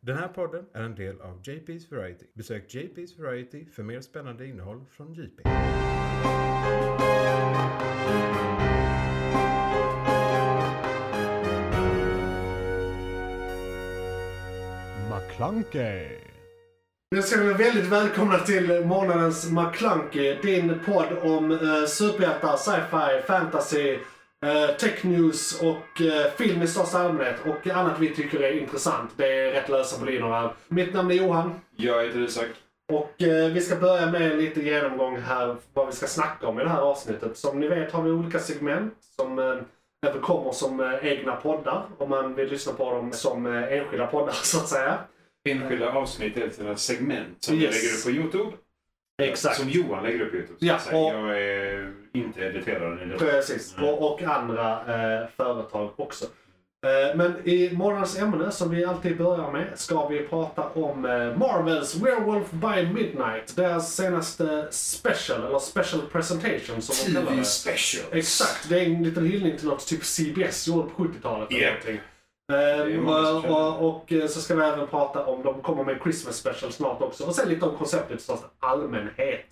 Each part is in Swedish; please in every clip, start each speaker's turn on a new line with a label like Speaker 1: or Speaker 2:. Speaker 1: Den här podden är en del av JP's Variety. Besök JP's Variety för mer spännande innehåll från JP.
Speaker 2: McClunkey.
Speaker 3: Nu ska vi vara väldigt välkomna till månadens McClunky, din podd om eh, superhjältar, sci-fi, fantasy, eh, tech news och eh, film i största allmänhet och annat vi tycker är intressant. Det är rätt lösa på linjerna. Mitt namn är Johan
Speaker 4: Jag heter Isak.
Speaker 3: och eh, vi ska börja med en liten genomgång här vad vi ska snacka om i det här avsnittet. Som ni vet har vi olika segment som eh, även kommer som eh, egna poddar om man vill lyssna på dem som eh, enskilda poddar så att säga.
Speaker 4: Enskilda avsnitt är ett sådant här segment som
Speaker 3: Yes.
Speaker 4: vi lägger upp på Youtube. Som Johan lägger upp på Youtube. ska
Speaker 3: Ja,
Speaker 4: jag säga.
Speaker 3: och-
Speaker 4: Jag är inte editeraren i det.
Speaker 3: Precis,
Speaker 4: Mm.
Speaker 3: och, och andra eh, företag också. Eh, men i morgonens ämne, som vi alltid börjar med, ska vi prata om eh, Marvels Werewolf by Midnight. Deras senaste special, eller special presentation som de kallar det.
Speaker 4: specials.
Speaker 3: Exakt, det är en liten hyllning till något typ CBS gjorde på 70-talet. eller
Speaker 4: Yep.
Speaker 3: någonting.
Speaker 4: är
Speaker 3: Ehm,
Speaker 4: många som
Speaker 3: och,
Speaker 4: känner det.
Speaker 3: och, och eh, så ska vi även prata om, de kommer med en Christmas special snart också. Och sen lite om konceptet i största allmänhet.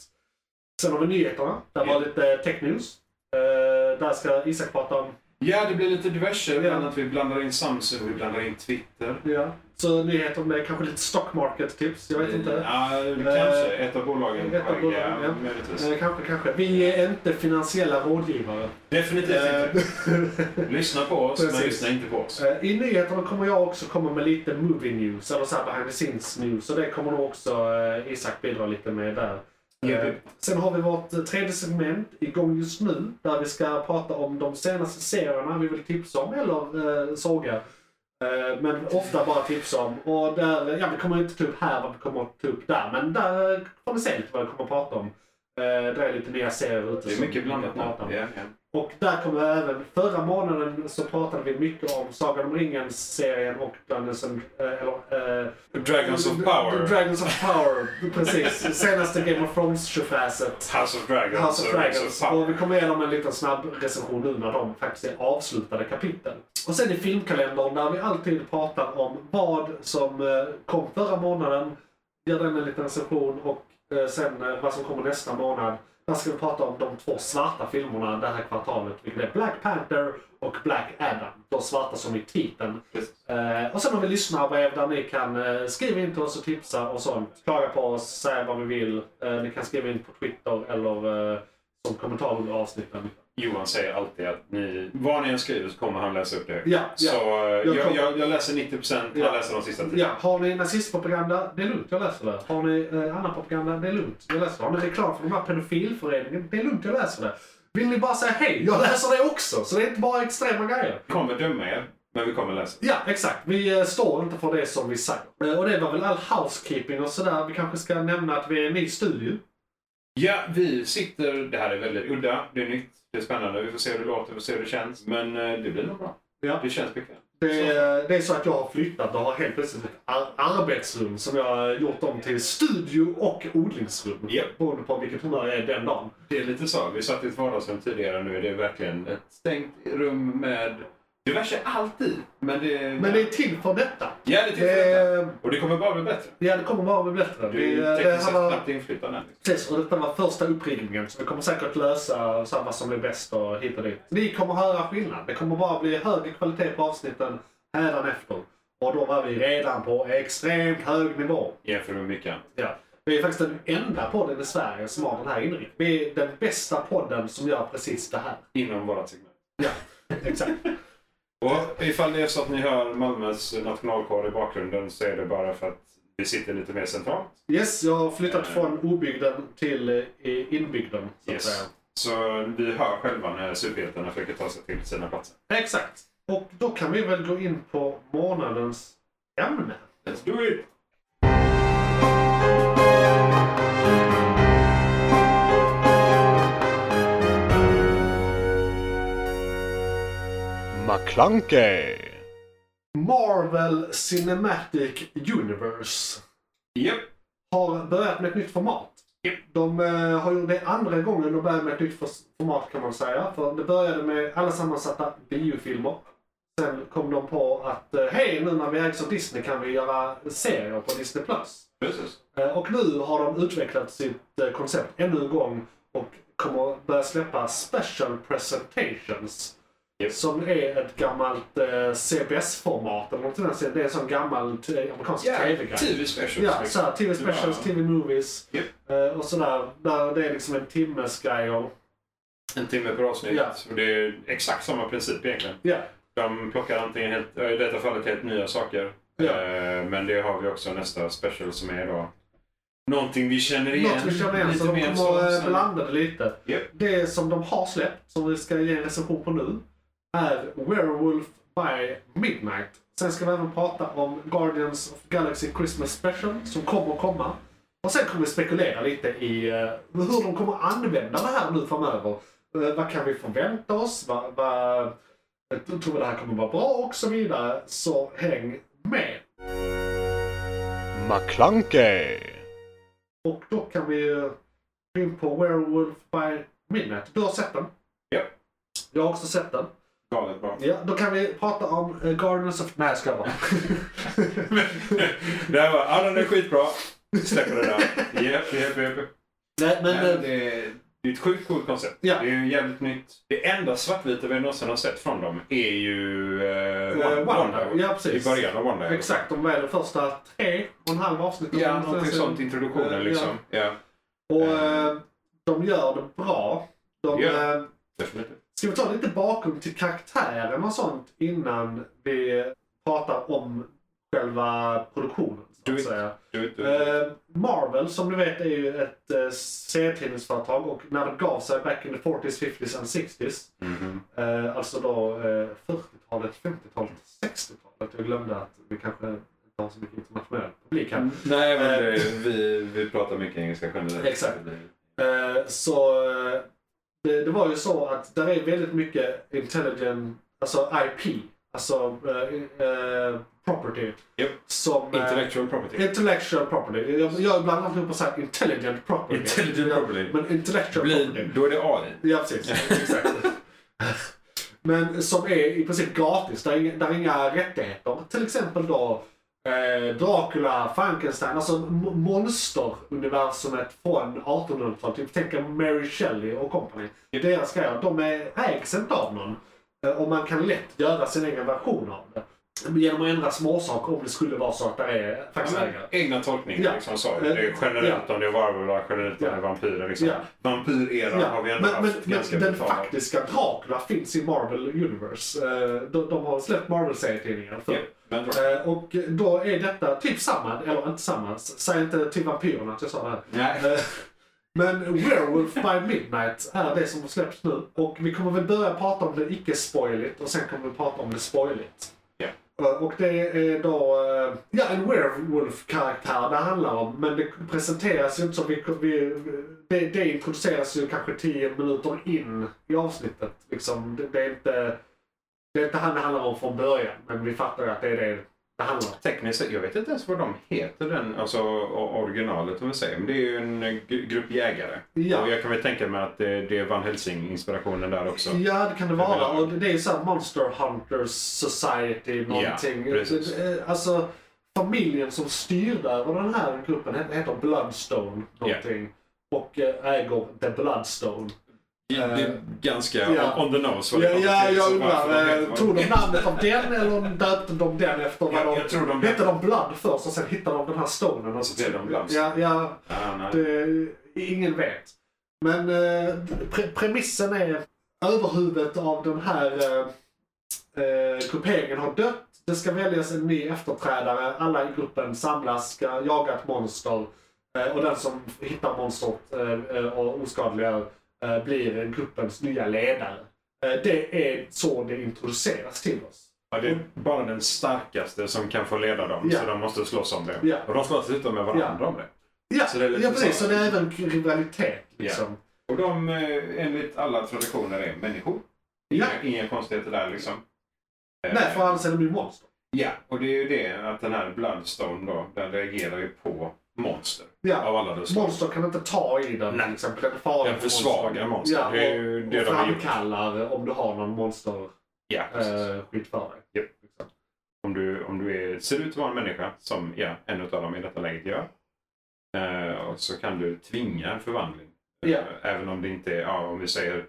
Speaker 3: Sen har vi nyheterna, där var
Speaker 4: Ja.
Speaker 3: lite tech news. Ehm, där ska Isak prata om.
Speaker 4: Ja, det blir lite diverse.
Speaker 3: Ja.
Speaker 4: Bland annat vi blandar in Samsung, vi blandar in Twitter.
Speaker 3: Ja. Så nyheter med kanske lite stock market tips, jag vet inte.
Speaker 4: Eh, Ja, kanske.
Speaker 3: Eh,
Speaker 4: Ett av bolagen.
Speaker 3: ett av
Speaker 4: Ja, Eh,
Speaker 3: bolagen, ja.
Speaker 4: Möjligtvis.
Speaker 3: Ehm, kanske, kanske. Vi är inte finansiella rådgivare.
Speaker 4: Definitivt inte.
Speaker 3: Ehm,
Speaker 4: Lyssna på oss, men
Speaker 3: Precis.
Speaker 4: lyssna inte på oss.
Speaker 3: Eh, I nyheterna kommer jag också komma med lite movie news, eller så här behind the scenes news. Så det kommer nog också eh, Isak bidra lite med där. Eh,
Speaker 4: Jupp.
Speaker 3: Sen har vi vårt eh, tredje segment igång just nu, där vi ska prata om de senaste serierna vi vill tipsa om eller eh, såga. Eh, men ofta bara tipsa om. Och där, ja, vi kommer inte ta upp här vad vi kommer att ta upp där, men där får ni se lite vad vi kommer att prata om. Eh, det är lite nya serier ute.
Speaker 4: Det är
Speaker 3: som vi
Speaker 4: mycket
Speaker 3: kan
Speaker 4: blandat nu.
Speaker 3: prata om.
Speaker 4: Ja, ja.
Speaker 3: Och där kommer vi även, förra månaden så pratade vi mycket om Sagan om ringen-serien och Dungeons and, eh, eller, eh,
Speaker 4: Dragons of Power.
Speaker 3: Dragons of Power, precis. Senaste Game of Thrones-tjofräset.
Speaker 4: House of Dragons.
Speaker 3: House of
Speaker 4: och Rings
Speaker 3: Dragons.
Speaker 4: of Power.
Speaker 3: Och vi kommer igenom en liten snabb recension nu när de faktiskt är avslutade kapitel. Och sen i filmkalendern där vi alltid pratar om vad som eh, kom förra månaden, gör den en liten recension och eh, sen eh, vad som kommer nästa månad. Där ska vi prata om de två svarta filmerna det här kvartalet, vilket är Black Panther och Black Adam. De svarta som i titeln.
Speaker 4: Precis.
Speaker 3: Eh, och sen har vi lyssnarbrev där ni kan eh, skriva in till oss och tipsa och sånt. Klaga på oss, säga vad vi vill. Eh, ni kan skriva in på Twitter eller eh, som kommentar under avsnitten.
Speaker 4: Johan säger alltid att ni, vad ni än skriver så kommer han läsa upp det.
Speaker 3: Ja, ja.
Speaker 4: Så eh,
Speaker 3: Jag
Speaker 4: jag, jag,
Speaker 3: kommer-
Speaker 4: jag, läser 90 procent,
Speaker 3: Ja.
Speaker 4: han läser de sista 10.
Speaker 3: Ja, har ni nazistpropaganda? Det är lugnt, jag läser det. Har ni eh, annan propaganda? Det är lugnt, jag läser det. Har ni reklam för den här pedofilföreningen? Det är lugnt, jag läser det. Vill ni bara säga hej? Jag läser det också! Så det är inte bara extrema grejer.
Speaker 4: Vi kommer döma er, men vi kommer läsa.
Speaker 3: Ja, exakt. Vi eh, står inte för det som vi säger. Eh, och det var väl all housekeeping och sådär. Vi kanske ska nämna att vi är en ny studio.
Speaker 4: Ja, vi sitter, det här är väldigt udda, det är nytt, det är spännande, vi får se hur det låter, vi får se hur det känns. Men eh, det blir nog bra.
Speaker 3: Ja.
Speaker 4: Det känns bekvämt.
Speaker 3: Det är, det är så att jag har flyttat och har helt plötsligt ett ar- arbetsrum som jag har gjort om till studio och odlingsrum.
Speaker 4: Ja.
Speaker 3: Beroende på vilket humör jag är den dagen.
Speaker 4: Det är lite så, vi satt i ett vardagsrum tidigare, nu är det verkligen ett stängt rum med diverse allt i. Men det,
Speaker 3: Men det är till för detta. Eh,
Speaker 4: Ja, det är till för detta.
Speaker 3: Det,
Speaker 4: Och det kommer bara bli bättre.
Speaker 3: ja, det kommer bara bli bättre.
Speaker 4: Du är ju
Speaker 3: Det, det
Speaker 4: tekniskt
Speaker 3: här
Speaker 4: sett
Speaker 3: var,
Speaker 4: knappt inflytande. än.
Speaker 3: precis, och detta var första uppriggningen så vi kommer säkert lösa så här vad som är bäst och hit och dit. Ni kommer höra skillnad. Det kommer bara bli högre kvalitet på avsnitten hädanefter. Och då var vi redan på extremt hög nivå.
Speaker 4: Jämfört med mycket annat.
Speaker 3: Ja. Vi är faktiskt den enda podden i Sverige som har den här inriktningen. Vi är den bästa podden som gör precis det här.
Speaker 4: inom vårat segment.
Speaker 3: Ja, exakt.
Speaker 4: Och ifall det är så att ni hör Malmös nationalkår i bakgrunden så är det bara för att vi sitter lite mer centralt.
Speaker 3: Yes, jag har flyttat från obygden till eh, inbygden. Så att
Speaker 4: Eh. Yes.
Speaker 3: säga.
Speaker 4: Så vi hör själva när superhjältarna försöker ta sig till sina platser.
Speaker 3: Exakt. Och då kan vi väl gå in på månadens ämne.
Speaker 4: Let's do it!
Speaker 2: McClunkey.
Speaker 3: Marvel Cinematic Universe
Speaker 4: Japp!
Speaker 3: har börjat med ett nytt format.
Speaker 4: Japp.
Speaker 3: De eh, har gjort det andra gången de börjar med ett nytt fors- format kan man säga. För det började med alla sammansatta biofilmer. Sen kom de på att eh, hej, nu när vi ägs av Disney kan vi göra serier på Disney+. Plus.
Speaker 4: Precis.
Speaker 3: Eh, Och nu har de utvecklat sitt eh, koncept ännu en gång och kommer börja släppa special presentations.
Speaker 4: Japp.
Speaker 3: Som är ett gammalt eh, CBS-format eller något sånt. där. Det är en sån gammal eh, amerikansk
Speaker 4: Ja,
Speaker 3: tv-grej.
Speaker 4: TV specials.
Speaker 3: Ja,
Speaker 4: liksom.
Speaker 3: såhär, TV specials,
Speaker 4: Ja.
Speaker 3: TV movies
Speaker 4: Japp.
Speaker 3: eh, och sådär. Där det är liksom en timmes grej och...
Speaker 4: En timme per avsnitt.
Speaker 3: Ja.
Speaker 4: Och det är exakt samma princip egentligen.
Speaker 3: Ja,
Speaker 4: De plockar antingen helt, i detta fallet helt nya saker.
Speaker 3: Ja.
Speaker 4: Eh, Men det har vi också nästa special som är då någonting vi känner igen.
Speaker 3: något vi känner igen. Så
Speaker 4: Lite
Speaker 3: de
Speaker 4: mer
Speaker 3: kommer eh,
Speaker 4: så-
Speaker 3: blanda det lite.
Speaker 4: Japp.
Speaker 3: Det som de har släppt, som vi ska ge en recension på nu, är Werewolf by Midnight. Sen ska vi även prata om Guardians of the Galaxy Christmas Special som kommer att komma. Och sen kommer vi spekulera lite i eh, hur de kommer att använda det här nu framöver. Eh, vad kan vi förvänta oss? Vad, vad, jag tror det här kommer vara bra och så vidare. Så häng med!
Speaker 2: McClunkey.
Speaker 3: Och då kan vi ju gå in på Werewolf by Midnight. Du har sett den?
Speaker 4: Ja.
Speaker 3: Jag har också sett den.
Speaker 4: Galet bra.
Speaker 3: Ja, då kan vi prata om eh, Guardians of... Nej, jag skojar bara.
Speaker 4: det här var, ja den är skitbra. Släpper det där. Japp, japp, japp.
Speaker 3: Nej, men...
Speaker 4: Men
Speaker 3: eh,
Speaker 4: det, är- det är ett sjukt coolt koncept.
Speaker 3: Ja.
Speaker 4: Det är ju jävligt nytt. Det enda svartvita vi någonsin har sett från dem är ju eh,
Speaker 3: Eh,
Speaker 4: Wanda.
Speaker 3: Wanda, ja, precis.
Speaker 4: I början av Wanda.
Speaker 3: Exakt, de var de första tre och en halv avsnitten.
Speaker 4: Ja, någonting sånt.
Speaker 3: Eh,
Speaker 4: Introduktionen liksom. Ja,
Speaker 3: Och eh, de gör det bra. De,
Speaker 4: Ja.
Speaker 3: eh,
Speaker 4: definitivt.
Speaker 3: Ska vi ta lite bakom till karaktären och sånt innan vi pratar om själva produktionen? Så
Speaker 4: Do
Speaker 3: att
Speaker 4: it.
Speaker 3: säga.
Speaker 4: Du, du,
Speaker 3: Eh, Marvel som du vet är ju ett eh, serietidningsföretag och när det gav sig back in the 40s, 50s and 60s.
Speaker 4: Mhm.
Speaker 3: Eh, alltså då eh, 40-talet, 50-talet, 60-talet. Jag glömde att vi kanske inte har så mycket internationell publik här.
Speaker 4: Nej, men
Speaker 3: Eh,
Speaker 4: det, vi, vi pratar mycket engelska generellt.
Speaker 3: Exakt.
Speaker 4: Det-
Speaker 3: Eh, så eh, det, det var ju så att där är väldigt mycket intelligent, alltså IP, alltså eh, eh, property.
Speaker 4: Japp.
Speaker 3: Som, eh,
Speaker 4: Intellectual property.
Speaker 3: Intellectual property. Jag, jag blandar alltid ihop och säger intelligent property.
Speaker 4: Intelligent
Speaker 3: Ja,
Speaker 4: property.
Speaker 3: Men intellectual property.
Speaker 4: Blir, då är det AI.
Speaker 3: Ja, precis. Exakt. Men som är i princip gratis. Där är, inga- där är inga rättigheter. Till exempel då eh, Dracula, Frankenstein. Alltså m- monsteruniversumet från 1800-talet. Typ tänk er Mary Shelley och company. Deras grejer. De är, ägs inte av någon. Eh, Och man kan lätt göra sin egen version av det. Genom att ändra småsaker om det skulle vara så att det är faktiskt
Speaker 4: Ja, men,
Speaker 3: ägare.
Speaker 4: egna tolkningar
Speaker 3: Ja. Eh,
Speaker 4: liksom så. Det är generellt om det är varulvar, generellt om det är vampyrer. Liksom.
Speaker 3: Ja.
Speaker 4: Vampyreran
Speaker 3: Ja,
Speaker 4: har vi ändå
Speaker 3: men, men,
Speaker 4: haft ganska
Speaker 3: men den
Speaker 4: brutala.
Speaker 3: faktiska Dracula finns i Marvel Universe. Eh, De, de har släppt Marvel-serietidningar
Speaker 4: Ja,
Speaker 3: förr.
Speaker 4: men bra.
Speaker 3: Eh, Och då är detta typ samma, eller inte samma, s- säg inte till vampyrerna att jag sa det här.
Speaker 4: Nej.
Speaker 3: Eh, Men Werewolf by Midnight är det som släpps nu. Och vi kommer väl börja prata om det icke-spoiligt och sen kommer vi prata om det spoiligt.
Speaker 4: Ja.
Speaker 3: Eh, Och det är då eh, ja, en werewolf-karaktär det handlar om. Men det presenteras ju inte som... Vi, vi, det, det introduceras ju kanske 10 minuter in i avsnittet. Liksom, det, det, är inte, det är inte han det handlar om från början. Men vi fattar ju att det är det det handlar om.
Speaker 4: Tekniskt sett, jag vet inte ens vad de heter, den, alltså o- originalet om vi säger. Men det är ju en gr- grupp jägare.
Speaker 3: Ja.
Speaker 4: Och jag kan väl tänka mig att det, det är Van Helsing-inspirationen där också.
Speaker 3: Ja, det kan det vara.
Speaker 4: menar-
Speaker 3: Och det det är ju såhär Monster Hunters Society någonting.
Speaker 4: Ja, precis.
Speaker 3: Eh, alltså, familjen som styrde över den här gruppen het- heter Bloodstone någonting. Och eh, äger The Bloodstone.
Speaker 4: Det är ganska
Speaker 3: ja.
Speaker 4: on the nose.
Speaker 3: Ja,
Speaker 4: vad det kommer
Speaker 3: ja
Speaker 4: till,
Speaker 3: jag
Speaker 4: så varför de
Speaker 3: undrar.
Speaker 4: heter
Speaker 3: eh,
Speaker 4: vad
Speaker 3: Tog de
Speaker 4: heter.
Speaker 3: namnet av den eller om döpte de den efter vad
Speaker 4: Jag-
Speaker 3: de...
Speaker 4: jag tror de-
Speaker 3: Hette de Blood först och sen hittade de den här stonen. Och
Speaker 4: Så blev de Bloodstone.
Speaker 3: Ja, ja.
Speaker 4: Ja, nej.
Speaker 3: Det, eh, ingen vet. Men eh, pre- premissen är överhuvudet av den här eh, eh, grupperingen har dött. Det ska väljas en ny efterträdare. Alla i gruppen samlas, ska jaga ett monster. Eh, och den som hittar monstret eh, eh, och oskadliggör eh, blir gruppens nya ledare. Eh, det är så det introduceras till oss.
Speaker 4: Ja, det är bara den starkaste som kan få leda dem.
Speaker 3: Ja.
Speaker 4: Så de måste slåss om det.
Speaker 3: Ja.
Speaker 4: Och de slåss dessutom med varandra om det.
Speaker 3: Ja,
Speaker 4: Så det är lite
Speaker 3: ja precis.
Speaker 4: så.
Speaker 3: Så det är även rivalitet. Liksom.
Speaker 4: Och de, eh, enligt alla traditioner, är människor. Inga,
Speaker 3: Ja.
Speaker 4: inga konstigheter där liksom. Eh,
Speaker 3: Nej, för annars är de ju monster.
Speaker 4: Ja, och det är ju det att den här Bloodstone då, den reagerar ju på monster.
Speaker 3: Ja.
Speaker 4: Av alla dess slag.
Speaker 3: Monster kan inte ta i den
Speaker 4: Nej.
Speaker 3: till exempel. Den är farlig
Speaker 4: Den
Speaker 3: för
Speaker 4: försvagar monster.
Speaker 3: Ja,
Speaker 4: Det är ju
Speaker 3: och,
Speaker 4: det
Speaker 3: och
Speaker 4: de har gjort.
Speaker 3: framkallar om du har någon monster.
Speaker 4: Ja, precis.
Speaker 3: eh, skit för dig.
Speaker 4: Japp, exakt. Om du, om du är, ser ut att vara en människa, som ja, en av dem i detta läget gör, eh, och så kan du tvinga en förvandling.
Speaker 3: Ja.
Speaker 4: Även om det inte är, ja, om vi säger,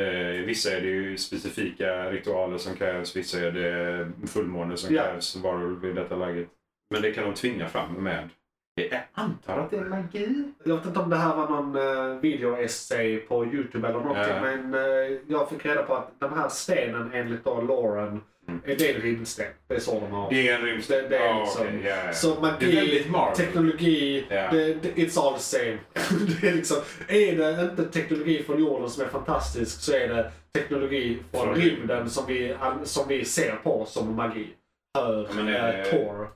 Speaker 4: eh, vissa är det ju specifika ritualer som krävs, vissa är det fullmåne som
Speaker 3: Ja.
Speaker 4: krävs, varulv i detta läget. Men det kan de tvinga fram med, jag antar att det är magi.
Speaker 3: Jag vet inte om det här var någon eh, videoessay på Youtube eller någonting.
Speaker 4: Ja.
Speaker 3: Men eh, jag fick reda på att den här stenen enligt då Lauren,
Speaker 4: Mm.
Speaker 3: är det är en rymdsten. Det är så de har.
Speaker 4: Det är en rymd...
Speaker 3: Det- det är
Speaker 4: Ja,
Speaker 3: liksom-
Speaker 4: okej, ja, ja.
Speaker 3: Så
Speaker 4: det är
Speaker 3: magi,
Speaker 4: väldigt Marvel.
Speaker 3: teknologi,
Speaker 4: Ja.
Speaker 3: det, det, it's all the same. det är, liksom, är det inte teknologi från jorden som är fantastisk så är det teknologi från,
Speaker 4: Från
Speaker 3: rymden som vi, an- som vi ser på som magi. Hör,
Speaker 4: Ja, men är
Speaker 3: eh,
Speaker 4: det-
Speaker 3: Tor.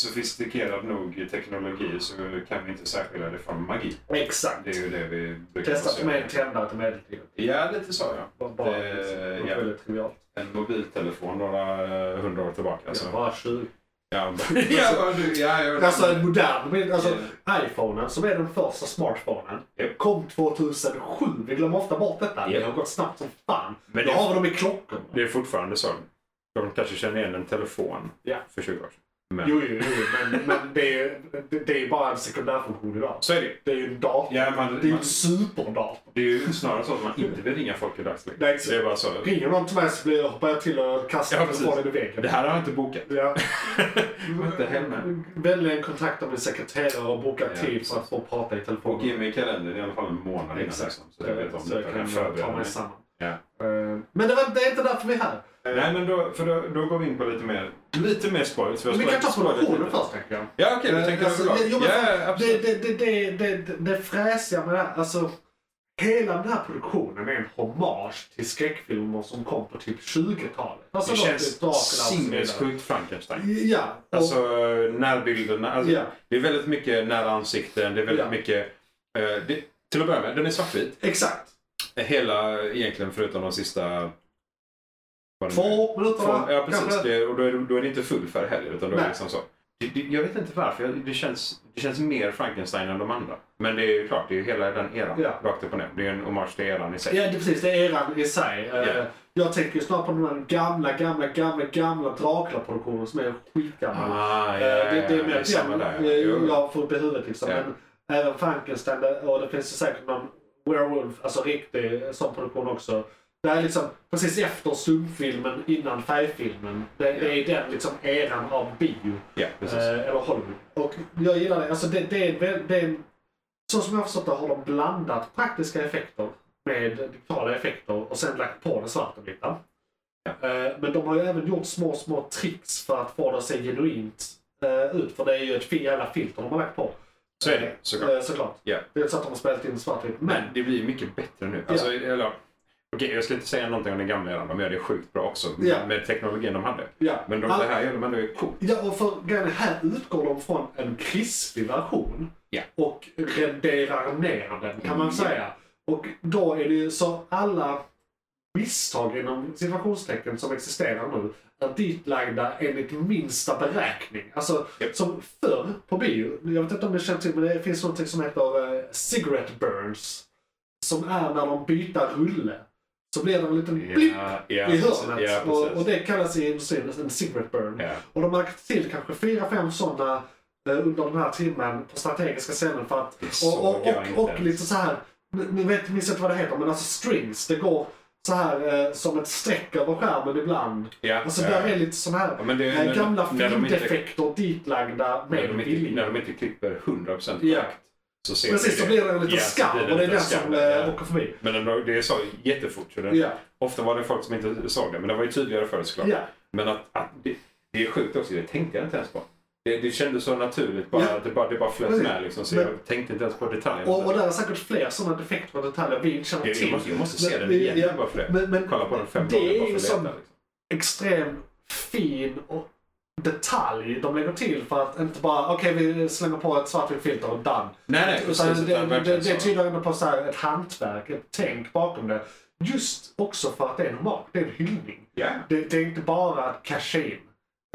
Speaker 4: Sofistikerad nog i teknologi så kan vi inte särskilja det från magi.
Speaker 3: Exakt.
Speaker 4: Det är ju det vi brukar
Speaker 3: Testat
Speaker 4: basera.
Speaker 3: med en tändare till medeltiden.
Speaker 4: Ja, lite så ja.
Speaker 3: Bara- Bara
Speaker 4: Eh,
Speaker 3: liksom, något
Speaker 4: ja.
Speaker 3: väldigt trivialt.
Speaker 4: En mobiltelefon några eh, hundra år tillbaka.
Speaker 3: Alltså,
Speaker 4: Så.
Speaker 3: bara 20.
Speaker 4: Ja, bara- ja, vad du- ja, jag-
Speaker 3: Alltså en modern bild. Alltså,
Speaker 4: Eh,
Speaker 3: iPhonen som är den första smartphonen
Speaker 4: Japp.
Speaker 3: kom 2007. Vi glömmer ofta bort detta.
Speaker 4: Japp.
Speaker 3: Det har gått snabbt som fan.
Speaker 4: Men
Speaker 3: Då
Speaker 4: det-
Speaker 3: har vi dem i klockorna.
Speaker 4: Det är fortfarande så. De kanske känner igen en telefon
Speaker 3: Ja.
Speaker 4: för 20 år sedan. Men
Speaker 3: Jo, jo, jo. Men, men det, är, ju- det, det är ju bara en sekundärfunktion idag.
Speaker 4: så är det ju.
Speaker 3: Det är ju en dator.
Speaker 4: ja, man,
Speaker 3: Det är ju
Speaker 4: man,
Speaker 3: en superdator.
Speaker 4: Det är ju snarare så att man inte vill ringa folk i dagsläget.
Speaker 3: Nej, exakt.
Speaker 4: Det är bara så.
Speaker 3: Ringer någon till mig så blir jag, hoppar jag till och kastar
Speaker 4: Ja, precis.
Speaker 3: telefonen i väggen.
Speaker 4: Det här har jag inte bokat.
Speaker 3: Ja.
Speaker 4: Jag var inte hemma.
Speaker 3: Vänligen kontakta min sekreterare och boka
Speaker 4: Ja,
Speaker 3: tid
Speaker 4: precis.
Speaker 3: för att få prata i telefon.
Speaker 4: Och in mig i kalendern i alla fall en månad innan.
Speaker 3: Exakt.
Speaker 4: Liksom, så jag vet om
Speaker 3: Så
Speaker 4: det.
Speaker 3: jag kan
Speaker 4: förbereda
Speaker 3: ta mig
Speaker 4: mig.
Speaker 3: samman.
Speaker 4: Ja.
Speaker 3: Eh, Men det, var, det är inte därför vi är här.
Speaker 4: Nej, men då, för då, då går vi in på lite mer, lite mer spoilers. har
Speaker 3: Vi kan ta
Speaker 4: spoilat- spoilat
Speaker 3: produktionen
Speaker 4: lite.
Speaker 3: först tänker jag.
Speaker 4: Ja, okej.
Speaker 3: Eh,
Speaker 4: du tänker
Speaker 3: alltså,
Speaker 4: överlag.
Speaker 3: jo, men
Speaker 4: Ja,
Speaker 3: fan,
Speaker 4: ja, absolut.
Speaker 3: Det, det, det, det, det, det, det fräsiga med det här, alltså. Hela den här produktionen är en hommage till skräckfilmer som kom på typ 20-talet. Alltså
Speaker 4: Det
Speaker 3: då
Speaker 4: känns
Speaker 3: typ Dracula och så vidare.
Speaker 4: sinnessjukt Frankenstein.
Speaker 3: Ja. Och,
Speaker 4: Alltså närbilderna. Alltså,
Speaker 3: Ja.
Speaker 4: Det är väldigt mycket nära ansikten. Det är väldigt
Speaker 3: Ja.
Speaker 4: mycket... eh, det, till att börja med, den är svartvit.
Speaker 3: exakt.
Speaker 4: Hela egentligen förutom de sista... vad det nu är.
Speaker 3: Två minuter va?
Speaker 4: Mm. Två- Ja, precis.
Speaker 3: Kanske.
Speaker 4: Det, och då är, det- då är det inte full färg heller. Utan då är det
Speaker 3: Nej.
Speaker 4: liksom så. Det, det, jag vet inte varför. Jag- Det känns, det känns mer Frankenstein än de andra. Men det är ju klart, det är ju hela den eran.
Speaker 3: Ja.
Speaker 4: Rakt upp och ner. Det är ju en hommage till eran i sig.
Speaker 3: Ja, det, precis. Det är eran i sig. Eh,
Speaker 4: Ja.
Speaker 3: Jag tänker ju snarare på de här gamla, gamla, gamla, gamla Dracula-produktionen som är skitgammal.
Speaker 4: Ah, ja,
Speaker 3: Eh, det, det är
Speaker 4: ja,
Speaker 3: mer
Speaker 4: samma
Speaker 3: den
Speaker 4: där.
Speaker 3: eh,
Speaker 4: Jo.
Speaker 3: jag får upp i huvudet. Liksom.
Speaker 4: Ja.
Speaker 3: Men även Frankenstein det- och det finns ju säkert någon Werewolf, alltså riktig eh, sån produktion också. Det är liksom precis efter stumfilmen, innan färgfilmen. Det, det är den liksom eran av bio.
Speaker 4: Ja, precis.
Speaker 3: Eh, eller Hollywood. Och jag gillar det. Alltså det, det är, en väl- det är en, så som jag har förstått det har de blandat praktiska effekter med digitala effekter och sen lagt på det svarta vita. Eh, men de har ju även gjort små, små tricks för att få det att se genuint eh, ut. För det är ju ett fi- jävla filter de har lagt på.
Speaker 4: Så är det, såklart.
Speaker 3: Eh, såklart.
Speaker 4: Ja.
Speaker 3: Det är inte så att de har spelat in svartvitt. Men
Speaker 4: Men det blir mycket bättre nu.
Speaker 3: Ja.
Speaker 4: Alltså, eller, okej, jag ska inte säga någonting om den gamla eran. De gör det sjukt bra också
Speaker 3: Ja.
Speaker 4: med teknologin de hade.
Speaker 3: ja.
Speaker 4: Men de,
Speaker 3: All-
Speaker 4: det här gör de ändå ju coolt.
Speaker 3: Ja, och för grejen är, här utgår de från en krispig version
Speaker 4: Ja.
Speaker 3: och renderar ner den kan man
Speaker 4: Ja.
Speaker 3: säga. Och då är det ju så alla misstag inom situationstecken som existerar nu är ditlagda enligt minsta beräkning. Alltså
Speaker 4: Japp.
Speaker 3: som förr på bio, jag vet inte om ni känner till men det finns något som heter eh, cigarette burns. Som är när de byter rulle. Så blir det en liten blipp
Speaker 4: ja,
Speaker 3: i
Speaker 4: precis.
Speaker 3: hörnet.
Speaker 4: Ja,
Speaker 3: och, och
Speaker 4: precis.
Speaker 3: det kallas i industrin en cigarette burn.
Speaker 4: Ja.
Speaker 3: Och de har lagt till kanske fyra, fem sådana under den här timmen på strategiska scener för att...
Speaker 4: Det såg
Speaker 3: Och, och,
Speaker 4: jag inte
Speaker 3: och, och
Speaker 4: ens.
Speaker 3: lite så här, ni ni vet, minns inte vad det heter, men alltså strings, det går så här eh, som ett streck över skärmen ibland.
Speaker 4: Ja,
Speaker 3: Alltså
Speaker 4: ja.
Speaker 3: där är lite sådana här
Speaker 4: Ja, men det är
Speaker 3: eh,
Speaker 4: när-
Speaker 3: gamla
Speaker 4: när de inte-
Speaker 3: filmdefekter ditlagda
Speaker 4: när,
Speaker 3: med
Speaker 4: de inte,
Speaker 3: vilja.
Speaker 4: när de inte klipper 100% korrekt
Speaker 3: Ja.
Speaker 4: så ser
Speaker 3: Precis,
Speaker 4: vi
Speaker 3: då blir det en liten
Speaker 4: Ja, så
Speaker 3: skarv
Speaker 4: blir
Speaker 3: och det är
Speaker 4: lite
Speaker 3: den som
Speaker 4: skarv, ja.
Speaker 3: eh, åker förbi.
Speaker 4: Men ändå, det är så jättefort. Så det,
Speaker 3: Ja,
Speaker 4: Ofta var det folk som inte såg det, men det var ju tydligare förr såklart.
Speaker 3: ja.
Speaker 4: Men att, att det, det är sjukt också, det tänkte jag inte ens på. Det, det kändes så naturligt, bara,
Speaker 3: Ja.
Speaker 4: att det bara, det bara flöt
Speaker 3: Precis.
Speaker 4: med. Liksom, så
Speaker 3: Men-
Speaker 4: jag tänkte inte ens på detaljerna.
Speaker 3: Och, och där är säkert fler sådana defekter och detaljer vi inte känner
Speaker 4: jag,
Speaker 3: till.
Speaker 4: jag, måste, jag måste se
Speaker 3: Men-
Speaker 4: den igen
Speaker 3: ja.
Speaker 4: bara för det.
Speaker 3: Men, men
Speaker 4: Kolla på den fem
Speaker 3: det
Speaker 4: gånger
Speaker 3: är
Speaker 4: bara
Speaker 3: ju
Speaker 4: för att
Speaker 3: som-
Speaker 4: veta. Liksom.
Speaker 3: extremt fin och detalj de lägger till för att inte bara okej vi slänger på ett svartvitt filter och done.
Speaker 4: Nej, nej.
Speaker 3: Utan
Speaker 4: precis,
Speaker 3: det,
Speaker 4: utan
Speaker 3: det, det,
Speaker 4: verkligen
Speaker 3: det
Speaker 4: så.
Speaker 3: tyder ändå på så här ett hantverk, ett tänk bakom det. Just också för att det är en mat, det är en hyllning.
Speaker 4: Ja.
Speaker 3: Det, det är inte bara att casha in.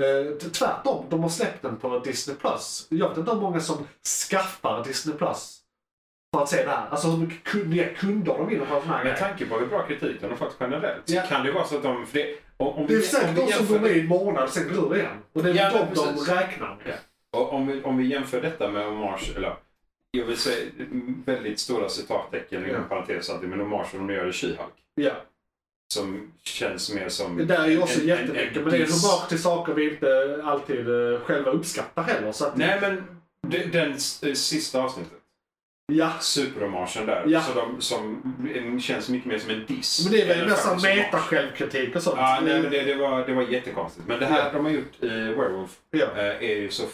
Speaker 3: Eh, t- tvärtom, de har släppt den på Disney+. Plus. Jag vet inte hur många som skaffar Disney+. Plus för att se det här. Alltså hur mycket kun- nya kunder de vinner på en sån här
Speaker 4: Med
Speaker 3: grej.
Speaker 4: tanke på hur bra kritiken har fått generellt så
Speaker 3: Ja.
Speaker 4: kan det vara så att de... För det, Och om
Speaker 3: Det är
Speaker 4: vi- om
Speaker 3: säkert
Speaker 4: vi
Speaker 3: de som
Speaker 4: jämför-
Speaker 3: går med i en månad sen går ur igen. Och det är
Speaker 4: Ja,
Speaker 3: ja,
Speaker 4: men
Speaker 3: de de
Speaker 4: precis.
Speaker 3: räknar med.
Speaker 4: Och om, vi, om vi jämför detta med Omars, eller jag vill säga väldigt stora citattecken inom
Speaker 3: Ja.
Speaker 4: parentes alltid, men Omars som de gör i She-Hulk.
Speaker 3: Ja.
Speaker 4: Som känns mer som...
Speaker 3: Det där är ju också
Speaker 4: En- en-
Speaker 3: jättemycket,
Speaker 4: en
Speaker 3: men det är
Speaker 4: diss.
Speaker 3: humör till saker vi inte alltid eh, själva uppskattar heller. Så att,
Speaker 4: Nej men de- den s- eh, sista avsnittet.
Speaker 3: ja.
Speaker 4: Superhomagen där.
Speaker 3: Ja.
Speaker 4: Så de, som eh, känns mycket mer som en diss.
Speaker 3: Men det är
Speaker 4: än
Speaker 3: väl
Speaker 4: en
Speaker 3: nästan
Speaker 4: faktisk hommage.
Speaker 3: meta-självkritik och sånt.
Speaker 4: Ja, nej, men det, det, var, det var jättekonstigt. Men det här de har gjort i Werewolf
Speaker 3: Ja.
Speaker 4: eh, är ju så... f-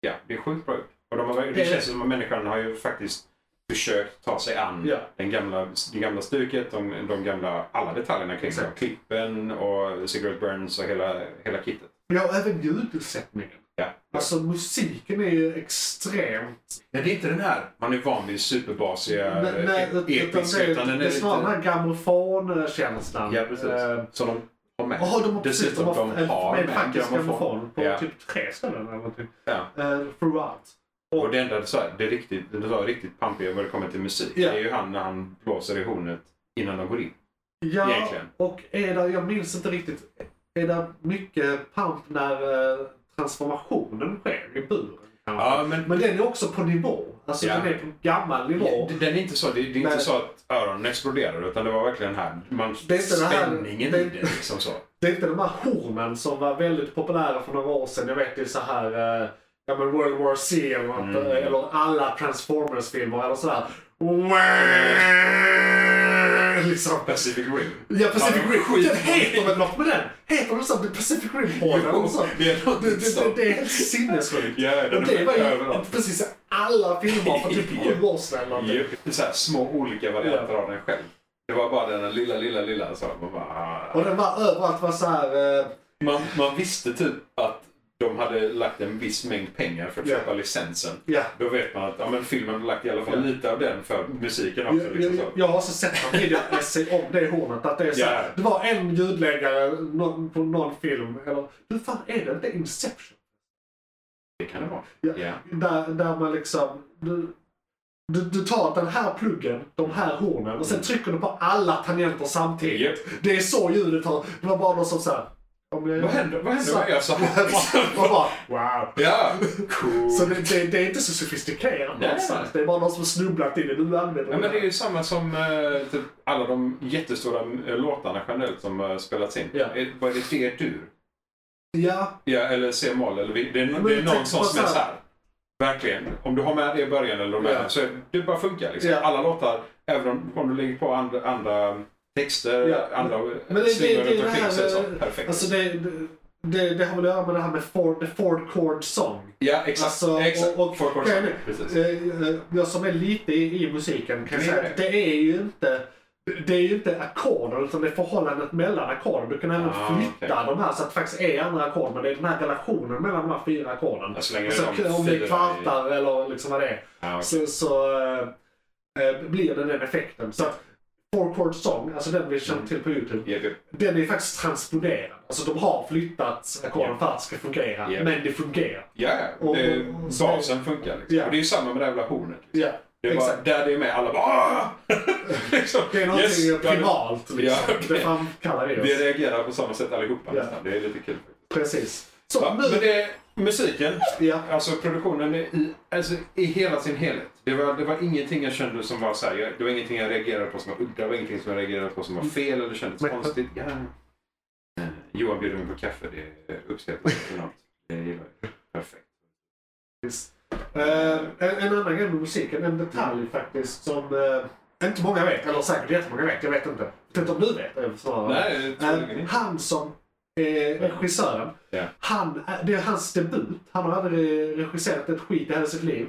Speaker 4: Ja, det är sjukt bra gjort. Och de har, det
Speaker 3: Det-
Speaker 4: känns som att människan har ju faktiskt försökt ta sig an
Speaker 3: Ja.
Speaker 4: den gamla, det gamla stuket, de, de gamla, alla detaljerna kring det.
Speaker 3: Exakt.
Speaker 4: Klippen och Cigarette Burns och hela, hela kittet.
Speaker 3: Ja, även ljudsättningen.
Speaker 4: Ja.
Speaker 3: Alltså musiken är ju extremt...
Speaker 4: Men det är inte den här man är van vid superbasiga
Speaker 3: Nej, nej,
Speaker 4: eh, episka,
Speaker 3: det,
Speaker 4: utan den
Speaker 3: det
Speaker 4: är
Speaker 3: är snarare den
Speaker 4: lite...
Speaker 3: här grammofonkänslan.
Speaker 4: Ja, precis.
Speaker 3: Eh,
Speaker 4: Som de har med.
Speaker 3: Jaha, de har precis,
Speaker 4: Dessutom,
Speaker 3: de har,
Speaker 4: de har
Speaker 3: med
Speaker 4: med
Speaker 3: faktisk
Speaker 4: grammofon.
Speaker 3: grammofon på
Speaker 4: Ja.
Speaker 3: typ tre ställen eller någonting.
Speaker 4: Ja.
Speaker 3: Eh, throughout.
Speaker 4: Och det enda du sa, det är riktigt, det var riktigt pampiga vad det kommer till musik,
Speaker 3: Ja.
Speaker 4: det är ju han när han blåser i hornet innan de går in.
Speaker 3: Ja,
Speaker 4: Egentligen.
Speaker 3: och är där, jag minns inte riktigt. Är det mycket pamp när eh, transformationen sker i buren? kanske?
Speaker 4: Ja, men,
Speaker 3: Men den är också på nivå. Alltså
Speaker 4: Ja.
Speaker 3: den är på gammal nivå.
Speaker 4: Ja, den är inte så, det, det är inte
Speaker 3: Nej.
Speaker 4: så att öronen exploderar utan det var verkligen här, man,
Speaker 3: Det är inte det här-
Speaker 4: spänningen
Speaker 3: det-
Speaker 4: i det liksom så.
Speaker 3: Det är inte de här hornen som var väldigt populära för några år sedan. Jag vet det är så här eh, ja, men World War C eller, något,
Speaker 4: Mm.
Speaker 3: eh, eller alla Transformers-filmer eller sådär. Liksom.
Speaker 4: Pacific Rim.
Speaker 3: Ja, Pacific
Speaker 4: Ja,
Speaker 3: Rim.
Speaker 4: skit.
Speaker 3: Den heter väl något med den? Heter den så? Pacific Rim-porren?
Speaker 4: Jo,
Speaker 3: och sånt?
Speaker 4: det är något
Speaker 3: Det, det, det,
Speaker 4: sånt.
Speaker 3: det är helt sinnessjukt.
Speaker 4: Ja, den
Speaker 3: Och det
Speaker 4: är
Speaker 3: var ju
Speaker 4: överallt.
Speaker 3: precis i alla filmer för typ sju år sedan. eller någonting.
Speaker 4: Det är så här, små olika varianter av den själv. Det var bara den här lilla, lilla, lilla. Så man, bara,
Speaker 3: Och
Speaker 4: ah.
Speaker 3: den var överallt var så här... eh,
Speaker 4: man, man visste typ att de hade lagt en viss mängd pengar för att
Speaker 3: Ja.
Speaker 4: köpa licensen.
Speaker 3: Ja.
Speaker 4: Då vet man att ja, men filmen har lagt i alla fall
Speaker 3: Ja.
Speaker 4: lite av den för musiken också.
Speaker 3: Jag,
Speaker 4: liksom
Speaker 3: jag,
Speaker 4: så.
Speaker 3: jag har så sett en videoessay om det hornet. Att det, är så,
Speaker 4: Ja.
Speaker 3: det var en ljudläggare nå- på någon film. Eller hur fan är det? Det är Inception.
Speaker 4: Det kan det vara.
Speaker 3: Ja.
Speaker 4: Ja.
Speaker 3: Där, där man liksom... Du, du, du tar den här pluggen, de här hornen och sen trycker du på alla tangenter samtidigt.
Speaker 4: Japp.
Speaker 3: Det är så ljudet har... Det var bara någon som såhär... Om jag
Speaker 4: Vad händer, vad händer om jag gör så
Speaker 3: Och
Speaker 4: här?
Speaker 3: bara wow.
Speaker 4: ja, cool.
Speaker 3: Så det, det, det är inte så sofistikerat
Speaker 4: Nej.
Speaker 3: någonstans. Det är bara någon som har snubblat in i det. Nu använder
Speaker 4: Ja, men det är ju samma som eh, typ alla de jättestora eh, låtarna generellt som har spelats in.
Speaker 3: Ja.
Speaker 4: Eh, Vad är det? D-dur?
Speaker 3: Ja,
Speaker 4: Ja, eller C-moll. Eller, vi- det är,
Speaker 3: Men
Speaker 4: det
Speaker 3: jag
Speaker 4: är någon
Speaker 3: tänkte
Speaker 4: sån
Speaker 3: bara
Speaker 4: som är
Speaker 3: så
Speaker 4: så
Speaker 3: här-
Speaker 4: här. Verkligen. Om du har med det i början eller om du
Speaker 3: Ja.
Speaker 4: är med, så är- det bara funkar. Liksom.
Speaker 3: Ja.
Speaker 4: Alla låtar, även om, om du lägger på andra, andra mm, texter,
Speaker 3: Ja.
Speaker 4: andra
Speaker 3: Men det-
Speaker 4: slingor
Speaker 3: det- det-
Speaker 4: runt
Speaker 3: det här-
Speaker 4: omkring så är det så. Perfekt.
Speaker 3: Alltså det, det- det, det har väl att göra med det här med four, the four chord song.
Speaker 4: ja, exakt.
Speaker 3: alltså,
Speaker 4: exakt.
Speaker 3: och- och-
Speaker 4: Four chords.
Speaker 3: Nej, nej.
Speaker 4: Precis.
Speaker 3: Eh, eh, Jag som är lite i, i musiken kan
Speaker 4: Det är
Speaker 3: säga
Speaker 4: det.
Speaker 3: att det är ju inte det är ju inte ackorden utan det är förhållandet mellan ackorden. Du kan även
Speaker 4: Ah,
Speaker 3: flytta de här så att det faktiskt är andra ackord. Men det är den här relationen mellan de här fyra ackorden.
Speaker 4: Ja, så länge
Speaker 3: Alltså,
Speaker 4: det är de
Speaker 3: om det
Speaker 4: fyra
Speaker 3: är
Speaker 4: i-
Speaker 3: kvartar eller liksom vad det är.
Speaker 4: Ja, okej.
Speaker 3: Så, så eh, eh, blir det den effekten. Så att four chord song, alltså den vi känner till på Youtube.
Speaker 4: Mm. Ja, det-
Speaker 3: Den är faktiskt transponerad. Alltså de har flyttat ackorden för att det ska fungera.
Speaker 4: Ja.
Speaker 3: Men det fungerar.
Speaker 4: Ja, ja.
Speaker 3: Och-
Speaker 4: Det-
Speaker 3: och- och-
Speaker 4: basen funkar. Liksom.
Speaker 3: Ja.
Speaker 4: Och det är ju samma med det här jävla hornet. Liksom.
Speaker 3: Ja,
Speaker 4: Det är bara,
Speaker 3: exakt.
Speaker 4: där det är med, alla bara "Ah!" liksom,
Speaker 3: Det är någonting
Speaker 4: ja, det-
Speaker 3: primalt liksom.
Speaker 4: Ja, okej.
Speaker 3: Det framkallar vi oss.
Speaker 4: Vi reagerar på samma sätt allihopa
Speaker 3: Ja.
Speaker 4: nästan. Det är lite kul. faktiskt.
Speaker 3: Precis. Så
Speaker 4: Va?
Speaker 3: nu...
Speaker 4: Men det är musiken,
Speaker 3: Ja.
Speaker 4: alltså produktionen är i, alltså, i hela sin helhet. Det var, det var ingenting jag kände som var så här, jag, det var ingenting jag reagerade på som var udda, det var ingenting som jag reagerade på som var fel eller kändes
Speaker 3: Men-
Speaker 4: konstigt. Ja. Eh, Johan bjuder mig på kaffe, det är uppskattat. Det gillar jag. Perfekt.
Speaker 3: Eh, en, en annan grej med musiken, en detalj faktiskt som eh, inte många vet, eller säkert jättemånga vet, jag vet inte. Jag vet inte om du vet eh, snarare.
Speaker 4: Nej, troligen
Speaker 3: Eh,
Speaker 4: inte.
Speaker 3: han som är regissören,
Speaker 4: Ja.
Speaker 3: han, är- det är hans debut. Han har aldrig regisserat ett skit i hela sitt liv.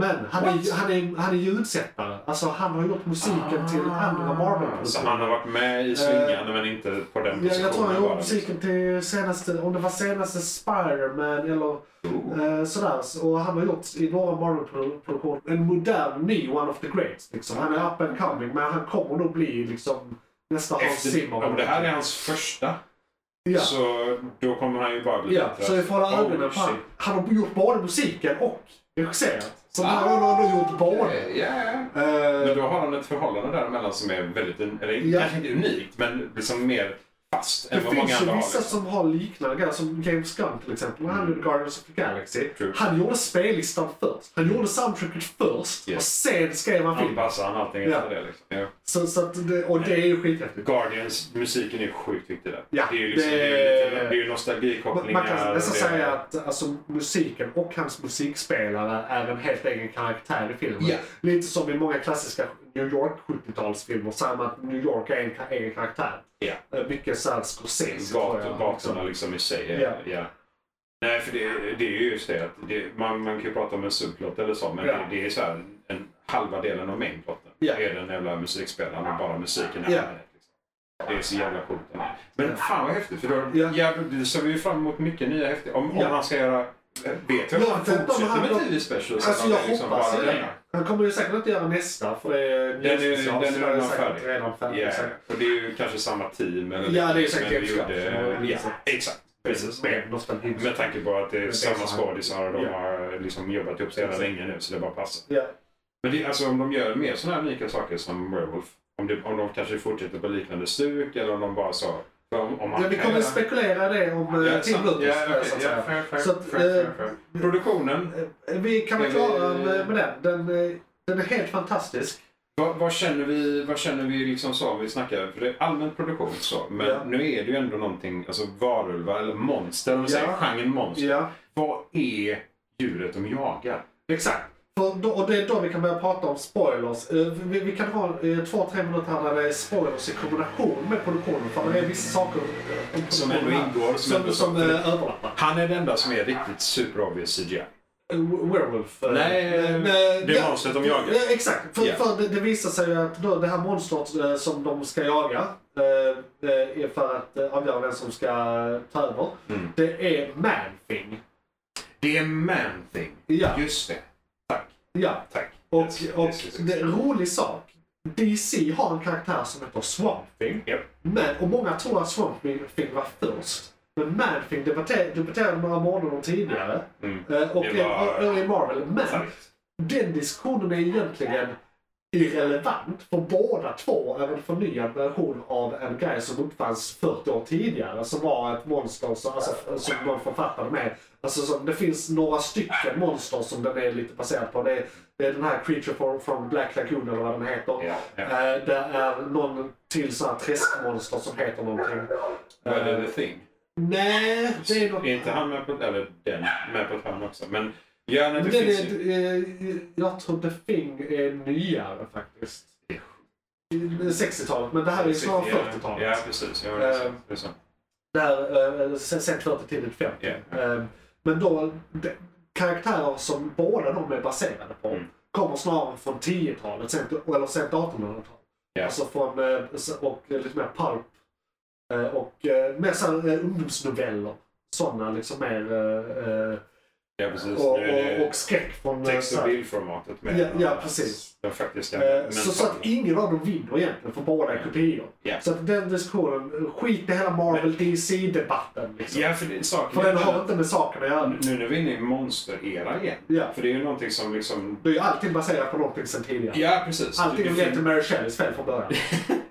Speaker 3: Men han
Speaker 4: What?
Speaker 3: är, han, är, han är ljudsättare. Alltså han har gjort musiken till
Speaker 4: Ah.
Speaker 3: andra
Speaker 4: Så
Speaker 3: Marvel-produktioner.
Speaker 4: han har varit med i svingarna men inte på den
Speaker 3: Eh, Jag,
Speaker 4: positionen?
Speaker 3: jag tror han har
Speaker 4: bara. liksom.
Speaker 3: gjort musiken till senaste, om det var senaste Spider-Man eller
Speaker 4: Oh.
Speaker 3: eh, sådär. Och han har gjort i några Marvel-produktioner en modern ny One of the Greats. Liksom. Han är up and coming men han kommer nog bli liksom nästa Hans
Speaker 4: Efter,
Speaker 3: Zimmer.
Speaker 4: om det här är hans första
Speaker 3: Ja.
Speaker 4: så då kommer han ju bara bli
Speaker 3: Ja,
Speaker 4: bättre.
Speaker 3: så vi får hålla
Speaker 4: Oh,
Speaker 3: ögonen på han.
Speaker 4: shit.
Speaker 3: Han har gjort både musiken och regisserat. Så
Speaker 4: Ah,
Speaker 3: han har ändå gjort både.
Speaker 4: Eh, ja.
Speaker 3: Eh,
Speaker 4: Men då har han ett förhållande däremellan som är väldigt, un- eller
Speaker 3: Ja.
Speaker 4: kanske inte unikt, men liksom mer fast
Speaker 3: Det
Speaker 4: än vad många
Speaker 3: finns
Speaker 4: andra
Speaker 3: ju
Speaker 4: har.
Speaker 3: vissa
Speaker 4: Liksom. Mm.
Speaker 3: som har liknande grejer, som James Gunn till exempel. Han gjorde Guardians of the Galaxy.
Speaker 4: True.
Speaker 3: Han gjorde spellistan först. Han gjorde soundtracket först
Speaker 4: Yes.
Speaker 3: och sen skrev han film.
Speaker 4: Anpassar han allting efter det liksom. Ja.
Speaker 3: Så, så att det, och det är ju skithäftigt.
Speaker 4: Guardians, musiken är sjukt viktig där.
Speaker 3: Ja,
Speaker 4: det är ju liksom,
Speaker 3: det-
Speaker 4: det... är ju lite- det är ju
Speaker 3: Man,
Speaker 4: nostalgikopplingar.
Speaker 3: man kan nästan
Speaker 4: och det-
Speaker 3: säga att alltså, musiken och hans musikspelare är en helt egen karaktär i filmen.
Speaker 4: Ja.
Speaker 3: Lite som i många klassiska New York 70-talsfilmer, samma att New York är en ka- egen karaktär.
Speaker 4: Ja.
Speaker 3: Eh, Mycket såhär Scorsese tror jag,
Speaker 4: Gator, gatorna
Speaker 3: liksom.
Speaker 4: liksom i sig.
Speaker 3: Ja.
Speaker 4: Ja. Ja. Nej, för det, det är ju just det att det, man, man kan ju prata om en subplot eller så, men
Speaker 3: Ja.
Speaker 4: det, det är så här, en halva delen av mainplotten.
Speaker 3: Ja.
Speaker 4: Det är den jävla musikspelaren och bara musiken.
Speaker 3: Ja.
Speaker 4: Liksom. Det är så jävla coolt. Men fan vad häftigt, för då
Speaker 3: Ja.
Speaker 4: ja. då ser vi ju fram emot mycket nya häftiga. Om,
Speaker 3: Ja.
Speaker 4: om han ska göra... eh, Vet vi om
Speaker 3: Ja,
Speaker 4: han
Speaker 3: för att de
Speaker 4: fortsätter
Speaker 3: hade-
Speaker 4: med TV specials?
Speaker 3: Alltså,
Speaker 4: eller
Speaker 3: jag
Speaker 4: om det liksom
Speaker 3: hoppas
Speaker 4: bara
Speaker 3: ju det.
Speaker 4: denna?
Speaker 3: Han kommer ju säkert inte göra nästa för eh, det är
Speaker 4: Den är- den är redan färdig.
Speaker 3: redan färdig.
Speaker 4: Ja,
Speaker 3: exakt.
Speaker 4: och det är ju kanske samma team. Eller
Speaker 3: Ja, det är
Speaker 4: som
Speaker 3: säkert
Speaker 4: vi
Speaker 3: James Gunn.
Speaker 4: gjorde- Ja,
Speaker 3: Exakt.
Speaker 4: exakt. Precis.
Speaker 3: Med nostalgi.
Speaker 4: Med tanke på att det är
Speaker 3: Men det är
Speaker 4: samma
Speaker 3: så här.
Speaker 4: skådisar och de
Speaker 3: Ja.
Speaker 4: har liksom jobbat ihop så jävla
Speaker 3: Exakt.
Speaker 4: länge nu så det bara passar.
Speaker 3: Ja.
Speaker 4: Men det, är alltså, om de gör mer sådana här unika saker som Werewolf, om, det, om de kanske fortsätter på liknande stuk eller om de bara så... för Om, om man
Speaker 3: Ja, vi
Speaker 4: kan
Speaker 3: kommer
Speaker 4: göra-
Speaker 3: spekulera det om ja,
Speaker 4: Ja,
Speaker 3: Tim
Speaker 4: sant.
Speaker 3: Burton.
Speaker 4: Ja, okej.
Speaker 3: så att
Speaker 4: Ja,
Speaker 3: säga.
Speaker 4: fair, fair,
Speaker 3: Så att,
Speaker 4: fair, fair,
Speaker 3: eh,
Speaker 4: fair. Produktionen,
Speaker 3: Eh, Vi kan vara
Speaker 4: Ska vi-
Speaker 3: klara med, med den. Den, eh, den är helt fantastisk.
Speaker 4: vad, vad känner vi, vad känner vi liksom så om vi snackar, för det är allmän produktion så, men
Speaker 3: Ja.
Speaker 4: nu är det ju ändå någonting, alltså varulvar eller monster, om vi
Speaker 3: Ja.
Speaker 4: säger genren monster.
Speaker 3: Ja,
Speaker 4: Vad är djuret de jagar?
Speaker 3: exakt. För då, och det är då vi kan börja prata om spoilers. Eh, Vi, vi kan ha eh, två, tre minuter här där det är spoilers i kombination med produktionen. För det är vissa saker eh, om
Speaker 4: Som
Speaker 3: produktionen
Speaker 4: ändå
Speaker 3: här
Speaker 4: ingår, som
Speaker 3: som,
Speaker 4: ändå-
Speaker 3: som eh, överlappar.
Speaker 4: Han är den enda som är riktigt super obvious CGI.
Speaker 3: Eh, Werewolf. eh,
Speaker 4: Nej,
Speaker 3: men, eh,
Speaker 4: det är monstret de jagar.
Speaker 3: Eh, Exakt, för,
Speaker 4: Ja.
Speaker 3: för det, det visar sig ju att då, det här monstret eh, som de ska jaga eh, eh, är för att eh, avgöra vem som ska ta över.
Speaker 4: Mm.
Speaker 3: Det är Manfing.
Speaker 4: Det är Man-Thing.
Speaker 3: Ja.
Speaker 4: Just det. Tack.
Speaker 3: Ja.
Speaker 4: Tack.
Speaker 3: Och,
Speaker 4: Yes,
Speaker 3: och
Speaker 4: yes, yes, yes.
Speaker 3: det är en rolig sak. DC har en karaktär som heter Swamp Thing.
Speaker 4: Japp.
Speaker 3: Men, och många tror att Swamp Thing var först. Men Manfing debuterade, debuterade några månader tidigare.
Speaker 4: Mm.
Speaker 3: Eh, Och
Speaker 4: Det var-
Speaker 3: är i Marvel. Men
Speaker 4: Starkt.
Speaker 3: den diskussionen är egentligen irrelevant för båda två är en förnyad version av en grej som uppfanns 40 år tidigare som var ett monster som, alltså, som de författade med. Alltså, som, det finns några stycken monster som den är lite baserad på. Det är, det är den här Creature from, from Black Lagoon eller vad den heter.
Speaker 4: Ja, ja.
Speaker 3: Eh, det är någon till sån här träskmonster som heter någonting. Eh,
Speaker 4: Vad är det The Thing?
Speaker 3: Nej, det är något...
Speaker 4: Är inte han med på, eller den, med på ett hörn också? Men ja, nej,
Speaker 3: Men
Speaker 4: det
Speaker 3: det
Speaker 4: finns ju.
Speaker 3: är, eh, jag tror The Thing är nyare faktiskt.
Speaker 4: Ja.
Speaker 3: 60-talet, men det här är snarare
Speaker 4: Ja,
Speaker 3: 40-talet.
Speaker 4: Ja, precis. Ja, det är
Speaker 3: Eh,
Speaker 4: sant. Det är sant.
Speaker 3: Där, eh, sen, sen 40 tidigt 50.
Speaker 4: Ja, ja.
Speaker 3: Eh, Men då, de, karaktärer som båda de är baserade på
Speaker 4: Mm.
Speaker 3: kommer snarare från 10-talet, sent- eller sent 1800-tal.
Speaker 4: Ja.
Speaker 3: Alltså från, eh, s- och eh, lite mer pulp. Eh, Och eh, mer såhär eh, ungdomsnoveller. Sådana liksom mer, eh, eh,
Speaker 4: Ja, precis.
Speaker 3: och,
Speaker 4: Nu är
Speaker 3: och,
Speaker 4: det
Speaker 3: och skräck från... eh,
Speaker 4: text
Speaker 3: så
Speaker 4: och
Speaker 3: här-
Speaker 4: bildformatet med.
Speaker 3: Ja, ja, precis.
Speaker 4: Den faktiska
Speaker 3: Eh, Så, så
Speaker 4: mentala.
Speaker 3: att ingen av dem vinner egentligen, för båda är kopior.
Speaker 4: Ja.
Speaker 3: Så att den diskussionen, skit i hela Marvel DC-debatten. Liksom.
Speaker 4: Ja, för det, saken
Speaker 3: För
Speaker 4: är
Speaker 3: den
Speaker 4: att-
Speaker 3: har inte med saken att göra.
Speaker 4: Nu när vi är inne i monster-era igen.
Speaker 3: Ja.
Speaker 4: För det är ju någonting som liksom...
Speaker 3: Det är ju alltid baserat på någonting sen tidigare.
Speaker 4: Ja, precis.
Speaker 3: Allting
Speaker 4: Det-
Speaker 3: är
Speaker 4: det
Speaker 3: lett
Speaker 4: fin-
Speaker 3: till Mary Shelleys fel från början.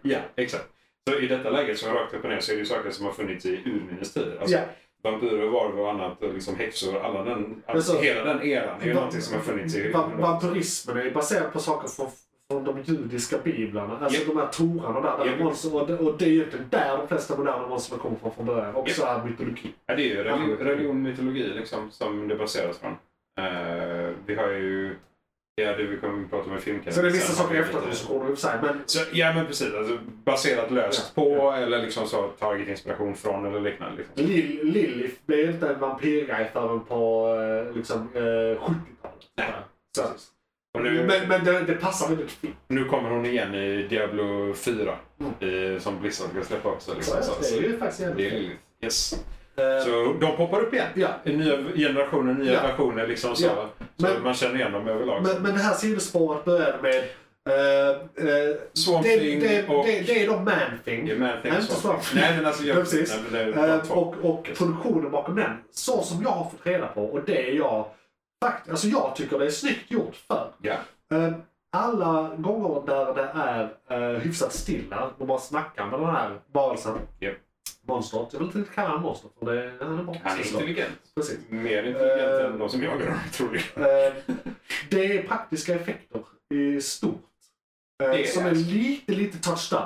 Speaker 4: Ja, exakt. Så i detta läget som är rakt upp och ner så är det ju saker som har funnits i urminnes tid. Alltså,
Speaker 3: Ja.
Speaker 4: Vampyrer, varulvar och annat, och liksom häxor, alla den, all,
Speaker 3: Alltså,
Speaker 4: hela den eran är ju
Speaker 3: va-
Speaker 4: någonting som har funnits i
Speaker 3: Va- Vampyrismen är ju baserad på saker från, från de judiska biblarna. Alltså
Speaker 4: Ja.
Speaker 3: de här torarna där. där
Speaker 4: Ja.
Speaker 3: de monster, och, det, och det är ju inte där de flesta moderna monstren kommer från från början. Och
Speaker 4: Ja.
Speaker 3: så här mytologi.
Speaker 4: Ja, det är ju religion, religion mytologi liksom, som det baseras från. Eh, vi har ju... Ja, det vi kommer att prata om i filmkanalen.
Speaker 3: Så det är vissa
Speaker 4: sen.
Speaker 3: saker efter som kommer upp sig. Men
Speaker 4: Så, ja, men precis. Alltså, baserat löst på eller liksom så tagit inspiration från eller liknande. Liksom.
Speaker 3: Lil- Lilith blev inte en vampyrgrej förrän på eh, liksom, eh, 70-talet.
Speaker 4: Nej.
Speaker 3: Så.
Speaker 4: Och nu,
Speaker 3: Men, men det, det passar väldigt fint.
Speaker 4: nu kommer hon igen i Diablo 4
Speaker 3: Mm.
Speaker 4: i, som Blizzard ska släppa också.
Speaker 3: Så,
Speaker 4: Liksom, så,
Speaker 3: det
Speaker 4: så,
Speaker 3: är ju faktiskt
Speaker 4: det
Speaker 3: jävligt
Speaker 4: är
Speaker 3: fint.
Speaker 4: lite- yes.
Speaker 3: Eh,
Speaker 4: Så de poppar upp igen.
Speaker 3: Ja.
Speaker 4: I Nya generationer, nya
Speaker 3: Ja.
Speaker 4: versioner. Liksom, så
Speaker 3: Ja.
Speaker 4: så
Speaker 3: Men-
Speaker 4: man känner igen dem överlag.
Speaker 3: Men, men det här sidospåret började med eh, eh,
Speaker 4: Swamp
Speaker 3: det,
Speaker 4: Thing
Speaker 3: det,
Speaker 4: och-
Speaker 3: det, det är då Man-Thing.
Speaker 4: Ja, men jag tänker
Speaker 3: Nej, inte
Speaker 4: så.
Speaker 3: Swamp Thing.
Speaker 4: Nej, men alltså... Jag,
Speaker 3: Ja, precis.
Speaker 4: Nej, men det är de
Speaker 3: Eh,
Speaker 4: två.
Speaker 3: och, och produktionen bakom den. Så som jag har fått reda på och det är jag fakt alltså jag tycker det är snyggt gjort för.
Speaker 4: Ja.
Speaker 3: Eh, alla gånger där det är eh, hyfsat stilla och bara snackar med den här varelsen.
Speaker 4: Japp.
Speaker 3: Monster. Jag vill inte kalla honom typ monster för det, han är bara
Speaker 4: Han är
Speaker 3: precis
Speaker 4: intelligent.
Speaker 3: Precis.
Speaker 4: Mer intelligent
Speaker 3: Eh.
Speaker 4: än de som jag är, tror jag.
Speaker 3: Eh, det är praktiska effekter i stort. Eh,
Speaker 4: Det är
Speaker 3: som är
Speaker 4: det.
Speaker 3: lite, lite touched up.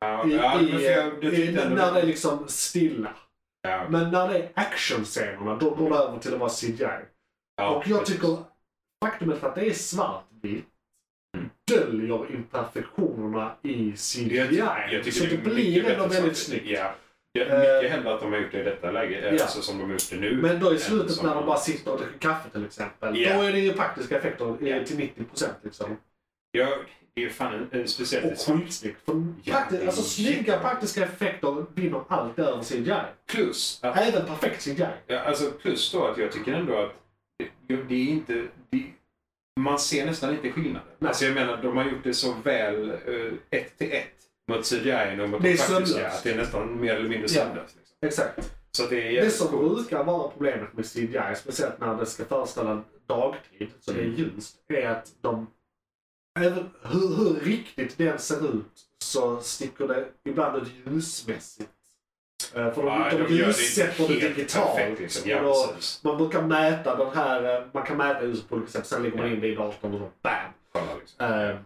Speaker 4: Ja,
Speaker 3: I,
Speaker 4: ja, men
Speaker 3: i,
Speaker 4: för jag- det
Speaker 3: i,
Speaker 4: tyckte jag
Speaker 3: när det är
Speaker 4: ändå-
Speaker 3: liksom stilla.
Speaker 4: Ja,
Speaker 3: Men när det är actionscenerna, då går det över till att vara CGI.
Speaker 4: ja,
Speaker 3: och jag
Speaker 4: precis.
Speaker 3: tycker faktumet att det är svartvitt
Speaker 4: Mm.
Speaker 3: döljer imperfektionerna i CGI.
Speaker 4: Jag, jag tycker
Speaker 3: så det, blir
Speaker 4: mycket
Speaker 3: ändå
Speaker 4: bättre
Speaker 3: väldigt
Speaker 4: sagt.
Speaker 3: snyggt.
Speaker 4: Ja. Ja, mycket
Speaker 3: Eh.
Speaker 4: hellre att de har gjort det i detta läge, eh,
Speaker 3: Ja.
Speaker 4: alltså som de har gjort det nu.
Speaker 3: Men då i
Speaker 4: än
Speaker 3: slutet
Speaker 4: som
Speaker 3: när de bara sitter och dricker kaffe till exempel.
Speaker 4: Ja.
Speaker 3: Då är det ju praktiska effekter eh, till 90% liksom.
Speaker 4: Ja, det är ju fan en, en speciellt
Speaker 3: Och skitsnyggt. För
Speaker 4: Ja, det
Speaker 3: prakti-
Speaker 4: är
Speaker 3: alltså snygga
Speaker 4: jättebra.
Speaker 3: praktiska effekter vinner alltid över CGI.
Speaker 4: Plus att,
Speaker 3: Även perfekt CGI.
Speaker 4: ja, alltså plus då att jag tycker ändå att det, det är inte... Det, man ser nästan inte skillnaden.
Speaker 3: Nej.
Speaker 4: Alltså jag menar, de har gjort det så väl eh, ett till ett mot CGI och mot
Speaker 3: Det är
Speaker 4: de faktiska.
Speaker 3: sömlöst.
Speaker 4: Att det är nästan mer eller mindre
Speaker 3: Ja.
Speaker 4: sömlöst. Liksom.
Speaker 3: Exakt.
Speaker 4: Så att det är
Speaker 3: Det
Speaker 4: jävligt
Speaker 3: som
Speaker 4: coolt.
Speaker 3: brukar vara problemet med CGI, speciellt när det ska föreställa dagtid, så det är
Speaker 4: Mm.
Speaker 3: ljust, är att de... Även hur, hur riktigt den ser ut så sticker det ibland ut ljusmässigt. Eh, För de,
Speaker 4: Ja,
Speaker 3: de,
Speaker 4: gör
Speaker 3: ljussätter det
Speaker 4: helt
Speaker 3: digitalt.
Speaker 4: perfekt, liksom. Ja,
Speaker 3: och då,
Speaker 4: precis.
Speaker 3: man brukar mäta den här, eh, man kan mäta ljuset på olika sätt, sen lägger man in det i datorn och då BAM!
Speaker 4: Kolla, liksom.
Speaker 3: Eh,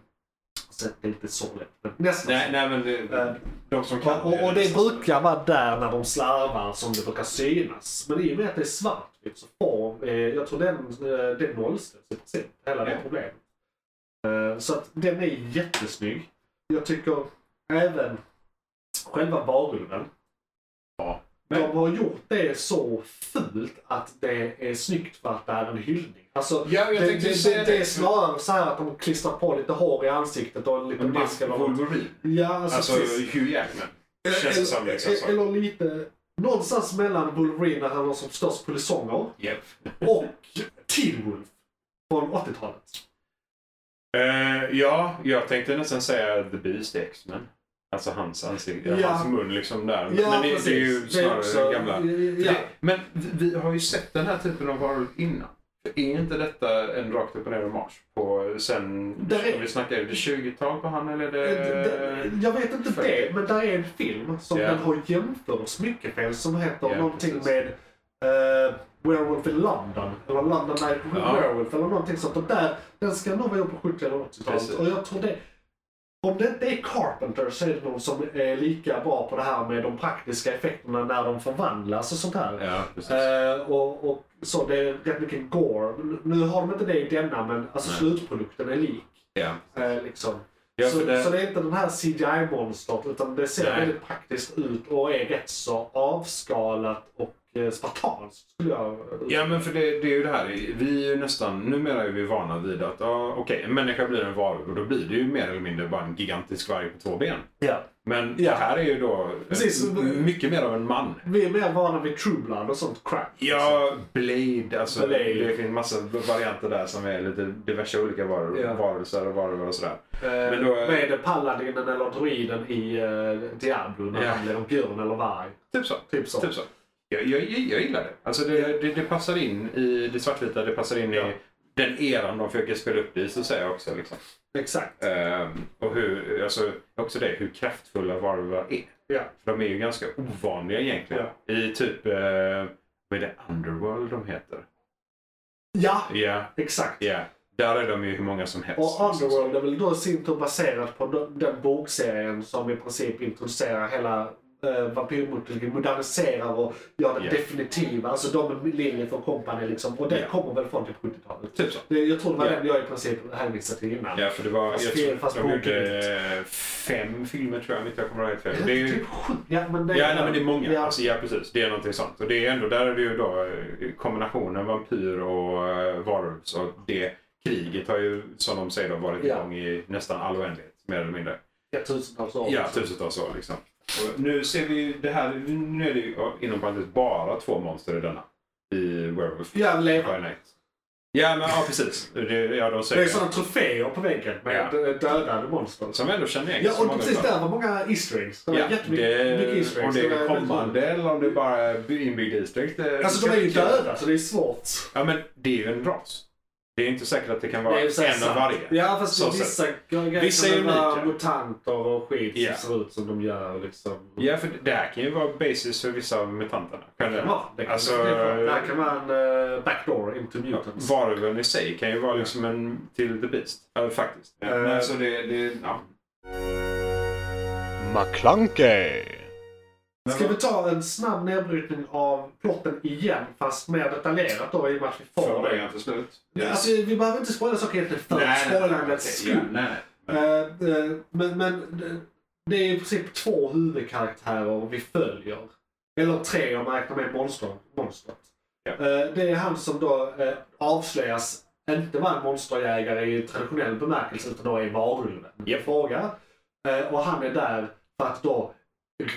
Speaker 3: Så det är inte så lätt, men nästan.
Speaker 4: Nej, nej, men
Speaker 3: Eh,
Speaker 4: det, de som kan liksom-
Speaker 3: Ja, och, och det
Speaker 4: nästan-
Speaker 3: brukar vara där när de slarvar som det brukar synas. Men i och med att det är svartvitt så får eh, jag tror den, eh, det nollställs i princip. Hela det
Speaker 4: Ja.
Speaker 3: problemet. Eh, så att den är jättesnygg. Jag tycker även själva varulven.
Speaker 4: Ja.
Speaker 3: De har gjort det så fult att det är snyggt för att det är en hyllning. Alltså,
Speaker 4: Ja, jag
Speaker 3: det,
Speaker 4: tänkte
Speaker 3: det,
Speaker 4: säga
Speaker 3: det,
Speaker 4: det.
Speaker 3: det är snarare så här att de klistrar på lite hår i ansiktet och en liten
Speaker 4: Men det
Speaker 3: mask
Speaker 4: är
Speaker 3: eller något.
Speaker 4: Wolverine.
Speaker 3: Ja, alltså,
Speaker 4: Alltså
Speaker 3: precis.
Speaker 4: Hugh Jackman. Känns det som liksom
Speaker 3: Eller-
Speaker 4: så.
Speaker 3: Eller lite... Någonstans mellan Wolverine när han har som störst polisonger
Speaker 4: Yep.
Speaker 3: och Teen Wolf från 80-talet.
Speaker 4: Eh, ja, jag tänkte nästan säga The Beast i X-Men. Alltså hans ansikte,
Speaker 3: Ja.
Speaker 4: hans mun liksom där.
Speaker 3: Ja,
Speaker 4: men det,
Speaker 3: precis.
Speaker 4: det är ju snarare
Speaker 3: också-
Speaker 4: gamla.
Speaker 3: Ja.
Speaker 4: Det- Men vi vi har ju sett den här typen av varulv innan. För Är inte detta en rakt upp och ner marsch på sen,
Speaker 3: Där är-
Speaker 4: vi snackar, är det 20-tal på han eller är
Speaker 3: Eh, d- d-
Speaker 4: det...
Speaker 3: Jag vet inte det, men där är en film som
Speaker 4: Ja.
Speaker 3: den har jämförts mycket med som heter
Speaker 4: Ja,
Speaker 3: någonting
Speaker 4: precis.
Speaker 3: med eh, Werewolf in London. Eller London Night
Speaker 4: Ja.
Speaker 3: Werewolf eller någonting sånt. Och där, den ska nog vara gjord på 70 eller 80-talet.
Speaker 4: Precis.
Speaker 3: Och jag tror det. Om det inte är Carpenter så är det någon som är lika bra på det här med de praktiska effekterna när de förvandlas och sånt här.
Speaker 4: Ja, precis.
Speaker 3: Eh, och, och så det är rätt mycket gore. Nu har de inte det i denna men alltså
Speaker 4: Nej.
Speaker 3: slutprodukten är lik.
Speaker 4: ja.
Speaker 3: Eh, liksom.
Speaker 4: Ja,
Speaker 3: så,
Speaker 4: för det-
Speaker 3: så det är inte den här CGI-monstret utan det ser
Speaker 4: Nej.
Speaker 3: väldigt praktiskt ut och är rätt så avskalat och eh, spartanskt skulle jag...
Speaker 4: Ja men för det, det är ju det här, vi är ju nästan, numera är vi vana vid att ja, okej, en människa blir en varulv och då blir det ju mer eller mindre bara en gigantisk varg på två ben.
Speaker 3: Ja.
Speaker 4: Men
Speaker 3: Ja.
Speaker 4: det här är ju då eh,
Speaker 3: Precis.
Speaker 4: m- mycket mer av en man.
Speaker 3: Vi är mer vana vid True Blood och sånt crap.
Speaker 4: Ja, Blade, alltså
Speaker 3: Blade.
Speaker 4: det finns massa varianter där som är lite diverse olika varul-
Speaker 3: Ja.
Speaker 4: varelser och varulvar och sådär.
Speaker 3: Eh,
Speaker 4: men då-
Speaker 3: Vad är det? Paladinen eller druiden i eh, Diablo när
Speaker 4: Ja.
Speaker 3: han blir en björn eller varg?
Speaker 4: Typ så.
Speaker 3: Typ så.
Speaker 4: Typ så. Jag, jag, jag jag gillar det. Alltså det, det, det passar in i det svartvita, det passar in
Speaker 3: Ja.
Speaker 4: i den eran de försöker spela upp det i, så säger jag också. Liksom.
Speaker 3: Exakt.
Speaker 4: Ehm, och hur, alltså, också det, hur kraftfulla varulvar är.
Speaker 3: Ja.
Speaker 4: För de är ju ganska ovanliga egentligen. I typ, eh, vad är det, Underworld de heter?
Speaker 3: Ja,
Speaker 4: Ja, yeah,
Speaker 3: exakt.
Speaker 4: ja. Där är de ju hur många som helst.
Speaker 3: Och
Speaker 4: liksom.
Speaker 3: Underworld är väl då i sin tur baserad på de- den bokserien som i princip introducerar hela äh, vampyrmytologin, moderniserar och gör den
Speaker 4: Ja.
Speaker 3: definitiva. Alltså de med Lilith och company liksom. Och den
Speaker 4: Ja.
Speaker 3: kommer väl från typ 70-talet.
Speaker 4: Typ så.
Speaker 3: Det- Jag tror det var
Speaker 4: Ja.
Speaker 3: den jag i princip hänvisade till innan.
Speaker 4: Ja, för det var,
Speaker 3: Fast
Speaker 4: jag
Speaker 3: fel,
Speaker 4: tror,
Speaker 3: fast
Speaker 4: de
Speaker 3: bokigt.
Speaker 4: gjorde eh, fem filmer tror jag, om inte jag kommer ihåg helt fel. Det är ju,
Speaker 3: Typ sju- ja, men det,
Speaker 4: Ja, nej, men det är många.
Speaker 3: Ja.
Speaker 4: Alltså, ja, precis. Det är någonting sånt. Och det är ändå, där är det ju då eh, kombinationen vampyr och eh, varulv. Så det kriget har ju, som de säger, då, varit
Speaker 3: Ja.
Speaker 4: igång i nästan all oändlighet. Mer eller mindre.
Speaker 3: Ja, tusentals år.
Speaker 4: Ja, tusentals år liksom. Och nu ser vi ju det här, nu är det ju ja, inom parentes bara två monster i denna. I Werewolf by
Speaker 3: Ja, levande.
Speaker 4: Night. Ja, men ja, precis. Det, ja, de
Speaker 3: Det är
Speaker 4: säger
Speaker 3: sådana troféer på väggen med dödade monster.
Speaker 4: Som ändå känner igen
Speaker 3: Ja,
Speaker 4: så
Speaker 3: och
Speaker 4: många
Speaker 3: precis
Speaker 4: utav dem.
Speaker 3: där var många Easter eggs. Det var
Speaker 4: Ja,
Speaker 3: jättemycket mycket Easter
Speaker 4: det, om
Speaker 3: eggs.
Speaker 4: det
Speaker 3: var
Speaker 4: är
Speaker 3: väldigt Alltså, roligt.
Speaker 4: kommande eller om det bara är inbyggd Easter egg. det-
Speaker 3: Alltså de är ju döda så det är svårt.
Speaker 4: Ja, men det är ju en ras. Det är inte säkert att det kan
Speaker 3: Det
Speaker 4: vara
Speaker 3: är ju så här
Speaker 4: en av
Speaker 3: sant.
Speaker 4: varje.
Speaker 3: Ja, fast
Speaker 4: Så
Speaker 3: vissa grejer
Speaker 4: Vissa
Speaker 3: kan
Speaker 4: är
Speaker 3: väl vara
Speaker 4: unika.
Speaker 3: mutanter och skit
Speaker 4: Ja.
Speaker 3: som ser ut som de gör. Liksom.
Speaker 4: Ja, för det här kan ju vara basis för vissa av mutanterna.
Speaker 3: Det kan
Speaker 4: Generellt.
Speaker 3: vara. Det kan,
Speaker 4: Alltså,
Speaker 3: det kan, där kan man eh, backdoor into mutants.
Speaker 4: Varulven i sig kan ju vara liksom en till the beast. Ja, faktiskt.
Speaker 3: Eh,
Speaker 4: Men alltså det, det ja.
Speaker 2: McClunkey.
Speaker 3: Ska vi ta en snabb nedbrytning av plotten igen, fast mer detaljerat då i och med att vi får det.
Speaker 4: Förberedan till slut.
Speaker 3: Alltså, vi, vi behöver inte spoila saker egentligen för spoilandets
Speaker 4: okej, ja,
Speaker 3: skull.
Speaker 4: nej, nej.
Speaker 3: Eh, eh, Men, men det- det är i princip två huvudkaraktärer vi följer. Eller tre om man räknar med monster- monstret.
Speaker 4: Ja.
Speaker 3: Eh, Det är han som då eh, avslöjas inte vara en monsterjägare i traditionell bemärkelse utan då är varulven i
Speaker 4: Japp.
Speaker 3: fråga. Eh, Och han är där för att då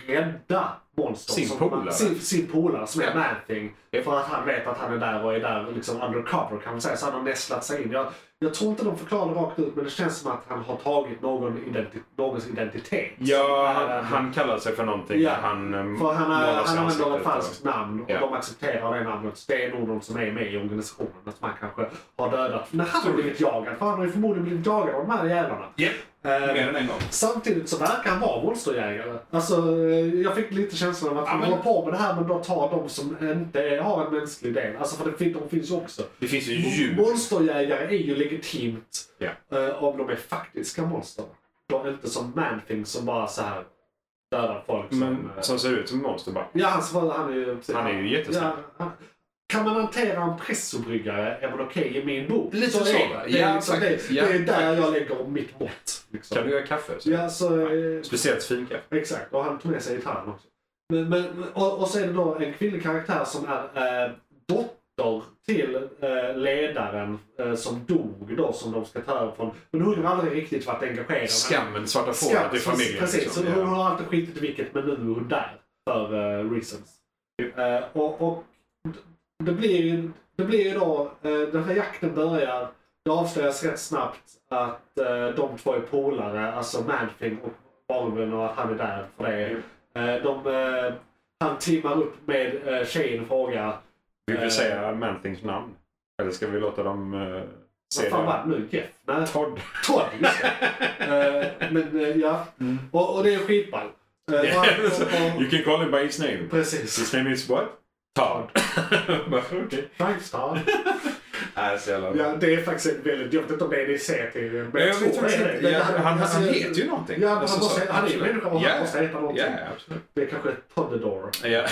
Speaker 3: rädda monster.
Speaker 4: Sin
Speaker 3: som-
Speaker 4: polare.
Speaker 3: Sin, sin polare som är Manthing.
Speaker 4: Japp.
Speaker 3: För att han vet att han är där och är där liksom undercover kan man säga. Så han har nästlat sig in. Jag, jag tror inte de förklarar det rakt ut men det känns som att han har tagit någon identi- någons identitet.
Speaker 4: Ja, han,
Speaker 3: Eh,
Speaker 4: han kallar sig för någonting.
Speaker 3: Ja,
Speaker 4: Han, eh,
Speaker 3: för han,
Speaker 4: målar sig
Speaker 3: han använder
Speaker 4: ansiktet
Speaker 3: ett falskt namn och
Speaker 4: Ja.
Speaker 3: de accepterar det namnet. Så det är nog de som är med i organisationen. Att man kanske har dödat. Men han har
Speaker 4: Tror du?
Speaker 3: blivit jagad. För han har ju förmodligen blivit jagad av de här jävlarna.
Speaker 4: Ja,
Speaker 3: Eh,
Speaker 4: mer än en gång.
Speaker 3: Samtidigt så verkar han vara monsterjägare. Alltså, eh, jag fick lite känslan av att han
Speaker 4: Ja, men-
Speaker 3: håller på med det här men då tar de som inte har en mänsklig del. Alltså för det, fin- de finns ju också.
Speaker 4: Det finns ju djur.
Speaker 3: Monsterjägare är ju legitimt
Speaker 4: Ja.
Speaker 3: eh, om de är faktiska monster. De är inte som Manthing som bara så här dödar folk.
Speaker 4: Men,
Speaker 3: eh,
Speaker 4: som ser ut som monster bara.
Speaker 3: Ja, han, som- han är ju...
Speaker 4: Mm. Han är ju jättesnabb.
Speaker 3: Ja, han- kan man hantera en pressobryggare är väl okej i min bok.
Speaker 4: Lite så,
Speaker 3: är
Speaker 4: va?
Speaker 3: det. Det,
Speaker 4: Ja,
Speaker 3: är liksom det,
Speaker 4: faktiskt. Ja,
Speaker 3: det är där jag lägger mitt mått. Liksom.
Speaker 4: Kan du göra kaffe? Så?
Speaker 3: Ja, så, eh,
Speaker 4: Speciellt finkaffe.
Speaker 3: Exakt, och han tog med sig gitarren också. Men, men, och, och så är det då en kvinnlig karaktär som är eh, dotter till eh, ledaren eh, som dog då, som de ska ta över från. Men hon har aldrig riktigt varit engagerad.
Speaker 4: Skammen, svarta
Speaker 3: Skam,
Speaker 4: fåret i
Speaker 3: precis,
Speaker 4: familjen.
Speaker 3: Precis,
Speaker 4: liksom.
Speaker 3: så
Speaker 4: Ja.
Speaker 3: hon har alltid skitit i vilket, men nu är hon där. För eh, reasons. Eh, och och d- det, blir ju, det blir ju då, eh, den här jakten börjar. Det avslöjas rätt snabbt att eh, de två är polare, alltså Manfing och Barven och att han är där för det.
Speaker 4: Mm.
Speaker 3: Eh, de, eh, han timmar upp med eh, tjejen och frågar
Speaker 4: Vill vi
Speaker 3: Eh.
Speaker 4: säga Mantings namn? Eller ska vi låta dem eh,
Speaker 3: Vad
Speaker 4: se
Speaker 3: fan
Speaker 4: det?
Speaker 3: var det nu? Jeff? Nej,
Speaker 4: Todd.
Speaker 3: Todd! Just det. Eh, men eh, ja,
Speaker 4: Mm.
Speaker 3: och, och det är skitball. Eh, och- och- och-
Speaker 4: you can call him by his name.
Speaker 3: Precis.
Speaker 4: His name is what? Todd. Bara, Okej.
Speaker 3: Frankstar.
Speaker 4: Nej, så jävla bra.
Speaker 3: Ja, det är faktiskt en väldigt... Jag vet inte om det är det i serien.
Speaker 4: Men jag vet faktiskt inte. Ja, han, han heter ju någonting.
Speaker 3: alltså, Ja, han,
Speaker 4: Alltså, så.
Speaker 3: måste, han är ju
Speaker 4: Absolut.
Speaker 3: människa och han
Speaker 4: Ja,
Speaker 3: måste heta någonting.
Speaker 4: Ja, absolut.
Speaker 3: Det är kanske ett Toddador.
Speaker 4: Ja.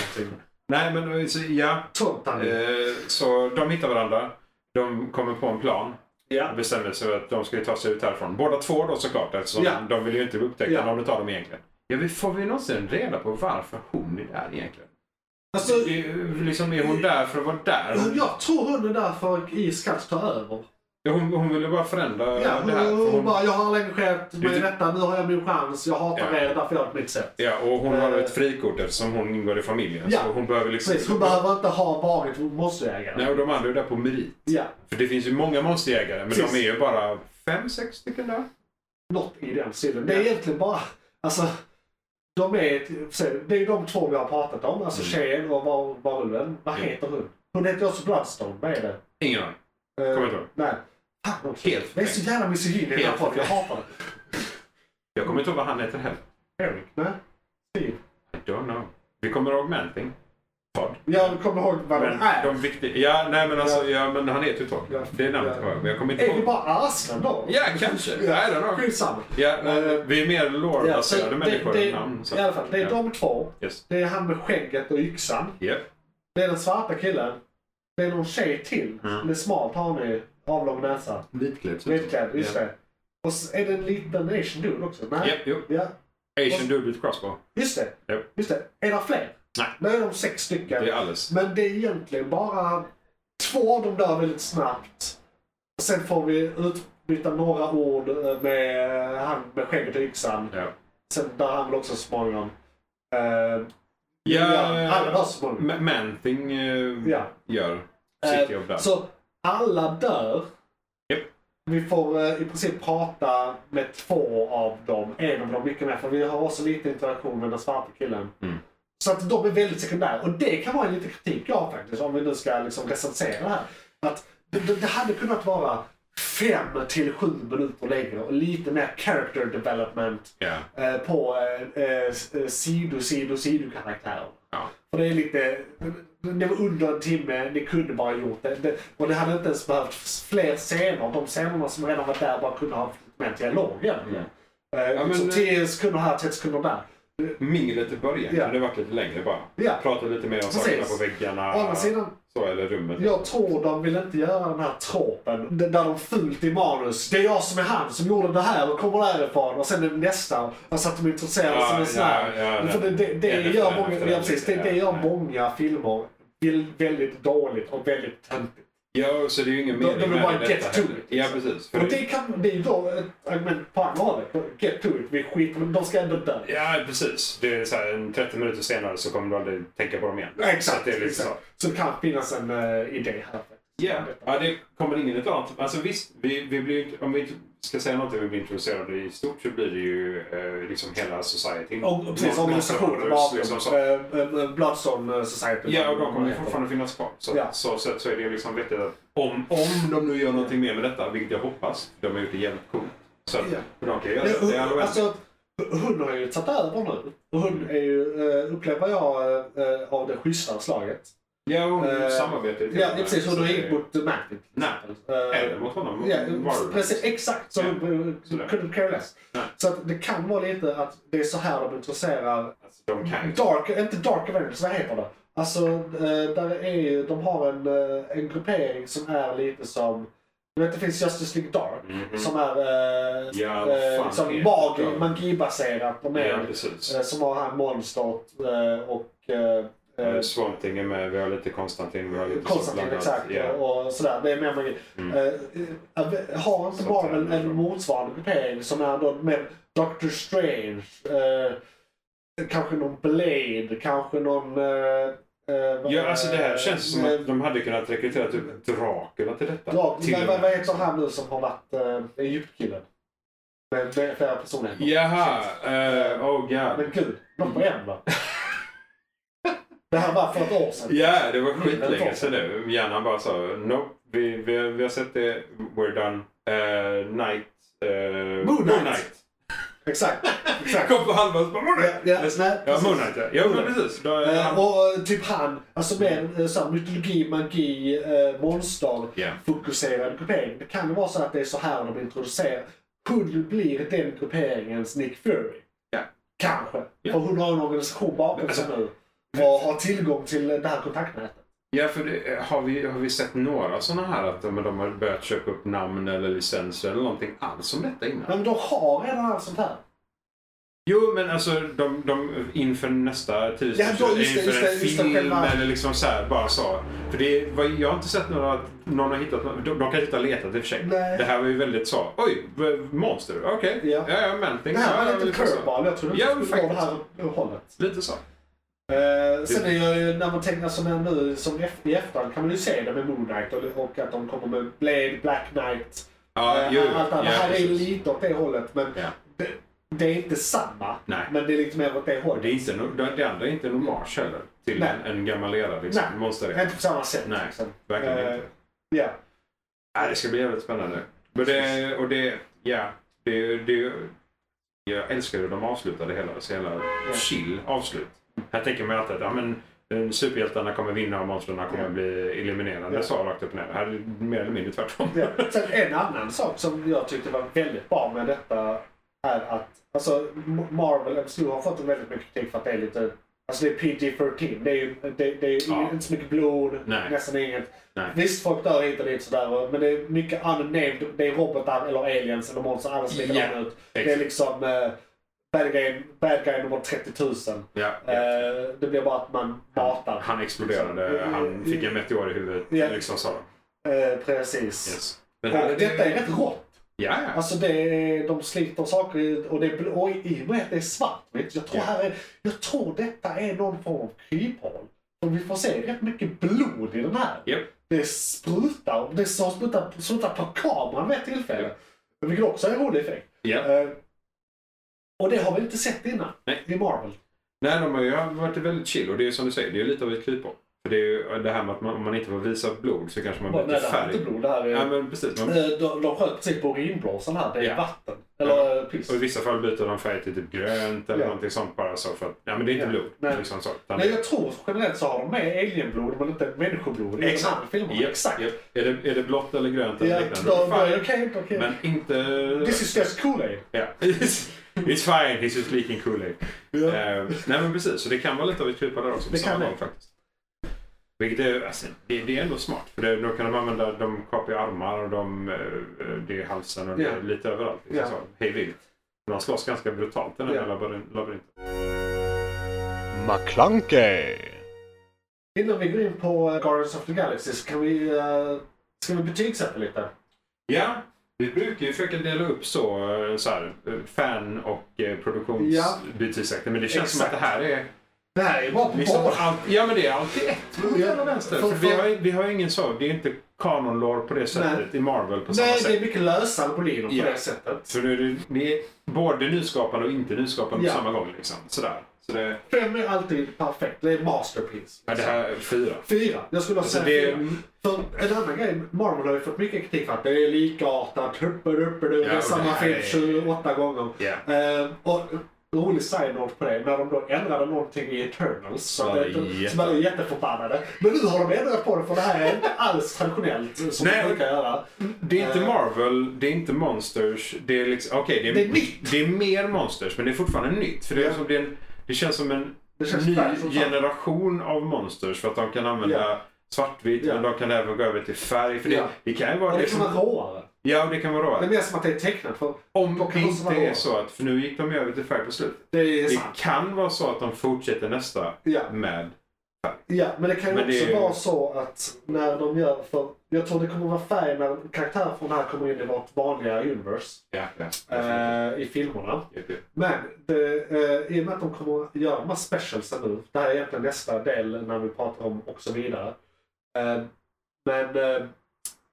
Speaker 4: Nej, men eh, så, ja.
Speaker 3: Tontani.
Speaker 4: Eh, Så de hittar varandra. De kommer på en plan.
Speaker 3: ja.
Speaker 4: Bestämmer sig för att de ska ju ta sig ut härifrån. Båda två då såklart eftersom
Speaker 3: Ja.
Speaker 4: de vill ju inte upptäcka
Speaker 3: Ja.
Speaker 4: någon utav dem egentligen. Ja, vi får vi någonsin reda på varför hon är där egentligen?
Speaker 3: Alltså,
Speaker 4: Det är ju liksom, är hon där för att vara där? Hon,
Speaker 3: jag tror hon är där för att IS ska ta över.
Speaker 4: hon, hon ville bara förändra
Speaker 3: Ja, hon,
Speaker 4: det här. för
Speaker 3: hon, bara, jag har aldrig engagerat mig i
Speaker 4: Det- typ-
Speaker 3: detta. Nu har jag min chans. Jag hatar
Speaker 4: Ja.
Speaker 3: er, därför gör jag på mitt sätt.
Speaker 4: ja, och hon har
Speaker 3: Eh.
Speaker 4: ett frikort eftersom hon ingår i familjen.
Speaker 3: Ja.
Speaker 4: Så hon behöver liksom...
Speaker 3: Precis, hon behöver inte ha varit monsterjägare.
Speaker 4: Nej, och de andra är där på merit.
Speaker 3: Ja,
Speaker 4: För det finns ju många monsterjägare, men
Speaker 3: Precis.
Speaker 4: de är ju bara fem, sex stycken där.
Speaker 3: något i den stilen. Det är egentligen bara... Alltså, de är, det är ju de två vi har pratat om. Alltså
Speaker 4: Mm.
Speaker 3: tjejen och var- varulven. Vad
Speaker 4: Ja.
Speaker 3: heter hon? Hon heter också Bloodstone. Vad är det?
Speaker 4: Ingen aning.
Speaker 3: Eh,
Speaker 4: Kommer inte ihåg.
Speaker 3: Nej. Fan, också.
Speaker 4: Helt
Speaker 3: Det är så jävla misogyn i den här
Speaker 4: Helt
Speaker 3: podden. Jag hatar det.
Speaker 4: Jag kommer inte ihåg vad han heter heller.
Speaker 3: Eric? Nej. Steve?
Speaker 4: I don't know. Vi kommer ihåg Manting. Todd.
Speaker 3: Jag kommer ihåg vad den
Speaker 4: Men
Speaker 3: är.
Speaker 4: de viktiga... Ja, nej men alltså, ja, men han heter ju Todd.
Speaker 3: Ja.
Speaker 4: Det är namnet
Speaker 3: Ja.
Speaker 4: jag kommer ihåg, men jag kommer inte
Speaker 3: Är vi
Speaker 4: ihåg.
Speaker 3: bara arslen då?
Speaker 4: Ja, kanske. I don't know.
Speaker 3: Skitsamma.
Speaker 4: Ja, nej,
Speaker 3: Eh,
Speaker 4: vi är mer
Speaker 3: så
Speaker 4: lore-baserade
Speaker 3: det-
Speaker 4: människor
Speaker 3: det-
Speaker 4: än namn. Så.
Speaker 3: I alla fall, det är
Speaker 4: Ja.
Speaker 3: de två.
Speaker 4: Yes.
Speaker 3: Det är han med skägget och yxan.
Speaker 4: Yep.
Speaker 3: Det är den svarta killen. Det är någon tjej till.
Speaker 4: Mm.
Speaker 3: Som är smalt, har ni avlång näsa.
Speaker 4: Vitklädd.
Speaker 3: Vitklädd, just det. Och så är det en liten asian dude också. Nej.
Speaker 4: Yep, yep.
Speaker 3: Ja,
Speaker 4: Asian dude with crossbow.
Speaker 3: just det.
Speaker 4: Japp.
Speaker 3: Just det. Är det fler?
Speaker 4: Nej.
Speaker 3: Nu är de sex
Speaker 4: Det
Speaker 3: stycken.
Speaker 4: är Alice.
Speaker 3: Men det är egentligen bara två av dem dör väldigt snabbt. Sen får vi utbyta några ord eh, med han med skägget och yxan.
Speaker 4: Ja.
Speaker 3: Sen dör han väl också så småningom. Uh, alla dör
Speaker 4: Ja,
Speaker 3: så
Speaker 4: eh,
Speaker 3: småningom.
Speaker 4: Ma- Manting eh,
Speaker 3: Ja.
Speaker 4: gör
Speaker 3: Eh,
Speaker 4: sitt jobb där.
Speaker 3: Så alla dör.
Speaker 4: Japp.
Speaker 3: Vi får eh, i princip prata med två av dem. En av dem mycket mer. För vi har också lite interaktion med den svarta killen.
Speaker 4: Mm.
Speaker 3: Så att de är väldigt sekundära. Och det kan vara en liten kritik jag har faktiskt. Om vi nu ska liksom recensera det här. Att Det, det, det hade kunnat vara fem till sju minuter längre och lite mer character development
Speaker 4: Ja.
Speaker 3: eh, på eh, eh, s- eh, sido, sido, sido-karaktärer.
Speaker 4: Ja.
Speaker 3: För det är lite... Det var under en timme, ni kunde bara gjort det. det. Och det hade inte ens behövt fler scener. De scenerna som redan var där bara kunde ha flyttat med dialogen.
Speaker 4: Mm.
Speaker 3: Eh,
Speaker 4: Ja, men-
Speaker 3: så 10 sekunder här, 10 sekunder där.
Speaker 4: Minglet i början
Speaker 3: Ja.
Speaker 4: kunde det varit lite längre bara.
Speaker 3: Ja.
Speaker 4: Prata lite mer om
Speaker 3: Precis.
Speaker 4: sakerna på väggarna.
Speaker 3: Å andra sidan,
Speaker 4: Så, eller rummet.
Speaker 3: Jag tror de vill inte göra den här tropen d- där de fult i manus. Det är jag som är han som gjorde det här och kommer därifrån och sen är det nästa. Alltså att de introducerar
Speaker 4: Ja,
Speaker 3: som en sån här.
Speaker 4: ja, ja,
Speaker 3: För det, det, det,
Speaker 4: ja, det-
Speaker 3: gör
Speaker 4: det-
Speaker 3: många,
Speaker 4: det-
Speaker 3: ja, precis, det, det gör
Speaker 4: ja.
Speaker 3: många filmer vill- väldigt dåligt och väldigt töntigt.
Speaker 4: Ja, så det är ju ingen
Speaker 3: De-
Speaker 4: mening
Speaker 3: de vill bara
Speaker 4: detta
Speaker 3: get to
Speaker 4: heller.
Speaker 3: it. liksom.
Speaker 4: Ja, precis. För
Speaker 3: Och
Speaker 4: det,
Speaker 3: det, kan, det är ju då ett argument på andra hållet. Get to it, vi skiter men de ska ändå dö.
Speaker 4: Ja, precis. Det är så här, en 30 minuter senare så kommer du aldrig tänka på dem igen. Så att
Speaker 3: Exakt,
Speaker 4: det är lite
Speaker 3: exakt.
Speaker 4: så.
Speaker 3: Så det kan finnas en eh, idé här.
Speaker 4: Ja, ja, det kommer ingen ett annat. Alltså visst, vi, vi blir, ju- om vi inte ska säga någonting vi blir introducerade i stort så blir det ju eh, liksom hela societyn.
Speaker 3: Och, och precis, organisationen
Speaker 4: Monsters,
Speaker 3: bakom.
Speaker 4: liksom, så.
Speaker 3: eh, eh, Bloodstone Society.
Speaker 4: Ja, och de kommer ju fortfarande finnas kvar. Så,
Speaker 3: Ja.
Speaker 4: så, så, så är det liksom vettigt att om, om de nu gör någonting mer med detta, vilket jag hoppas, de har gjort det jävligt coolt. Så att
Speaker 3: Ja.
Speaker 4: de kan göra
Speaker 3: Men
Speaker 4: det. det. är
Speaker 3: hon,
Speaker 4: allvarligt.
Speaker 3: alltså, hon har ju tagit över nu. Och Hon är ju, eh, upplever jag, eh, av det schyssta slaget.
Speaker 4: Ja, och
Speaker 3: eh,
Speaker 4: samarbete.
Speaker 3: Ja, precis. Hon
Speaker 4: Så
Speaker 3: har
Speaker 4: det-
Speaker 3: ju inte mot Macbeth.
Speaker 4: Nej. Eller
Speaker 3: Eller
Speaker 4: mot honom. Mot
Speaker 3: Ja,
Speaker 4: Warren.
Speaker 3: precis, exakt. Så
Speaker 4: Ja.
Speaker 3: ja.
Speaker 4: Sådär.
Speaker 3: couldn't care less.
Speaker 4: Nej.
Speaker 3: Så att det kan vara lite att det är så här de introducererar
Speaker 4: Alltså, de kan ju...
Speaker 3: Dark, inte Dark Avengers, vad heter det? Alltså, eh, där är ju, de har en, eh, en gruppering som är lite som, du vet det finns Justice League Dark.
Speaker 4: Mhm.
Speaker 3: Som är eh,
Speaker 4: Ja, vad
Speaker 3: eh,
Speaker 4: fan
Speaker 3: liksom
Speaker 4: heter
Speaker 3: magi,
Speaker 4: de?
Speaker 3: magibaserat. De är,
Speaker 4: Ja, precis.
Speaker 3: eh, som har han Monstert eh, och eh, eh,
Speaker 4: Eh, Swamp Thing är med, vi har lite Konstantin, vi har lite sånt
Speaker 3: Konstantin
Speaker 4: blandat.
Speaker 3: exakt
Speaker 4: Ja.
Speaker 3: och, och sådär. Det är mer magi.
Speaker 4: Mm.
Speaker 3: Eh, eh, har inte
Speaker 4: Så
Speaker 3: Marvel
Speaker 4: tänder de.
Speaker 3: en motsvarande gruppering som är då med Doctor Strange, eh, kanske någon Blade, kanske någon... Eh, eh, vad-
Speaker 4: Ja, alltså det här känns som
Speaker 3: eh,
Speaker 4: att de hade kunnat rekrytera typ Dracula till detta.
Speaker 3: Ja,
Speaker 4: till
Speaker 3: vad, vad- vad heter han nu som har varit eh, Egyptkillen? Med med flera personligheter.
Speaker 4: Jaha, eh, oh god.
Speaker 3: Men gud, de var en va? Det här var för ett år sedan.
Speaker 4: Ja, det var
Speaker 3: Mm,
Speaker 4: skitlänge
Speaker 3: men-
Speaker 4: sedan nu. Hjärnan bara sa nope, vi, vi, vi har sett det, we're done. Eh, night. Uh,
Speaker 3: Moon Knight. Exakt. exakt.
Speaker 4: Kom på halva och så bara Moon Knight.
Speaker 3: Ja, ja, nej,
Speaker 4: ja,
Speaker 3: precis.
Speaker 4: Moon Knight ja. Ja,
Speaker 3: Moon
Speaker 4: men
Speaker 3: Knight.
Speaker 4: precis. Då,
Speaker 3: Eh,
Speaker 4: han,
Speaker 3: och eh, typ han, alltså med eh, så här, mytologi, magi, eh, monster,
Speaker 4: Ja.
Speaker 3: fokuserad gruppering. Det kan ju vara så att det är så här de introducerar. Hon blir den grupperingens Nick Fury.
Speaker 4: Ja.
Speaker 3: Kanske.
Speaker 4: Ja. Alltså,
Speaker 3: För hon har en organisation bakom sig nu. Och har tillgång till det här kontaktnätet.
Speaker 4: Ja, för det, eh, har, vi, har vi sett några sådana här att de, de har börjat köpa upp namn eller licenser eller någonting alls om detta innan?
Speaker 3: Men de har redan allt sånt här.
Speaker 4: Jo, men alltså de, de inför nästa
Speaker 3: Ja,
Speaker 4: tidsstudie,
Speaker 3: då, just det,
Speaker 4: inför
Speaker 3: just
Speaker 4: en
Speaker 3: det, just det,
Speaker 4: film
Speaker 3: själva-
Speaker 4: eller liksom så här, bara så. För det, är- vad, jag har inte sett några, att någon har hittat, någon- de, de kanske inte har letat i och för sig.
Speaker 3: Nej.
Speaker 4: Det här var ju väldigt så, oj, v- monster, okej,
Speaker 3: Ja.
Speaker 4: ja, ja, melting.
Speaker 3: Det här var
Speaker 4: ja,
Speaker 3: lite
Speaker 4: lite så.
Speaker 3: curveball. Jag trodde
Speaker 4: Ja,
Speaker 3: inte det skulle vara det
Speaker 4: faktiskt.
Speaker 3: här hållet.
Speaker 4: Lite så.
Speaker 3: Eh, sen är jag ju, när man tänker som är nu, som ef- i efterhand kan man ju se det med Moon Knight och, och att de kommer med Blade, Black Knight.
Speaker 4: Ja,
Speaker 3: eh,
Speaker 4: jo,
Speaker 3: allt det här.
Speaker 4: ja,
Speaker 3: det här är ju
Speaker 4: precis.
Speaker 3: lite åt det hållet men
Speaker 4: Ja.
Speaker 3: det, det är inte samma.
Speaker 4: Nej.
Speaker 3: Men det är lite mer åt det
Speaker 4: Och Det, är
Speaker 3: hållet.
Speaker 4: inte, no- det det andra är inte en hommage heller till
Speaker 3: Nej.
Speaker 4: en, en gammal era, liksom,
Speaker 3: Nej.
Speaker 4: monsterera.
Speaker 3: Inte på samma sätt.
Speaker 4: Nej,
Speaker 3: liksom.
Speaker 4: verkligen
Speaker 3: Eh,
Speaker 4: inte.
Speaker 3: Ja.
Speaker 4: Nej, det ska bli jävligt spännande. Men det, och det, ja, det, det, jag älskar hur de avslutar det hela. Så jävla chill avslut. Här tänker man alltid att ja, men, eh, superhjältarna kommer vinna och monstren kommer
Speaker 3: Ja.
Speaker 4: bli eliminerade.
Speaker 3: Ja.
Speaker 4: Så rakt upp och ner. Här är det mer eller mindre tvärtom.
Speaker 3: Ja. Sen en annan sak som jag tyckte var väldigt bra med detta är att alltså, M- Marvel MCU har fått väldigt mycket kritik för att det är lite Alltså det är PG-13. Det är, ju, det, det är
Speaker 4: Ja.
Speaker 3: inte så mycket blod,
Speaker 4: Nej.
Speaker 3: nästan inget.
Speaker 4: Nej.
Speaker 3: Visst, folk dör hit och dit sådär. och- Men det är mycket unnamed. Det är robotar eller aliens eller monster. Alla ser likadana ut. Det är
Speaker 4: Exakt.
Speaker 3: liksom eh, bad, guy, bad guy nummer 30 000.
Speaker 4: Ja, ja.
Speaker 3: Eh, det blir bara att man matar.
Speaker 4: Han exploderade.
Speaker 3: Liksom.
Speaker 4: Han fick en meteor i huvudet.
Speaker 3: Ja.
Speaker 4: Liksom så.
Speaker 3: Eh, precis.
Speaker 4: Yes.
Speaker 3: Och detta är rätt rått.
Speaker 4: Ja, ja.
Speaker 3: Alltså det är, de sliter saker i- och, det, är bl- och i och med att det är svart. Vet du, jag, tror
Speaker 4: Ja.
Speaker 3: här är, jag tror detta är någon form av kryphål. Och vi får se rätt mycket blod i den här.
Speaker 4: Japp.
Speaker 3: Det sprutar, det är som sprutar, sprutar på kameran vid ett tillfälle. Vilket också är en rolig effekt.
Speaker 4: ja.
Speaker 3: Eh, och det har vi inte sett innan
Speaker 4: Nej.
Speaker 3: i Marvel.
Speaker 4: Nej, de har ju varit väldigt chill. Och det är som du säger, det är lite av ett kryphål. För det är ju det här med att man, om man inte får visa blod så kanske man
Speaker 3: Nej,
Speaker 4: blir
Speaker 3: det
Speaker 4: lite
Speaker 3: här är
Speaker 4: färg.
Speaker 3: inte blod. Det här är...
Speaker 4: Ja, men precis. Man,
Speaker 3: Eh, De, de sköt precis på urinblåsan här. Det är
Speaker 4: Ja.
Speaker 3: vatten. Eller eh, piss.
Speaker 4: och I vissa fall byter de färg till typ grönt eller
Speaker 3: Ja.
Speaker 4: någonting sånt bara så för att ja, men det är inte
Speaker 3: Ja.
Speaker 4: blod.
Speaker 3: Nej.
Speaker 4: Liksom så, utan
Speaker 3: Nej,
Speaker 4: det-
Speaker 3: jag tror generellt så har de med alienblod men inte människoblod i de här filmerna.
Speaker 4: Japp,
Speaker 3: Exakt.
Speaker 4: japp. Är, det, är det blått eller grönt eller
Speaker 3: Ja,
Speaker 4: liknande?
Speaker 3: de-
Speaker 4: Fine.
Speaker 3: Okej, okej.
Speaker 4: Men inte...
Speaker 3: This is just Kool-Aid.
Speaker 4: Ja. It's fine, he's just leaking Kool-Aid.
Speaker 3: Ja.
Speaker 4: Eh, nej men precis, så det kan vara lite av ett krypa där också på
Speaker 3: Det
Speaker 4: samma
Speaker 3: kan
Speaker 4: gång
Speaker 3: det.
Speaker 4: faktiskt. Vilket är, alltså, det, det är ändå smart. För det, då kan de använda, de kapar ju armar och de, eh, det är halsen och det är
Speaker 3: Ja.
Speaker 4: lite överallt. Liksom
Speaker 3: Ja.
Speaker 4: så, hej vilt. Men han slåss ganska brutalt i den här
Speaker 3: Ja.
Speaker 4: labyrin- labyrinten.
Speaker 2: McClunkey.
Speaker 3: Innan vi går in på eh, Guardians of the Galaxy så kan vi, eh, ska vi betygsätta lite.
Speaker 4: Ja, vi brukar ju försöka dela upp så, eh, så här, eh, fan och eh,
Speaker 3: Ja.
Speaker 4: produktionsbetygsäkter. Men det känns som att det
Speaker 3: Exakt.
Speaker 4: här är
Speaker 3: Det här är bara på
Speaker 4: Liksom
Speaker 3: porr.
Speaker 4: allt, ja men det är alltid ett mot
Speaker 3: Ja.
Speaker 4: hela vänster.
Speaker 3: För-
Speaker 4: För vi,
Speaker 3: för-
Speaker 4: har, ju- vi har ju ingen så, det är ju inte kanon lore på det sättet i Marvel på samma
Speaker 3: Nej, det är
Speaker 4: sätt.
Speaker 3: mycket lösare på linjer på
Speaker 4: Ja.
Speaker 3: det sättet.
Speaker 4: Så nu är det, det är både nyskapande och inte nyskapande
Speaker 3: Ja.
Speaker 4: på samma gång. Liksom. Sådär. Så det,
Speaker 3: Fem är alltid perfekt. Det är masterpiece.
Speaker 4: ja, det här är fyra.
Speaker 3: Fyra. Jag skulle
Speaker 4: Alltså,
Speaker 3: säga
Speaker 4: det
Speaker 3: fyra. För
Speaker 4: är,
Speaker 3: en annan grej, Marvel har ju fått mycket kritik för att det är likartat, hupper, hupper, det
Speaker 4: Ja,
Speaker 3: är
Speaker 4: och det
Speaker 3: samma
Speaker 4: här
Speaker 3: film
Speaker 4: är-
Speaker 3: 28 gånger.
Speaker 4: ja.
Speaker 3: Eh, och rolig side-note på det, när de då ändrade någonting i Eternals så,
Speaker 4: Ja,
Speaker 3: det,
Speaker 4: jätte-
Speaker 3: så man är jätteförbannade. Men nu har de ändrat på det för det här är inte alls traditionellt som
Speaker 4: Nej.
Speaker 3: man brukar göra.
Speaker 4: Det är inte
Speaker 3: Eh.
Speaker 4: Marvel, det är inte Monsters. Det är, liksom, okej,
Speaker 3: Det är nytt.
Speaker 4: det är mer Monsters, men det är fortfarande nytt. För det, är
Speaker 3: Ja.
Speaker 4: som det, är en- det känns som en
Speaker 3: Det känns
Speaker 4: ny
Speaker 3: fräscht som fan.
Speaker 4: generation av Monsters. För att de kan använda
Speaker 3: Ja.
Speaker 4: svartvitt,
Speaker 3: Ja.
Speaker 4: men de kan även gå över till färg. För det,
Speaker 3: Ja.
Speaker 4: det kan ju vara
Speaker 3: Och det
Speaker 4: det
Speaker 3: kan
Speaker 4: som...
Speaker 3: vara råare.
Speaker 4: Ja, det kan vara
Speaker 3: Det är
Speaker 4: råare.
Speaker 3: mer som att det är tecknat för
Speaker 4: Om
Speaker 3: kan
Speaker 4: det
Speaker 3: det också
Speaker 4: inte
Speaker 3: vara
Speaker 4: är
Speaker 3: råare.
Speaker 4: så att... För nu gick de över till färg på slutet.
Speaker 3: det är
Speaker 4: Det
Speaker 3: sant.
Speaker 4: kan vara så att de fortsätter nästa
Speaker 3: Ja.
Speaker 4: med...
Speaker 3: Ja, men det kan ju
Speaker 4: Men det
Speaker 3: också
Speaker 4: är ju-
Speaker 3: vara så att när de gör, för jag tror det kommer vara färg när karaktärer från det här kommer in i vårt vanliga universe
Speaker 4: Ja, ja.
Speaker 3: eh, i filmerna.
Speaker 4: Japp, japp.
Speaker 3: Men det, eh, i och med att de kommer att göra de här specialsen nu, det här är egentligen nästa del när vi pratar om och så vidare. Eh, men eh,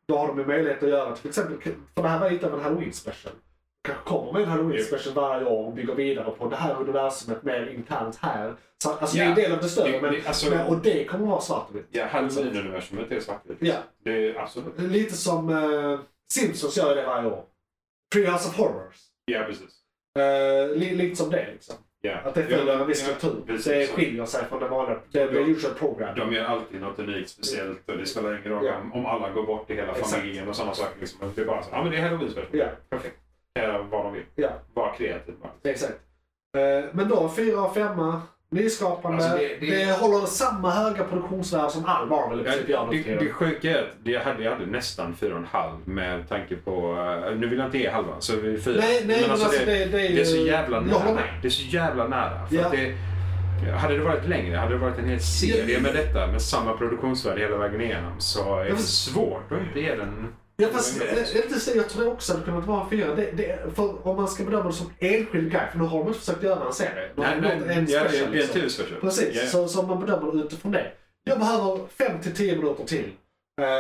Speaker 3: då har de ju möjlighet att göra till exempel, för det här var lite av en halloween special. Kanske kommer med en halloween
Speaker 4: Ja.
Speaker 3: special varje år och bygger vidare på det här universumet mer internt här. Så, alltså
Speaker 4: Ja.
Speaker 3: det är en del av det större.
Speaker 4: Det-
Speaker 3: Men,
Speaker 4: det- alltså-
Speaker 3: men, och det kommer vara svart och vitt.
Speaker 4: Ja, Halloween-universumet är svartvitt.
Speaker 3: Ja.
Speaker 4: Det är absolut.
Speaker 3: Lite som eh, Simpsons gör det varje år. Treehouse of Horrors.
Speaker 4: Ja, precis.
Speaker 3: Eh, li, lite som det liksom.
Speaker 4: Ja.
Speaker 3: Att det följer
Speaker 4: Ja,
Speaker 3: en viss
Speaker 4: ja,
Speaker 3: struktur.
Speaker 4: precis.
Speaker 3: det skiljer sig från det vanliga. Det är
Speaker 4: Ja.
Speaker 3: usual program.
Speaker 4: De gör alltid något unikt speciellt och det spelar ingen roll
Speaker 3: Ja.
Speaker 4: om, om alla går bort i hela
Speaker 3: Exakt.
Speaker 4: familjen och sådana saker. Liksom. Det är bara så, ja men det är halloween special.
Speaker 3: Ja.
Speaker 4: Perfekt. Göra vad de vill.
Speaker 3: Ja.
Speaker 4: Vara kreativ bara.
Speaker 3: Exakt. Eh, men då fyra och femma. Nyskapande.
Speaker 4: Alltså,
Speaker 3: det,
Speaker 4: det- det-
Speaker 3: håller samma höga produktionsvärde som all Marvel i
Speaker 4: Ja,
Speaker 3: princip gör nu
Speaker 4: det,
Speaker 3: för
Speaker 4: det
Speaker 3: tiden.
Speaker 4: sjuka är att jag hade, jag hade nästan 4,5 med tanke på... eh, nu vill jag inte ge halva, så vi är fyra.
Speaker 3: Nej, nej, men alltså det, det, är ju...
Speaker 4: Det är så jävla
Speaker 3: Jag håller
Speaker 4: nära.
Speaker 3: med.
Speaker 4: Det är så jävla nära. För
Speaker 3: Ja.
Speaker 4: att det, hade det varit längre, hade det varit en hel serie med detta med samma produktionsvärde hela vägen igenom så är
Speaker 3: Ja,
Speaker 4: det
Speaker 3: fast-
Speaker 4: svårt att inte ge den...
Speaker 3: Ja, fast, eh, inte så, jag tror också att det kunnat vara en fyra. Det, det, för om man ska bedöma det som enskild grej, för nu har de inte försökt göra en serie. De har
Speaker 4: Nej, nej,
Speaker 3: gjort en
Speaker 4: ja,
Speaker 3: special.
Speaker 4: det- det är en
Speaker 3: liksom.
Speaker 4: till special.
Speaker 3: Precis,
Speaker 4: Ja.
Speaker 3: så, så man bedömer det utifrån det. Jag behöver 5-10 minuter till.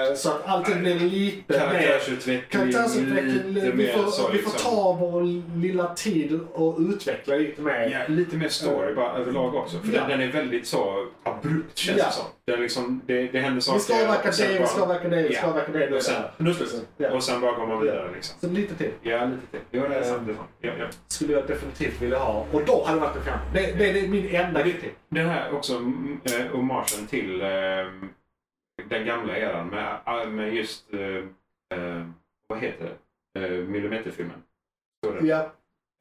Speaker 3: Eh, Så att allting blir lite mer...
Speaker 4: Karaktärsutveckling,
Speaker 3: Karaktärsutveckling.
Speaker 4: lite
Speaker 3: Vi
Speaker 4: mer
Speaker 3: får,
Speaker 4: så,
Speaker 3: vi får
Speaker 4: liksom.
Speaker 3: ta vår lilla tid och utveckla lite mer.
Speaker 4: Ja, lite mer story bara överlag också. För
Speaker 3: Ja.
Speaker 4: den, den är väldigt så abrupt känns
Speaker 3: Ja.
Speaker 4: det som. Den liksom, det, det händer saker.
Speaker 3: Vi ska avverka
Speaker 4: och sen
Speaker 3: det, vi
Speaker 4: bara-
Speaker 3: ska avverka det, vi ska
Speaker 4: Ja.
Speaker 3: avverka det.
Speaker 4: Och sen, nu slut.
Speaker 3: Ja.
Speaker 4: Och sen bara går man vidare liksom.
Speaker 3: Så lite till
Speaker 4: Ja, lite till. Jo, det är sant. Det är sant. Ja, ja.
Speaker 3: skulle jag definitivt vilja ha. Och då hade det varit en femma. Det, det, det är min enda kritik.
Speaker 4: Den här också mm, eh, homagen till eh, den gamla eran med, med just, eh, eh, vad heter det, eh, millimeterfilmen. Står det?
Speaker 3: Ja,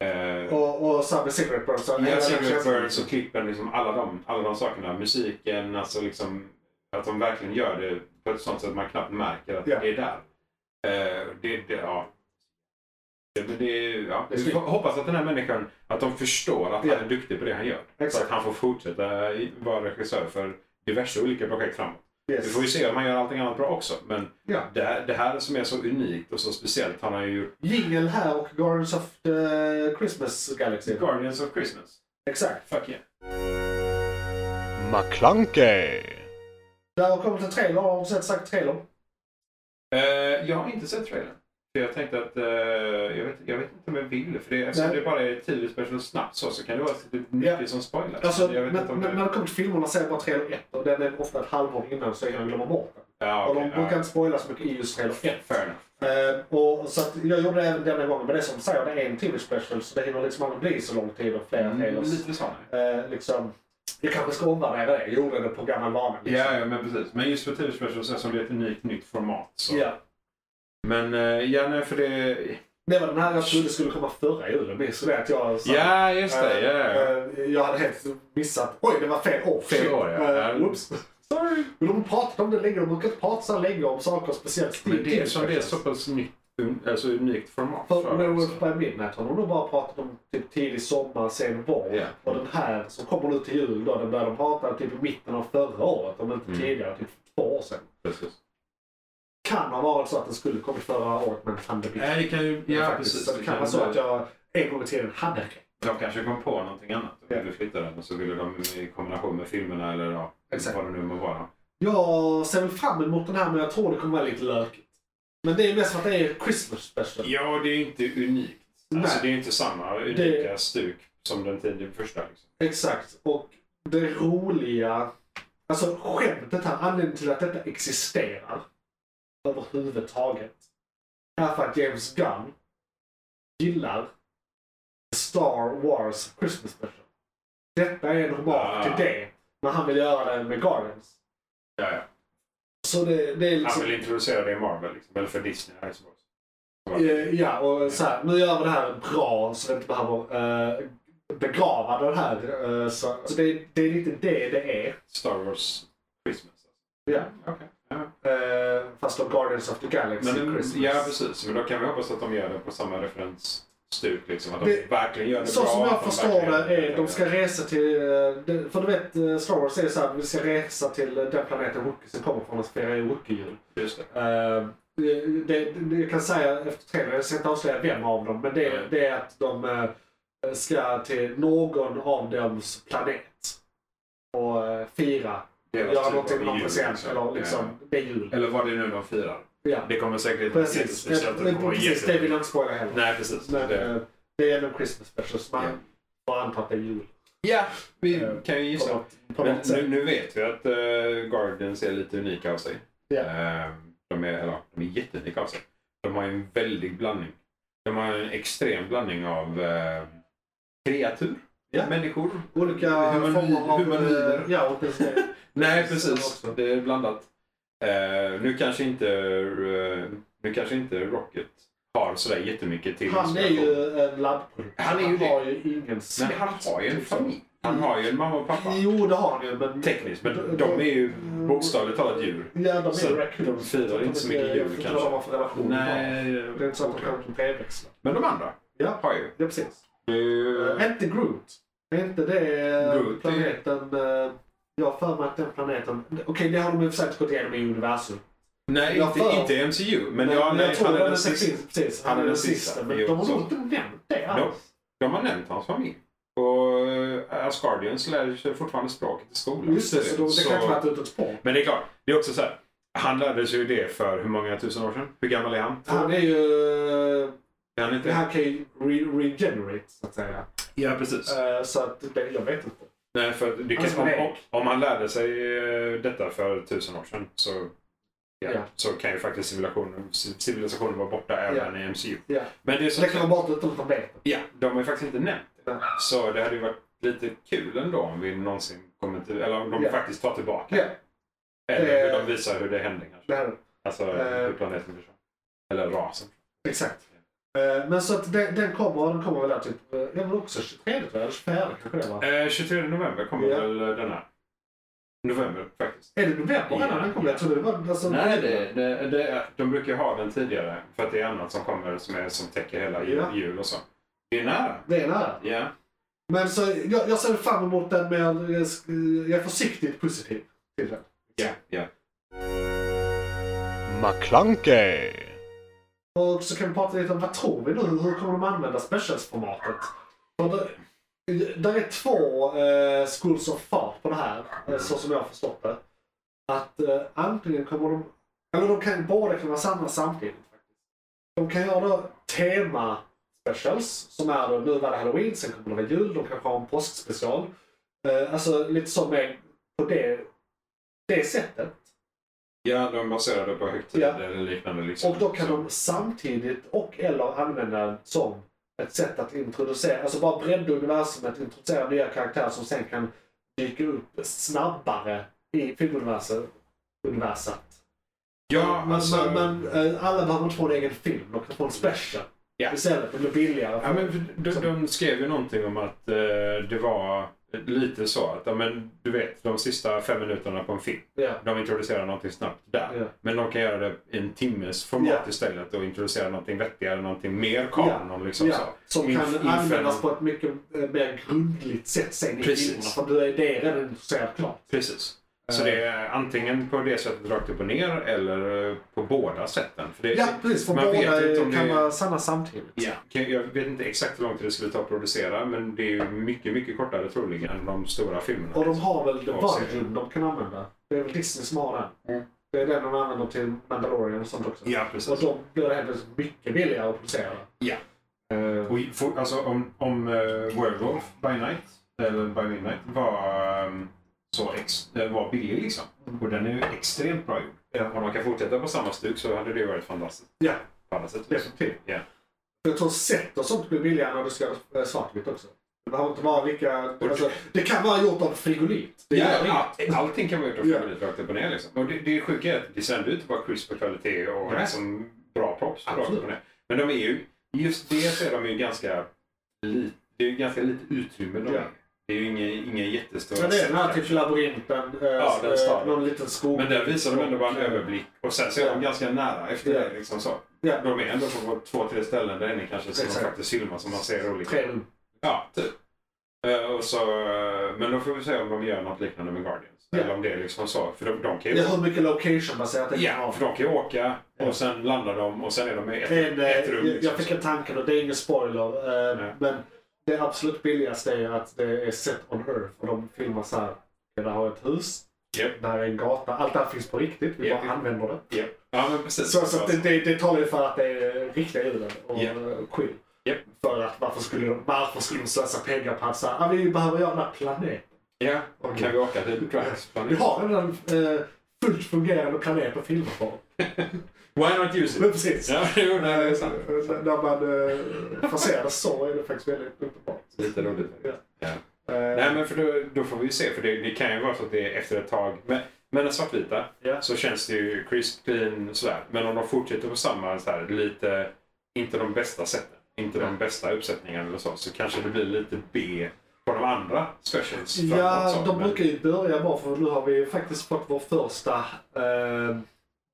Speaker 4: Eh,
Speaker 3: och, och Summer Cigarette Burns. och hela
Speaker 4: Ja,
Speaker 3: den
Speaker 4: Cigarette
Speaker 3: känslan.
Speaker 4: Burns och klippen, liksom alla, de, alla de sakerna. Musiken, alltså liksom, att de verkligen gör det på ett sånt sätt att man knappt märker att
Speaker 3: Ja.
Speaker 4: det är där. Eh, det, det, ja. Det, men det, är- ja.
Speaker 3: Det är
Speaker 4: Vi
Speaker 3: snyggt.
Speaker 4: får hoppas att den här människan att de förstår att
Speaker 3: Ja.
Speaker 4: han är duktig på det han gör. Så
Speaker 3: Exakt.
Speaker 4: att han får fortsätta i- vara regissör för diverse olika projekt framåt.
Speaker 3: Yes.
Speaker 4: Vi får ju se om han gör allting annat bra också. Men
Speaker 3: Ja.
Speaker 4: det, här- det här som är så unikt och så speciellt han har ju gjort
Speaker 3: Jingle här och Guardians of the Christmas Galaxy.
Speaker 4: Guardians of Christmas.
Speaker 3: Exakt.
Speaker 4: Fuck yeah.
Speaker 2: McClunkey.
Speaker 3: Där har kommit en trailer. Har du sett sagt trailer?
Speaker 4: Eh, jag har inte sett trailern. För jag tänkte att, eh, jag, vet, jag vet inte om jag vill, för det, eftersom
Speaker 3: Nej.
Speaker 4: det bara är 10 special snabbt så, så kan det vara typ mycket
Speaker 3: Ja.
Speaker 4: som spoilas.
Speaker 3: Alltså,
Speaker 4: jag vet
Speaker 3: när,
Speaker 4: inte om
Speaker 3: när
Speaker 4: det...
Speaker 3: när det kommer till filmerna så är det bara trailer 1 och den är ofta ett halvår innan så jag glömmer bort den.
Speaker 4: ja,
Speaker 3: Och de
Speaker 4: okej,
Speaker 3: brukar
Speaker 4: ja.
Speaker 3: inte spoila så mycket i just trailer 1.
Speaker 4: Fair enough.
Speaker 3: Eh, och, så att jag gjorde det även denna gången, men det är som du säger, det är en tv special så det hinner liksom aldrig bli så lång tid och flera
Speaker 4: Mm,
Speaker 3: trailers.
Speaker 4: Lite sådana.
Speaker 3: Eh, liksom, jag kanske ska omvärdera det, jag gjorde det på gammal vana. Liksom.
Speaker 4: Ja, ja, men precis. Men just för TV Special så är det ett unikt nytt format. Så.
Speaker 3: Ja.
Speaker 4: Men eh, ja, nej, för det...
Speaker 3: Det var den här jag trodde skulle komma förra julen, minns du det? Att jag sa-
Speaker 4: Ja, just det. Ja, ja.
Speaker 3: Eh, eh, Jag hade helt missat. Oj, det var fel år.
Speaker 4: Fel år, ja.
Speaker 3: Eh,
Speaker 4: Ja.
Speaker 3: Oops. Sorry. Men de pratat om det länge. De brukar inte prata så här länge om saker speciellt.
Speaker 4: Men det är som det är så pass nytt, un- alltså unikt format.
Speaker 3: För
Speaker 4: det,
Speaker 3: No
Speaker 4: så-
Speaker 3: Wolf by Midnight har de nog bara pratat om typ tidig sommar, sen vår.
Speaker 4: Ja.
Speaker 3: Och den här som kommer nu till jul då, den började de prata typ i mitten av förra året. Om inte
Speaker 4: Mm.
Speaker 3: tidigare, typ två år sedan.
Speaker 4: Precis.
Speaker 3: Kan ha varit så att den skulle kommit förra året men pandemin.
Speaker 4: Nej, det kan ju...
Speaker 3: Men
Speaker 4: Äh, Ja,
Speaker 3: faktiskt,
Speaker 4: precis.
Speaker 3: Så det kan vara så att jag en gång i tiden hade rätt.
Speaker 4: De kanske kom på någonting annat och ville flytta den och så ville de i kombination med filmerna eller ja,
Speaker 3: Exakt.
Speaker 4: vad det nu må vara.
Speaker 3: Jag ser väl fram emot den här men jag tror det kommer vara lite lökigt. Men det är ju mest för att det är Christmas special.
Speaker 4: Ja, det är ju inte unikt. Alltså,
Speaker 3: Nej.
Speaker 4: det är inte samma unika stuk som den tidigare första. Liksom.
Speaker 3: Exakt. Och det roliga... Alltså skämtet här, anledningen till att detta existerar överhuvudtaget är för att James Gunn gillar Star Wars Christmas special. Detta är en
Speaker 4: Ah.
Speaker 3: remark till det. Men han vill göra det med Guardians.
Speaker 4: Ja, ja.
Speaker 3: Så det, det är
Speaker 4: Han
Speaker 3: liksom...
Speaker 4: vill introducera det i Marvel, liksom, eller för Disney. Här, liksom.
Speaker 3: Eh, Ja, och så här, nu gör vi det här bra så vi inte behöver eh, begrava den här. eh, så så det, det är lite det det är.
Speaker 4: Star Wars Christmas.
Speaker 3: Ja.
Speaker 4: Okay. Ja.
Speaker 3: Eh, fast då Guardians of the Galaxy
Speaker 4: Men,
Speaker 3: Christmas.
Speaker 4: ja, precis. Men då kan vi hoppas att de gör det på samma referensstuk. Liksom, att de
Speaker 3: Det-
Speaker 4: verkligen gör det
Speaker 3: Så
Speaker 4: bra.
Speaker 3: som
Speaker 4: att
Speaker 3: jag
Speaker 4: de
Speaker 3: förstår
Speaker 4: verkligen-
Speaker 3: det är, de ska resa till... eh, det- För du vet, eh, Star Wars är så här, vi ska resa till eh, den planeten Wookiesen kommer från och fira Wookie-jul.
Speaker 4: Just det.
Speaker 3: Eh, det- det- det- Jag kan säga efter trailern, jag ska inte avslöja vem av dem, men det,
Speaker 4: Nej.
Speaker 3: det är att de eh, ska till någon av dems planet och eh, fira,
Speaker 4: Deras
Speaker 3: göra
Speaker 4: typ
Speaker 3: någonting
Speaker 4: av
Speaker 3: med någon
Speaker 4: jul,
Speaker 3: present
Speaker 4: liksom.
Speaker 3: eller liksom, det är
Speaker 4: Ja.
Speaker 3: jul.
Speaker 4: Eller vad det är nu de firar.
Speaker 3: Ja,
Speaker 4: Det kommer säkert
Speaker 3: precis.
Speaker 4: Det kommer
Speaker 3: Det, precis, det
Speaker 4: jätte-
Speaker 3: vill jag inte spoila heller.
Speaker 4: Nej, precis.
Speaker 3: Men
Speaker 4: det...
Speaker 3: det, eh, det är en Christmas special så man
Speaker 4: Ja.
Speaker 3: får anta att det är jul.
Speaker 4: Ja, vi
Speaker 3: eh,
Speaker 4: kan ju
Speaker 3: På
Speaker 4: gissa.
Speaker 3: något, på
Speaker 4: Men
Speaker 3: något
Speaker 4: nu,
Speaker 3: sätt.
Speaker 4: nu vet vi att eh, Guardians är lite unika av sig.
Speaker 3: Ja.
Speaker 4: Eh, de, är, eller, de är jätteunika av sig. De har ju en väldig blandning. De har en extrem blandning av eh, kreatur,
Speaker 3: Ja.
Speaker 4: människor.
Speaker 3: Olika
Speaker 4: humanoid-
Speaker 3: former av...
Speaker 4: humanoider.
Speaker 3: eh, Ja, och precis.
Speaker 4: Nej,
Speaker 3: Precis,
Speaker 4: precis.
Speaker 3: också.
Speaker 4: Det är blandat. Eh, nu kanske inte eh, nu kanske inte Rocket har sådär jättemycket till
Speaker 3: Han är
Speaker 4: inspiration.
Speaker 3: ju en labbprodukt.
Speaker 4: eh, Han är ju det.
Speaker 3: har ju typ ingen
Speaker 4: Men
Speaker 3: släkt.
Speaker 4: han har ju en familj. Han har ju en mamma och pappa.
Speaker 3: Jo, det har han ju. Men... Mm.
Speaker 4: Tekniskt, men de är ju bokstavligt talat djur.
Speaker 3: Ja, de är
Speaker 4: Så
Speaker 3: ju raccoons.
Speaker 4: de firar inte så mycket
Speaker 3: Jag
Speaker 4: jul,
Speaker 3: förstår
Speaker 4: kanske.
Speaker 3: vad de har för relation.
Speaker 4: Nej,
Speaker 3: Det är inte så att de
Speaker 4: okej.
Speaker 3: kan brevväxla.
Speaker 4: Men de andra
Speaker 3: Ja,
Speaker 4: har ju. Eh,
Speaker 3: ja precis.
Speaker 4: Det är ju-
Speaker 3: Äh, inte Groot. Är inte det eh,
Speaker 4: Groot är-
Speaker 3: planeten... eh, Jag har för mig att den planeten... Okej, det har de ju försökt gått igenom i universum.
Speaker 4: Nej,
Speaker 3: Jag
Speaker 4: inte,
Speaker 3: för-
Speaker 4: inte MCU. Men,
Speaker 3: Men,
Speaker 4: ja,
Speaker 3: men
Speaker 4: nej,
Speaker 3: jag tror
Speaker 4: han är
Speaker 3: den
Speaker 4: den
Speaker 3: sista.
Speaker 4: sista.
Speaker 3: Precis, han är den sista. Men
Speaker 4: Jo,
Speaker 3: de har
Speaker 4: så.
Speaker 3: nog inte nämnt det
Speaker 4: Nope.
Speaker 3: alls.
Speaker 4: De har nämnt hans familj. Och eh, Asgardians lär sig fortfarande språket i skolan.
Speaker 3: Just det, så då, det
Speaker 4: Så-
Speaker 3: kanske var ett utåt spår.
Speaker 4: Men det är klart, det är också så här. Han lärde sig ju det för hur många tusen år sedan? Hur gammal är han?
Speaker 3: Han är ju... eh,
Speaker 4: Är han
Speaker 3: Det
Speaker 4: inte?
Speaker 3: här kan ju re- regenerate, så att säga.
Speaker 4: Ja, precis.
Speaker 3: Eh, Så att, det, jag vet inte.
Speaker 4: Nej, för det kan,
Speaker 3: Alltså,
Speaker 4: om,
Speaker 3: nej.
Speaker 4: om, om han lärde sig eh, detta för tusen år sedan så, ja,
Speaker 3: Ja.
Speaker 4: så kan ju faktiskt civilisationen, civilisationen vara borta även i MCU.
Speaker 3: Ja.
Speaker 4: Men det är så
Speaker 3: Så det kan vara bara utan att de vet.
Speaker 4: ja, de har ju faktiskt inte nämnt det.
Speaker 3: Nej.
Speaker 4: Så det hade ju varit lite kul ändå om vi någonsin kommer till, eller om de
Speaker 3: Ja.
Speaker 4: faktiskt tar tillbaka.
Speaker 3: Ja.
Speaker 4: Eller hur
Speaker 3: Eh.
Speaker 4: de visar hur det hände kanske.
Speaker 3: Det här,
Speaker 4: Alltså
Speaker 3: Eh.
Speaker 4: hur planeten försvann. Eller rasen.
Speaker 3: exakt. Eh, Men så att den, den kommer, och den kommer väl där typ, eh, jag vill också 23 tror jag, eller 24 kanske det var.
Speaker 4: Eh, 23 november kommer
Speaker 3: Ja.
Speaker 4: väl den här. November faktiskt.
Speaker 3: Är det november redan
Speaker 4: Ja.
Speaker 3: den kommer? Jag trodde det var... Alltså,
Speaker 4: Nej, det, det, det, är- de brukar ju ha den tidigare för att det är annat som kommer som, är, som täcker hela jul,
Speaker 3: Ja.
Speaker 4: jul och så. Det är nära.
Speaker 3: Det är nära.
Speaker 4: Ja.
Speaker 3: Men så jag, jag ser fram emot den men jag, jag sk- eh, jag är försiktigt positiv till den.
Speaker 4: Ja, ja.
Speaker 2: McClunkey!
Speaker 3: Och så kan vi prata lite om vad tror vi nu? Hur kommer de använda specialsformatet? För det, där är två eh, schools of thought på det här, eh, så som jag har förstått det. Att eh, antingen kommer de... Eller de kan båda kan vara sanna samtidigt. faktiskt. De kan göra då tema specials som är då, nu var det halloween, sen kommer det vara jul, de kanske har en påskspecial. Eh, alltså lite så med, på det, det sättet.
Speaker 4: Ja, de baserar det på högtider
Speaker 3: Ja.
Speaker 4: eller liknande. Liksom.
Speaker 3: Och då kan
Speaker 4: Så-
Speaker 3: de samtidigt och eller använda den som ett sätt att introducera, alltså bara bredda universumet, introducera nya karaktärer som sen kan dyka upp snabbare i filmuniverset. universet.
Speaker 4: Ja,
Speaker 3: Men,
Speaker 4: alltså...
Speaker 3: men, men eh, alla behöver inte få en egen film, de kan få en special.
Speaker 4: Ja.
Speaker 3: Istället, det blir billigare.
Speaker 4: Ja, men de, de skrev ju någonting om att eh, det var lite så att, ja, men, du vet, de sista fem minuterna på en film,
Speaker 3: Ja.
Speaker 4: de introducerar någonting snabbt där.
Speaker 3: Ja.
Speaker 4: Men de kan göra det i en timmes format
Speaker 3: Ja.
Speaker 4: istället och introducera någonting vettigare, någonting mer kanon. Liksom,
Speaker 3: ja,
Speaker 4: så.
Speaker 3: som
Speaker 4: Inf-
Speaker 3: kan
Speaker 4: inför
Speaker 3: användas
Speaker 4: någon-
Speaker 3: på ett mycket eh, mer grundligt sätt sen i
Speaker 4: Precis.
Speaker 3: filmerna. För då är det redan intresserat klart.
Speaker 4: Precis. Så
Speaker 3: Eh.
Speaker 4: det är antingen på det sättet rakt upp och ner eller eh, på båda sätten. För det,
Speaker 3: Ja, precis. För
Speaker 4: man vet
Speaker 3: båda
Speaker 4: inte om
Speaker 3: kan
Speaker 4: det-
Speaker 3: vara sanna samtidigt.
Speaker 4: Ja. Kan- Jag vet inte exakt hur lång tid det skulle ta att producera men det är ju mycket, mycket kortare troligen än de stora filmerna.
Speaker 3: Och de har väl The
Speaker 4: Och serien.
Speaker 3: Volume de kan använda. Det är väl Disney som har den.
Speaker 4: Mm.
Speaker 3: Det är den de använder till Mandalorian och sånt också.
Speaker 4: Ja,
Speaker 3: Och
Speaker 4: precis.
Speaker 3: de blir helt plötsligt mycket billigare att producera.
Speaker 4: Ja.
Speaker 3: Eh,
Speaker 4: Och för, alltså om, om eh, Werewolf by Night, eller by Midnight, var, ehm, så ex, eh, var billig liksom. Och den är ju extremt bra gjord.
Speaker 3: Mm. Ja.
Speaker 4: Om man kan fortsätta på samma stuk så hade det varit fantastiskt.
Speaker 3: Ja.
Speaker 4: På alla sätt.
Speaker 3: Definitivt.
Speaker 4: Ja.
Speaker 3: Jag tror sätt och sånt blir billigare när du ska göra svartvitt också. Det behöver inte vara lika...
Speaker 4: Och-
Speaker 3: Alltså, det kan vara gjort av frigolit. Det
Speaker 4: Ja,
Speaker 3: gör inget.
Speaker 4: all- allting kan vara gjort av
Speaker 3: Ja.
Speaker 4: favorit rakt upp och ner. Liksom. Och det, det sjuka är att det sänder ut bara crisp och kvalitet och
Speaker 3: Ja.
Speaker 4: liksom bra props rakt upp
Speaker 3: Absolut.
Speaker 4: och ner. Men de är ju, just det så är de ju ganska, li, det är ju ganska lite utrymme de
Speaker 3: Ja.
Speaker 4: är. Det är ju inga, inga jättestora
Speaker 3: Ja, det är den här
Speaker 4: set,
Speaker 3: typ labyrinten, eh,
Speaker 4: Ja, den
Speaker 3: eh,
Speaker 4: staden.
Speaker 3: någon liten skog.
Speaker 4: Men där visar de ändå bara en överblick och sen så är de
Speaker 3: Ja.
Speaker 4: ganska nära efter
Speaker 3: Ja.
Speaker 4: det. Liksom så.
Speaker 3: Ja.
Speaker 4: De är ändå på två, tre ställen där inne kanske som de
Speaker 3: Exakt.
Speaker 4: faktiskt filmar som man ser olika.
Speaker 3: Tre rum.
Speaker 4: Ja, typ. Eh, Och så, eh, men då får vi se om de gör något liknande med Guardians.
Speaker 3: Ja.
Speaker 4: Eller om det är liksom så. För de, de kan ju
Speaker 3: Det är hur mycket location baserat det kan
Speaker 4: Ja,
Speaker 3: vara.
Speaker 4: för de kan ju åka
Speaker 3: Ja.
Speaker 4: och sen landar de och sen är de i ett,
Speaker 3: Men, eh,
Speaker 4: ett rum.
Speaker 3: jag,
Speaker 4: liksom.
Speaker 3: jag fick en tanke då, det är ingen spoiler. eh,
Speaker 4: Nej.
Speaker 3: Men det absolut billigaste är att det är set on earth. Och de filmar så här. Det där har ett hus.
Speaker 4: Japp.
Speaker 3: Där är en gata. Allt det här finns på riktigt. Vi
Speaker 4: Japp.
Speaker 3: bara använder det.
Speaker 4: Ja. ja, men precis.
Speaker 3: Så, så att det, det, det talar ju för att det är riktiga djur och
Speaker 4: Ja.
Speaker 3: eh, queer.
Speaker 4: Japp.
Speaker 3: För att varför skulle de, varför skulle de slösa pengar på att säga ah, vi behöver göra den här planeten.
Speaker 4: Ja, kan vi åka till Drax?
Speaker 3: Vi har redan eh, fullt fungerande planet att filma på.
Speaker 4: Why not use it?
Speaker 3: Men precis.
Speaker 4: Ja, jo, nej, det är sant.
Speaker 3: Eh, När man eh, får se det så är det faktiskt väldigt uppenbart.
Speaker 4: Lite roligt.
Speaker 3: Ja.
Speaker 4: Ja.
Speaker 3: Eh,
Speaker 4: Nej, men för då, då får vi ju se. För det, det kan ju vara så att det är efter ett tag. Men, men den svartvita
Speaker 3: Ja.
Speaker 4: så känns det ju crisp, clean sådär. Men om de fortsätter på samma så här, lite, inte de bästa sätten, inte de bästa uppsättningarna eller så, så kanske det blir lite B på de andra specials. framåt
Speaker 3: Ja,
Speaker 4: så,
Speaker 3: de
Speaker 4: men-
Speaker 3: brukar ju börja bra för nu har vi ju faktiskt fått vår första eh,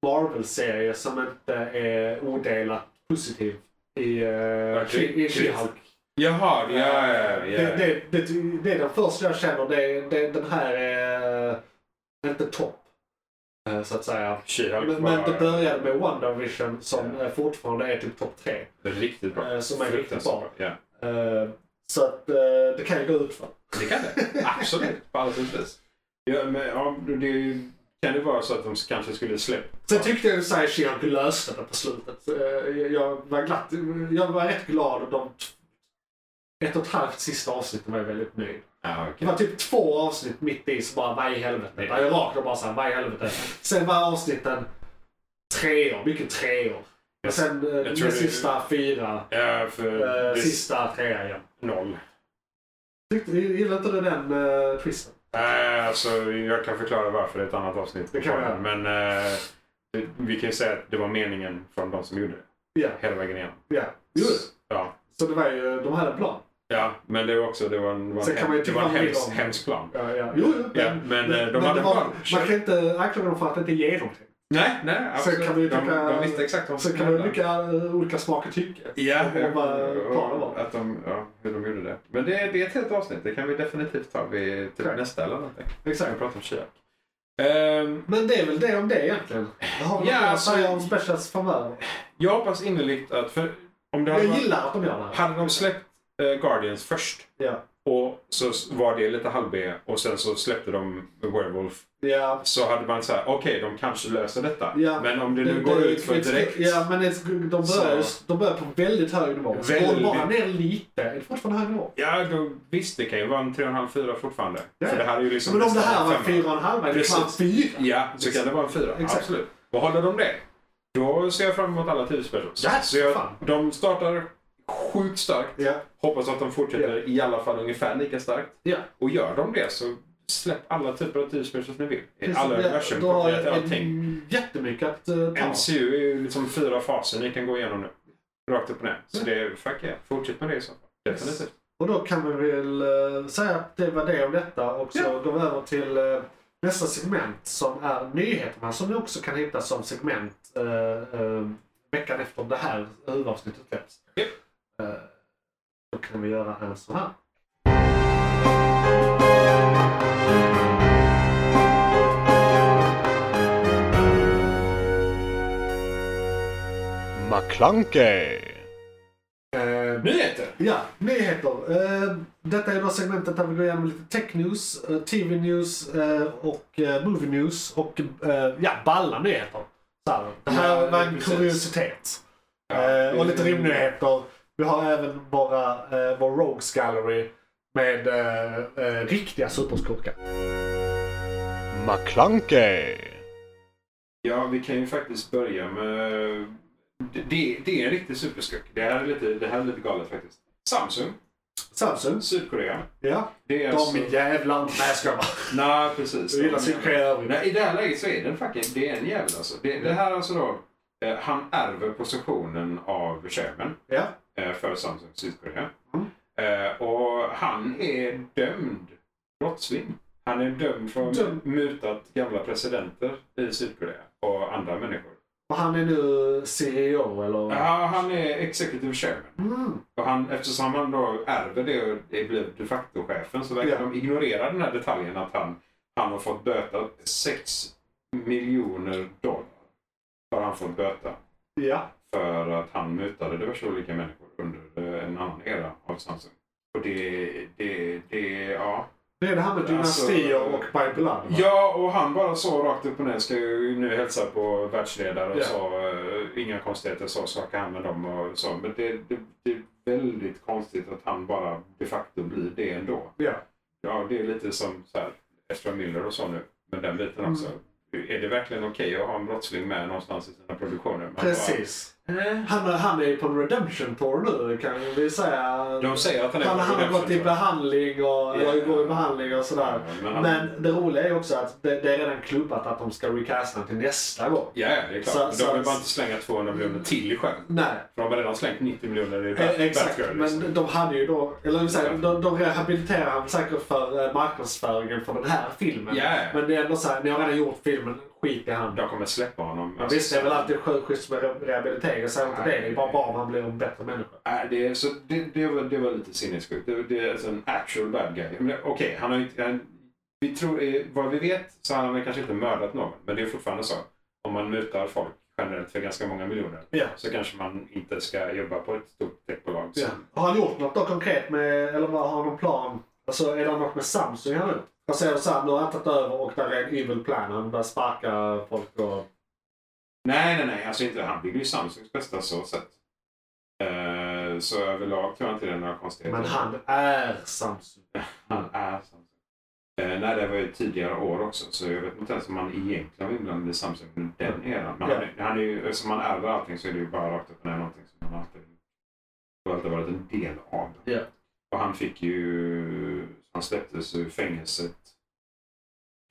Speaker 3: Marvel-serie som inte är odelat positiv i, eh, i, i She-Hulk. Eh,
Speaker 4: Jaha, ja, ja, ja, ja.
Speaker 3: Det, det, det, det är den första jag känner. Det, det, den här är eh, inte topp, eh, så att säga.
Speaker 4: She-Hulk
Speaker 3: Men, men
Speaker 4: var
Speaker 3: det började med WandaVision som eh, fortfarande är typ topp tre.
Speaker 4: riktigt bra.
Speaker 3: eh, som är riktigt
Speaker 4: Fruktansvärt
Speaker 3: bra.
Speaker 4: Ja.
Speaker 3: Eh, så att eh, det kan ju gå ut för.
Speaker 4: Det kan det. Absolut. På alla sätt och vis. Ja, men, ja, det, kan det vara så att de kanske skulle släppa...
Speaker 3: Sen tyckte jag att She-Hulk löste det på slutet. Eh, Jag jag var, glatt, jag var rätt glad och de ett och ett halvt sista avsnittet var jag väldigt nöjd.
Speaker 4: Ja,
Speaker 3: Det
Speaker 4: okej.
Speaker 3: var typ två avsnitt mitt i som bara, vad i helvete?
Speaker 4: Nej.
Speaker 3: Där jag rakt och bara såhär, vad i helvete? Sen var avsnitten treor, mycket treor. Men sen eh,
Speaker 4: Jag tror
Speaker 3: den
Speaker 4: det-
Speaker 3: sista fyra,
Speaker 4: Ja, för
Speaker 3: eh,
Speaker 4: det är
Speaker 3: sista trea igen.
Speaker 4: noll.
Speaker 3: Tyckte, gillade inte du den eh, twisten?
Speaker 4: Nej, alltså, jag kan förklara varför i ett annat avsnitt.
Speaker 3: Det kan vi göra.
Speaker 4: Men eh, det- vi kan ju säga att det var meningen från de som gjorde det.
Speaker 3: Ja,
Speaker 4: Hela vägen igenom.
Speaker 3: ja. Jo,
Speaker 4: Ja.
Speaker 3: så det var ju, de hade en plan.
Speaker 4: ja, men det var också det var en, det var
Speaker 3: Sen
Speaker 4: en,
Speaker 3: kan man ju
Speaker 4: hem, det var en
Speaker 3: tycka vad man vill
Speaker 4: hemsk,
Speaker 3: om-
Speaker 4: hemsk plan.
Speaker 3: Ja, ja. Jo, jo,
Speaker 4: Ja, men, eh, de hade
Speaker 3: det
Speaker 4: en
Speaker 3: var,
Speaker 4: plan.
Speaker 3: Man kan inte anklaga dem för att inte ge dem det.
Speaker 4: Nej, nej absolut.
Speaker 3: kan man ju
Speaker 4: de,
Speaker 3: tycka-
Speaker 4: de visste exakt vad de
Speaker 3: Så
Speaker 4: skulle
Speaker 3: kan man
Speaker 4: göra.
Speaker 3: lycka olika smak och tycke.
Speaker 4: Ja,
Speaker 3: Och bara ta det bara.
Speaker 4: att de, ja, hur de gjorde det. Men det, det är ett helt avsnitt. Det kan vi definitivt ta vid typ
Speaker 3: Tack.
Speaker 4: nästa eller någonting. Vi
Speaker 3: Exakt.
Speaker 4: pratar om Kiak. Ehm,
Speaker 3: Men det är väl det om det egentligen. Jag har
Speaker 4: Ja,
Speaker 3: ja, att
Speaker 4: alltså-
Speaker 3: säga om specials framöver.
Speaker 4: jag hoppas innerligt att... För, om det hade,
Speaker 3: Jag
Speaker 4: varit,
Speaker 3: gillar att de gör det här.
Speaker 4: hade de släppt eh, Guardians först
Speaker 3: Ja.
Speaker 4: Och så var det lite halv-B och sen så släppte de Werewolf.
Speaker 3: Ja.
Speaker 4: Så hade man så här, okej de kanske löser detta.
Speaker 3: Ja.
Speaker 4: Men om det nu går ut för
Speaker 3: it's-
Speaker 4: direkt.
Speaker 3: Ja, men it's, de, börjar,
Speaker 4: Så.
Speaker 3: de börjar på väldigt hög nivå.
Speaker 4: Väldigt.
Speaker 3: Går bara ner lite, är det fortfarande hög nivå?
Speaker 4: Ja, då, visst det kan ju vara en 3,5-4 fortfarande.
Speaker 3: Ja.
Speaker 4: För det här är ju liksom
Speaker 3: Men om det
Speaker 4: nästan
Speaker 3: här
Speaker 4: en
Speaker 3: var
Speaker 4: femma.
Speaker 3: fyra och en halv, är det fan
Speaker 4: Precis.
Speaker 3: fyra?
Speaker 4: Ja, så kan det vara en fyra.
Speaker 3: Exakt.
Speaker 4: Absolut. Vad håller de det? Då ser jag fram emot alla tio spel.
Speaker 3: Ja,
Speaker 4: så jag,
Speaker 3: fan.
Speaker 4: de startar sjukt starkt.
Speaker 3: Ja.
Speaker 4: Hoppas att de fortsätter i alla fall ungefär lika starkt.
Speaker 3: Ja.
Speaker 4: Och gör de det så släpp alla typer av tio spel som ni vill. I
Speaker 3: Precis.
Speaker 4: alla
Speaker 3: Ja,
Speaker 4: universum.
Speaker 3: Då har
Speaker 4: kopiera till
Speaker 3: jag
Speaker 4: allting.
Speaker 3: en- jättemycket att eh, ta.
Speaker 4: MCU är ju liksom fyra faser ni kan gå igenom nu. Rakt upp och ner.
Speaker 3: Mm.
Speaker 4: Så det är, fuck yeah. Fortsätt med det i så fall. Definitivt.
Speaker 3: Och då kan vi väl eh, säga att det var det om detta och så går vi över till eh, nästa segment som är nyheterna som vi också kan hitta som segment eh, eh, veckan efter det här huvudavsnittet släpps.
Speaker 4: Japp.
Speaker 3: Eh, då kan vi göra en sån här.
Speaker 2: McClunkey.
Speaker 3: Eh,
Speaker 4: Nyheter!
Speaker 3: Ja, nyheter. Eh, detta är då segmentet där vi går igenom lite tech news, eh, tv news eh, och eh, movie news och eh, ja, balla nyheter. Så här, det här
Speaker 4: Ja,
Speaker 3: var en
Speaker 4: precis.
Speaker 3: kuriositet.
Speaker 4: Ja,
Speaker 3: eh, och
Speaker 4: det-
Speaker 3: lite rymdnyheter. Vi har även våra, eh, vår Rogues Gallery med eh, eh, riktiga superskurkar.
Speaker 2: McClunkey.
Speaker 4: Ja, vi kan ju faktiskt börja med... Det- Det, det är en riktig superskurk. Det här är lite, det här är lite galet faktiskt. Samsung,
Speaker 3: Samsung.
Speaker 4: Sydkorea.
Speaker 3: Ja.
Speaker 4: Det är alltså...
Speaker 3: De jävlarna. Nej jag skojar bara.
Speaker 4: Nej, precis.
Speaker 3: Jag gillar Sydkorea i övrigt.
Speaker 4: Nej, I det här läget så är den fucking... Det är en jävel alltså. Det, det här alltså då... Eh, han ärver positionen av Sherman
Speaker 3: Ja.
Speaker 4: eh, för Samsung Sydkorea.
Speaker 3: Mm.
Speaker 4: Eh, och han är dömd brottsling. Han är dömd för att ha
Speaker 3: Dömd.
Speaker 4: mutat gamla presidenter i Sydkorea och andra människor.
Speaker 3: Och han är nu CEO eller?
Speaker 4: Ja, han är executive chairman.
Speaker 3: Mm.
Speaker 4: Och han, eftersom han då ärver det och det blir de facto-chefen så verkar
Speaker 3: Ja.
Speaker 4: de ignorera den här detaljen att han, han har fått böta 6 miljoner dollar. Har han fått böta
Speaker 3: Ja.
Speaker 4: för att han mutade diverse olika människor under eh, en annan era av Samsung. Och det, det, det, ja.
Speaker 3: Det är det här med dynastier
Speaker 4: Alltså,
Speaker 3: och by blood. va?
Speaker 4: Ja, och han bara så rakt upp och ner. Ska ju nu hälsa på världsledare och
Speaker 3: Ja.
Speaker 4: sa eh, inga konstigheter. Så snackade han med dem och så. Men det, det, det är väldigt konstigt att han bara de facto blir det ändå.
Speaker 3: Ja.
Speaker 4: Ja, det är lite som så här, Ezra Miller och så nu. Men den biten också. Är det verkligen okej att ha en brottsling med någonstans i sina produktioner? Man
Speaker 3: Precis.
Speaker 4: Bara, eh.
Speaker 3: Han, han är ju på en redemption tour nu kan vi säga.
Speaker 4: De säger att han är
Speaker 3: han,
Speaker 4: på
Speaker 3: han har gått i
Speaker 4: redemption tour.
Speaker 3: behandling och,
Speaker 4: Ja.
Speaker 3: eller går i behandling och sådär.
Speaker 4: Ja, men han-
Speaker 3: Men det roliga är också att det, det är redan klubbat att de ska recasta till nästa gång.
Speaker 4: Ja, ja, det är klart.
Speaker 3: Så-
Speaker 4: de
Speaker 3: så-
Speaker 4: vill bara inte slänga 200 miljoner till i sjön.
Speaker 3: Nej,
Speaker 4: För de har redan slängt 90 miljoner i
Speaker 3: eh, exakt.
Speaker 4: Batgirl, liksom.
Speaker 3: Men de hade ju då, eller vi säger, de, de rehabiliterar han säkert för eh, marknadsföringen för den här filmen.
Speaker 4: Ja.
Speaker 3: Men det är ändå såhär, ni har redan gjort filmen, skit i han.
Speaker 4: Jag kommer släppa honom.
Speaker 3: Ja, Visst, det är väl alltid schysst med re- rehabilitering, säg inte det. Det är bara bra om han blir en bättre människa.
Speaker 4: Nej, äh, det, är- så det, det, var, det var lite sinnessjukt. Det, det är alltså en actual bad guy. Men det- Okej, han har ju inte... Han, vi tror, eh, vad vi vet så har han väl kanske inte mördat någon. Men det är fortfarande så. Om man mutar folk generellt för ganska många miljoner
Speaker 3: Ja.
Speaker 4: så kanske man inte ska jobba på ett stort techbolag. som-
Speaker 3: Ja. Har han gjort något då konkret med, eller vad har han någon plan? Alltså är det något med Samsung han har gjort? Han säger såhär, nu har han tagit över och där är en evil plan. Han börjar sparka folk och...
Speaker 4: Nej, nej, nej. Alltså inte, han blir ju Samsungs bästa så sett. Eh, så överlag tror jag inte det är några konstigheter.
Speaker 3: Men han är Samsung.
Speaker 4: Han är Samsung. Eh, nej, det var ju tidigare år också, så jag vet inte ens om han egentligen var inblandad i Samsung under den eran. Men han, är- han är ju, eftersom han ärver allting så är det ju bara rakt upp och ner någonting som han alltid, och alltid varit en del av.
Speaker 3: Ja.
Speaker 4: Och han fick ju, han släpptes ur fängelset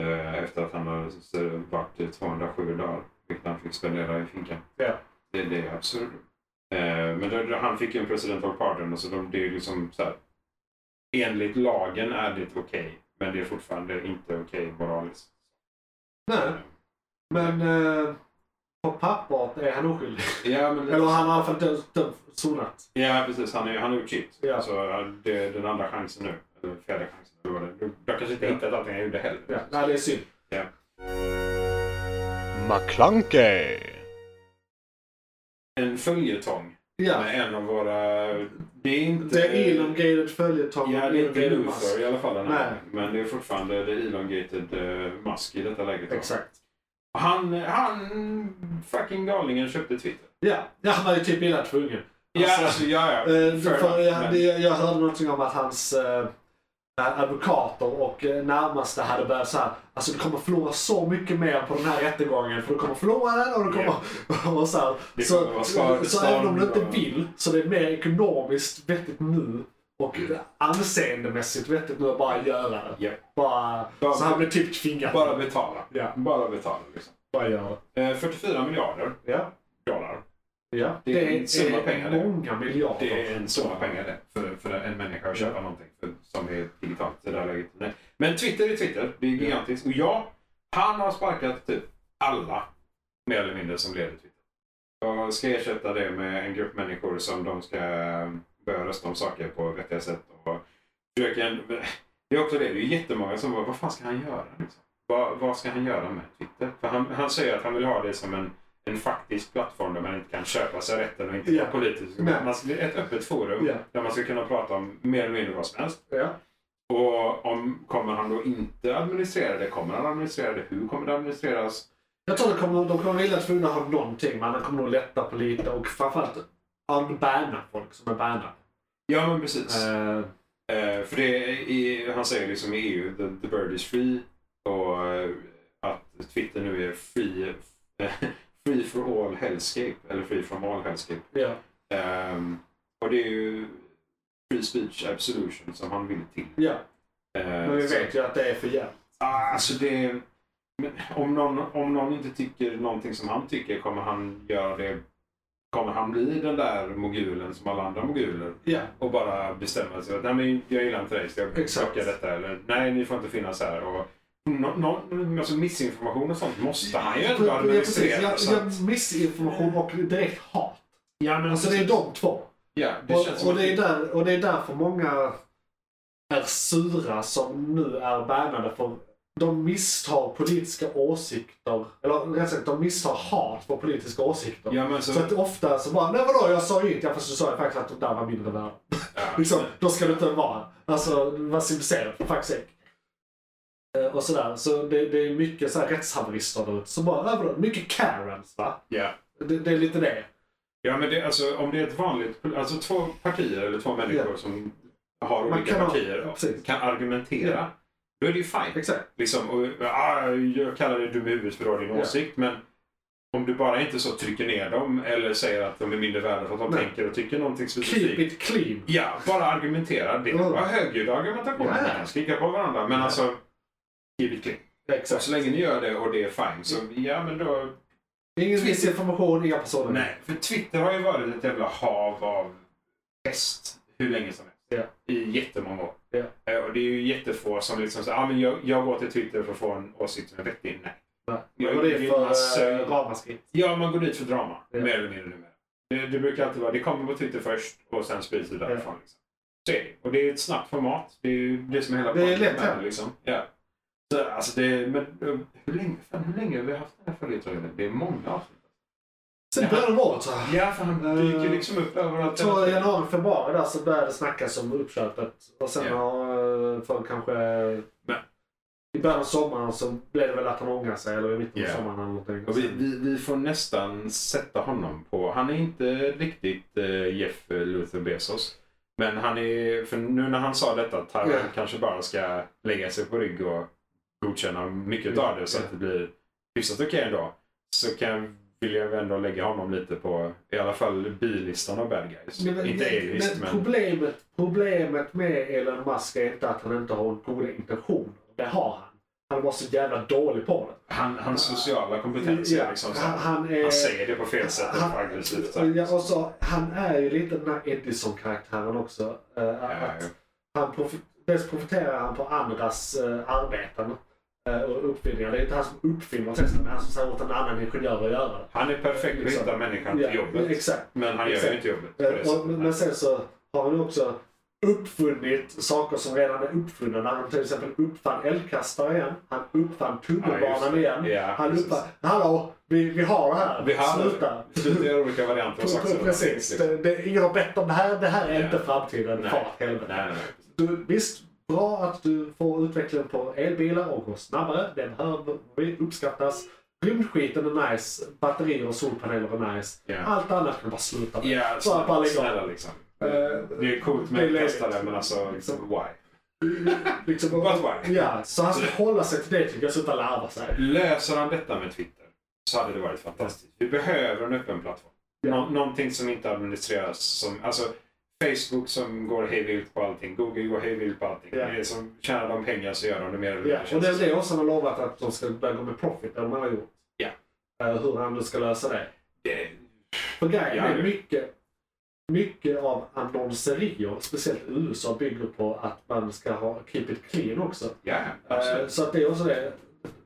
Speaker 4: eh, efter att han hade eh, varit i 207 dagar, vilket han fick spendera i finkan.
Speaker 3: Ja.
Speaker 4: Det, det är absurt. Eh, men då, han fick ju en presidential pardon, och så de, det är ju liksom så här, enligt lagen är det okej, men det är fortfarande inte okej moraliskt.
Speaker 3: Nej, men eh, på pappret är han oskyldig.
Speaker 4: Ja, men,
Speaker 3: Eller han har i alla fall dömt- dömt- sonat.
Speaker 4: ja precis. Han är- han har gjort sitt.
Speaker 3: Ja.
Speaker 4: Så det är den andra chansen nu. Eller fjärde chansen. Eller vad det är. Jag kanske inte
Speaker 3: Ja.
Speaker 4: hittat allting jag gjorde heller.
Speaker 3: Ja, nej, det är synd.
Speaker 2: McClunkey.
Speaker 4: En följetong
Speaker 3: Ja.
Speaker 4: Med en av våra... Det är inte...
Speaker 3: Det är elongated följetong.
Speaker 4: Ja, det är inte
Speaker 3: elongated mask.
Speaker 4: Luther i alla fall. Den här.
Speaker 3: Nej.
Speaker 4: Men det är fortfarande the elongated eh, mask i detta läget. då.
Speaker 3: Exakt.
Speaker 4: Han, han fucking galningen köpte Twitter.
Speaker 3: Ja, ja han var ju typ illa tvungen. Alltså,
Speaker 4: ja, alltså, ja, ja.
Speaker 3: Eh,
Speaker 4: Fair
Speaker 3: för
Speaker 4: enough,
Speaker 3: jag,
Speaker 4: men-
Speaker 3: det- jag hörde någonting om att hans eh, advokater och eh, närmaste hade börjat så här. Alltså du kommer förlora så mycket mer på den här rättegången. För du kommer förlora den och du kommer... Och så här.
Speaker 4: Det
Speaker 3: så
Speaker 4: kommer vara skad-
Speaker 3: så även om du inte
Speaker 4: skador.
Speaker 3: vill så det är mer ekonomiskt vettigt nu. Och anseendemässigt vettigt nu att bara göra det.
Speaker 4: Mm. Ja.
Speaker 3: Bara,
Speaker 4: Bara-
Speaker 3: så han blev typ tvingad.
Speaker 4: Bara betala.
Speaker 3: Ja.
Speaker 4: Bara betala liksom.
Speaker 3: bara göra det.
Speaker 4: Eh, 44 miljarder
Speaker 3: Ja.
Speaker 4: dollar.
Speaker 3: Ja.
Speaker 4: Det är en summa pengar, det.
Speaker 3: många miljarder.
Speaker 4: Det är en summa pengar det. För, för en människa att köpa någonting för, som är digitalt i det här läget. Nej. Men Twitter är Twitter. Det är gigantiskt. Och ja, han har sparkat typ alla mer eller mindre som leder Twitter. Jag ska ersätta det med en grupp människor som de ska börja rösta om saker på vettiga sätt. Och försöka, det är också det, det är jättemånga som bara, vad fan ska han göra? Liksom? Vad, vad ska han göra med Twitter? För han, han säger att han vill ha det som en, en faktisk plattform där man inte kan köpa sig rätten och inte
Speaker 3: Ja.
Speaker 4: vara politisk.
Speaker 3: Nej.
Speaker 4: Man ska, ett öppet forum
Speaker 3: Ja.
Speaker 4: där man ska kunna prata om mer eller mindre vad som helst.
Speaker 3: Ja.
Speaker 4: Och om, kommer han då inte administrera det? Kommer han administrera det? Hur kommer det administreras?
Speaker 3: Jag tror de kommer, de kommer vilja tvungna ha någonting, men de kommer nog lätta på lite och framförallt unbanna folk som är bannade.
Speaker 4: Ja, men precis.
Speaker 3: Eh,
Speaker 4: Eh, för det är i, han säger liksom i EU, the, the bird is free. Och eh, att Twitter nu är free, free for all hellscape. Eller free from all hellscape.
Speaker 3: ja.
Speaker 4: Ehm, och det är ju free speech absolution som han vill till.
Speaker 3: ja,
Speaker 4: Eh,
Speaker 3: men vi
Speaker 4: så-
Speaker 3: vet ju att det är för jävligt.
Speaker 4: Ah, Alltså det... men Om någon, om någon inte tycker någonting som han tycker kommer han göra det... Kommer han bli den där mogulen som alla andra moguler?
Speaker 3: Ja,
Speaker 4: och bara bestämma sig. att, Nej, men jag gillar inte dig så jag
Speaker 3: Exakt.
Speaker 4: plockar detta. Eller nej, ni får inte finnas här. Och, no, no, alltså missinformation och sånt måste han ju ändå
Speaker 3: Ja, precis.
Speaker 4: administrera.
Speaker 3: Ja,
Speaker 4: så
Speaker 3: ja,
Speaker 4: att-
Speaker 3: missinformation och direkt hat.
Speaker 4: Ja, men
Speaker 3: Alltså det är de två.
Speaker 4: Ja, det känns
Speaker 3: och,
Speaker 4: som
Speaker 3: och,
Speaker 4: att
Speaker 3: det är där, och det är därför många är sura som nu är bannade för de misstar politiska åsikter, eller rätt sagt de misstar hat för politiska åsikter.
Speaker 4: Ja, men så...
Speaker 3: Så att ofta så bara, nej vadå jag sa inget, ja fast du sa ju faktiskt att de där var mindre värda.
Speaker 4: ja.
Speaker 3: Liksom, då ska du inte vara. Alltså vad symboliserar för fuck's sake. Eh, Och sådär, så det, det är mycket så här rättshaverister där ute som bara, nej vadå, mycket karens va?
Speaker 4: ja.
Speaker 3: Det, det är lite det.
Speaker 4: ja, men det, alltså, om det är ett vanligt... Alltså två partier eller två människor som har
Speaker 3: Man
Speaker 4: olika
Speaker 3: kan ha-
Speaker 4: partier och
Speaker 3: precis.
Speaker 4: kan argumentera.
Speaker 3: Ja.
Speaker 4: Då är det ju fine.
Speaker 3: Exakt.
Speaker 4: Liksom, och, ah, jag kallar dig dum i huvudet för du har din
Speaker 3: Ja.
Speaker 4: åsikt, men om du bara inte så trycker ner dem eller säger att de är mindre värda för att de
Speaker 3: Nej.
Speaker 4: tänker och tycker någonting
Speaker 3: Keep
Speaker 4: specifikt.
Speaker 3: it clean.
Speaker 4: Ja, bara argumentera. Det
Speaker 3: Ja.
Speaker 4: kan vara högljudd argumentation.
Speaker 3: Ja.
Speaker 4: Man kan skrika på varandra, men
Speaker 3: Ja.
Speaker 4: alltså... Keep it clean. Så,
Speaker 3: Exakt.
Speaker 4: så länge ni gör det och det är fine, så ja men då...
Speaker 3: Ingen missinformation, inga personer.
Speaker 4: Nej, för Twitter har ju varit ett jävla hav av pest hur länge som helst. I jättemånga år.
Speaker 3: Ja.
Speaker 4: Eh, Och det är ju jättefå som liksom säger ah, men jag, jag går till Twitter för att få en åsikt som är vettig. Nej.
Speaker 3: Nej.
Speaker 4: Jag-
Speaker 3: Vad var det
Speaker 4: det är
Speaker 3: för
Speaker 4: massa-
Speaker 3: eh, ramaskri?
Speaker 4: Ja, man går dit för drama.
Speaker 3: Ja.
Speaker 4: Mer eller mindre numera. Det, det brukar alltid vara, det kommer på Twitter först och sen sprids det därifrån. Liksom. Så är det. Och det är ett snabbt format. Det är ju det som är hela
Speaker 3: Det är
Speaker 4: poängen
Speaker 3: lätt
Speaker 4: med
Speaker 3: hänt.
Speaker 4: det, liksom. Ja. Så, alltså det, men eh, hur länge, fan, hur länge har vi haft den här följetongen? Det är många avsnitt.
Speaker 3: Sen började de året så här.
Speaker 4: Ja, för han dyker
Speaker 3: Eh,
Speaker 4: liksom upp
Speaker 3: Jag
Speaker 4: överallt.
Speaker 3: tror i januari, februari där så började det snackas om uppköpet. Och sen
Speaker 4: Ja.
Speaker 3: har eh, folk kanske...
Speaker 4: Men-
Speaker 3: I början av sommaren så blev det väl att han ångrade sig. Eller i mitten
Speaker 4: Ja.
Speaker 3: av sommaren eller någonting.
Speaker 4: Och vi, vi, vi får nästan sätta honom på... Han är inte riktigt eh, Jeff Luther Bezos. Men han är... För nu när han sa detta att Taiwan
Speaker 3: Ja.
Speaker 4: kanske bara ska lägga sig på rygg och godkänna mycket
Speaker 3: Ja,
Speaker 4: av det så
Speaker 3: ja.
Speaker 4: att det blir hyfsat okej ändå. Så kan, vill jag ändå lägga honom lite på i alla fall bilistan av bad guys.
Speaker 3: Men- men-
Speaker 4: inte A-list
Speaker 3: men
Speaker 4: men...
Speaker 3: problemet, problemet med Elon Musk är inte att han inte har goda intentioner. Det har han. Han var så jävla dålig på det.
Speaker 4: Han, hans sociala kompetens är
Speaker 3: Ja,
Speaker 4: liksom så
Speaker 3: han,
Speaker 4: här,
Speaker 3: han, är,
Speaker 4: Han säger det på fel sätt och på
Speaker 3: han-
Speaker 4: aggressivt
Speaker 3: Ja,
Speaker 4: sätt.
Speaker 3: och så, han är ju lite den här Edison-karaktären också. Eh, att-
Speaker 4: Ja,
Speaker 3: han profi- dels profiterar han på andras eh, arbeten eh, och uppfinningar. Det är inte han som uppfinner testen, men han som säger åt en annan ingenjör att göra det.
Speaker 4: Han är perfekt på att hitta människan till
Speaker 3: Ja,
Speaker 4: jobbet.
Speaker 3: Exakt.
Speaker 4: Men han gör
Speaker 3: Exakt.
Speaker 4: ju inte jobbet på
Speaker 3: Eh,
Speaker 4: det
Speaker 3: och, men
Speaker 4: sättet.
Speaker 3: sen så har han ju också uppfunnit saker som redan är uppfunna. När han till exempel uppfann eldkastaren, han uppfann
Speaker 4: Ja, just
Speaker 3: tunnelbanan
Speaker 4: det.
Speaker 3: igen.
Speaker 4: Ja,
Speaker 3: han
Speaker 4: precis.
Speaker 3: uppfann, hallå, vi, vi har det här,
Speaker 4: Vi har
Speaker 3: sluta.
Speaker 4: Sluta göra olika varianter av saxen.
Speaker 3: Precis, det, det, ingen har bett om det här, det här är inte framtiden,
Speaker 4: liksom. Nej.
Speaker 3: far åt helvete.
Speaker 4: Nej, nej, nej.
Speaker 3: Du, visst, bra att du får utvecklingen på elbilar och går snabbare. Den hör vi uppskattas. Rymdskiten är nice. Batterier och solpaneler är nice.
Speaker 4: Ja.
Speaker 3: Allt annat kan bara sluta med.
Speaker 4: Ja,
Speaker 3: Bara på alla
Speaker 4: snälla,
Speaker 3: igång.
Speaker 4: snälla liksom.
Speaker 3: Eh,
Speaker 4: Det är coolt
Speaker 3: det är
Speaker 4: med
Speaker 3: löjligt.
Speaker 4: kastare men alltså,
Speaker 3: Liksom.
Speaker 4: why?
Speaker 3: Liksom,
Speaker 4: But why?
Speaker 3: ja, så han ska hålla sig till det tycker jag, sluta larva sig.
Speaker 4: Löser han detta med Twitter så hade det varit fantastiskt. Vi behöver en öppen plattform. Nå- någonting som inte administreras. Som, alltså, Facebook som går hejvilt på allting. Google går hejvilt på allting.
Speaker 3: Ja.
Speaker 4: Det är som, tjänar de pengar så gör de det mer eller
Speaker 3: Ja,
Speaker 4: mindre.
Speaker 3: och
Speaker 4: känns
Speaker 3: det är
Speaker 4: som.
Speaker 3: det också han har lovat att de ska börja gå med profit, det de har gjort.
Speaker 4: Ja.
Speaker 3: Eh, Hur han nu ska lösa det.
Speaker 4: Det-
Speaker 3: För grejen
Speaker 4: Ja.
Speaker 3: är mycket, mycket av annonserier, speciellt i USA, bygger på att man ska ha keep it clean också.
Speaker 4: Ja,
Speaker 3: Eh,
Speaker 4: absolut.
Speaker 3: Så att det är också det.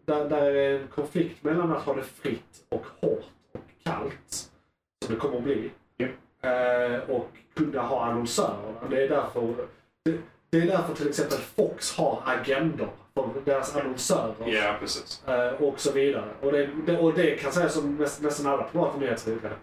Speaker 3: Där, där är en konflikt mellan att ha det fritt och hårt och kallt. Som det kommer att bli.
Speaker 4: Ja.
Speaker 3: Eh, Och kunna ha annonsörerna. Det är därför det, det är därför till exempel Fox har agendor för deras annonsörer
Speaker 4: Ja, precis.
Speaker 3: eh, och så vidare. Och det, det, och det kan sägas om nästan, nästan alla privata nyhetsredaktioner.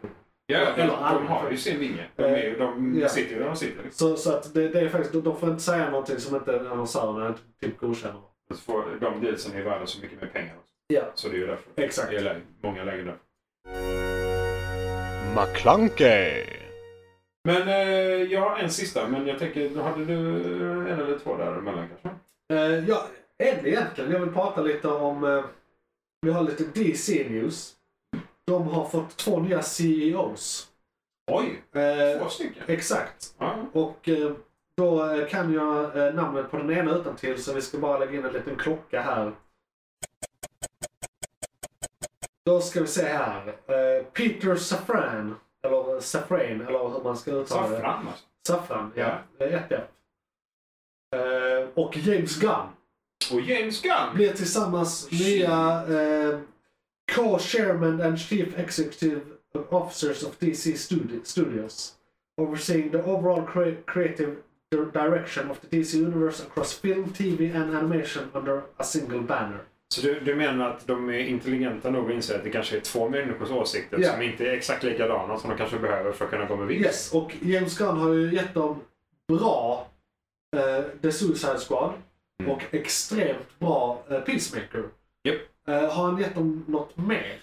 Speaker 4: Ja, de,
Speaker 3: Eller
Speaker 4: de
Speaker 3: alla.
Speaker 4: har ju Eh, sin vinge. De, är, ju- de
Speaker 3: Ja.
Speaker 4: sitter ju där de sitter. Liksom.
Speaker 3: Så, så att det, det är faktiskt, de, de får inte säga någonting som inte annonsörerna inte typ godkänner.
Speaker 4: Så får de dealsen är värda så mycket mer pengar. Också.
Speaker 3: Ja,
Speaker 4: Så det är ju därför.
Speaker 3: exakt.
Speaker 4: Det är läge, många lägen där.
Speaker 2: McClunkey!
Speaker 4: Men eh, jag har en sista, men jag tänker, hade du en eller två däremellan kanske?
Speaker 3: Eh, ja, en egentligen. Jag vill prata lite om... eh, vi har lite DC News. De har fått två nya CEOs.
Speaker 4: Oj,
Speaker 3: Eh,
Speaker 4: två stycken?
Speaker 3: exakt.
Speaker 4: Ja,
Speaker 3: Och eh, då eh, kan jag eh, namnet på den ena utan till så vi ska bara lägga in en liten klocka här. Då ska vi se här. Eh, Peter Safran. Eller Safran, eller hur man ska uttala det.
Speaker 4: saffran alltså.
Speaker 3: Safran, ja. Det är Ett F. Eh, och James Gunn.
Speaker 4: Och James Gunn!
Speaker 3: blir tillsammans nya eh, co-chairman and chief executive officers of DC Studi- Studios. Overseeing the overall cre- creative di- direction of the DC universe across film, TV and animation under a single banner.
Speaker 4: Så du, du menar att de är intelligenta nog att inse att det kanske är två människors åsikter
Speaker 3: Ja.
Speaker 4: som inte är exakt likadana som de kanske behöver för att kunna gå med vinst?
Speaker 3: Yes, och James Gunn har ju gett dem bra eh, The Suicide Squad
Speaker 4: Mm.
Speaker 3: och extremt bra eh, Peacemaker.
Speaker 4: Japp.
Speaker 3: Eh, har han gett dem något mer?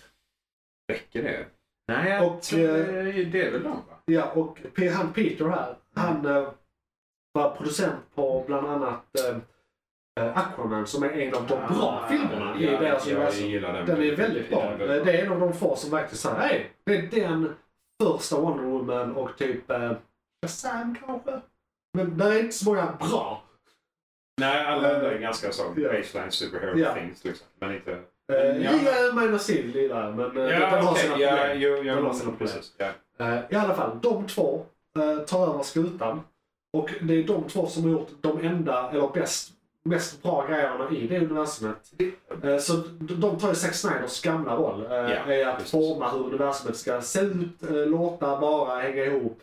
Speaker 4: Räcker det? Nej, jag
Speaker 3: Och,
Speaker 4: tror det, det är väl de va?
Speaker 3: Ja, och P- han Peter här, han eh, var producent på bland annat eh, eh, Aquaman som är en av de
Speaker 4: Ah,
Speaker 3: bra filmerna i deras universum.
Speaker 4: gillar den.
Speaker 3: Den är väldigt
Speaker 4: Jag
Speaker 3: bra.
Speaker 4: gillar den väldigt
Speaker 3: Eh, Det är en av de få som verkligen säger hej, det är den första Wonder Woman och typ eh, Shazam kanske. Men det är inte så många bra.
Speaker 4: Nej, alla andra är ganska så
Speaker 3: Ja.
Speaker 4: baseline superhero
Speaker 3: Ja.
Speaker 4: things liksom. Men inte...
Speaker 3: Eh,
Speaker 4: Ja.
Speaker 3: Gillar Man of Steel, gillar jag, men eh, den den har
Speaker 4: okej,
Speaker 3: sina problem.
Speaker 4: ja, jo, ja,
Speaker 3: Den har sina
Speaker 4: men precis. Ja.
Speaker 3: Eh, I alla fall, de två eh, tar över skutan. Och det är de två som har gjort de enda, eller bäst, mest bra grejerna i det universumet. Eh, så de de tar ju Zack Snyders gamla roll. Eh,
Speaker 4: Ja,
Speaker 3: är att
Speaker 4: precis.
Speaker 3: forma hur universumet ska se ut, eh, låta, vara, hänga ihop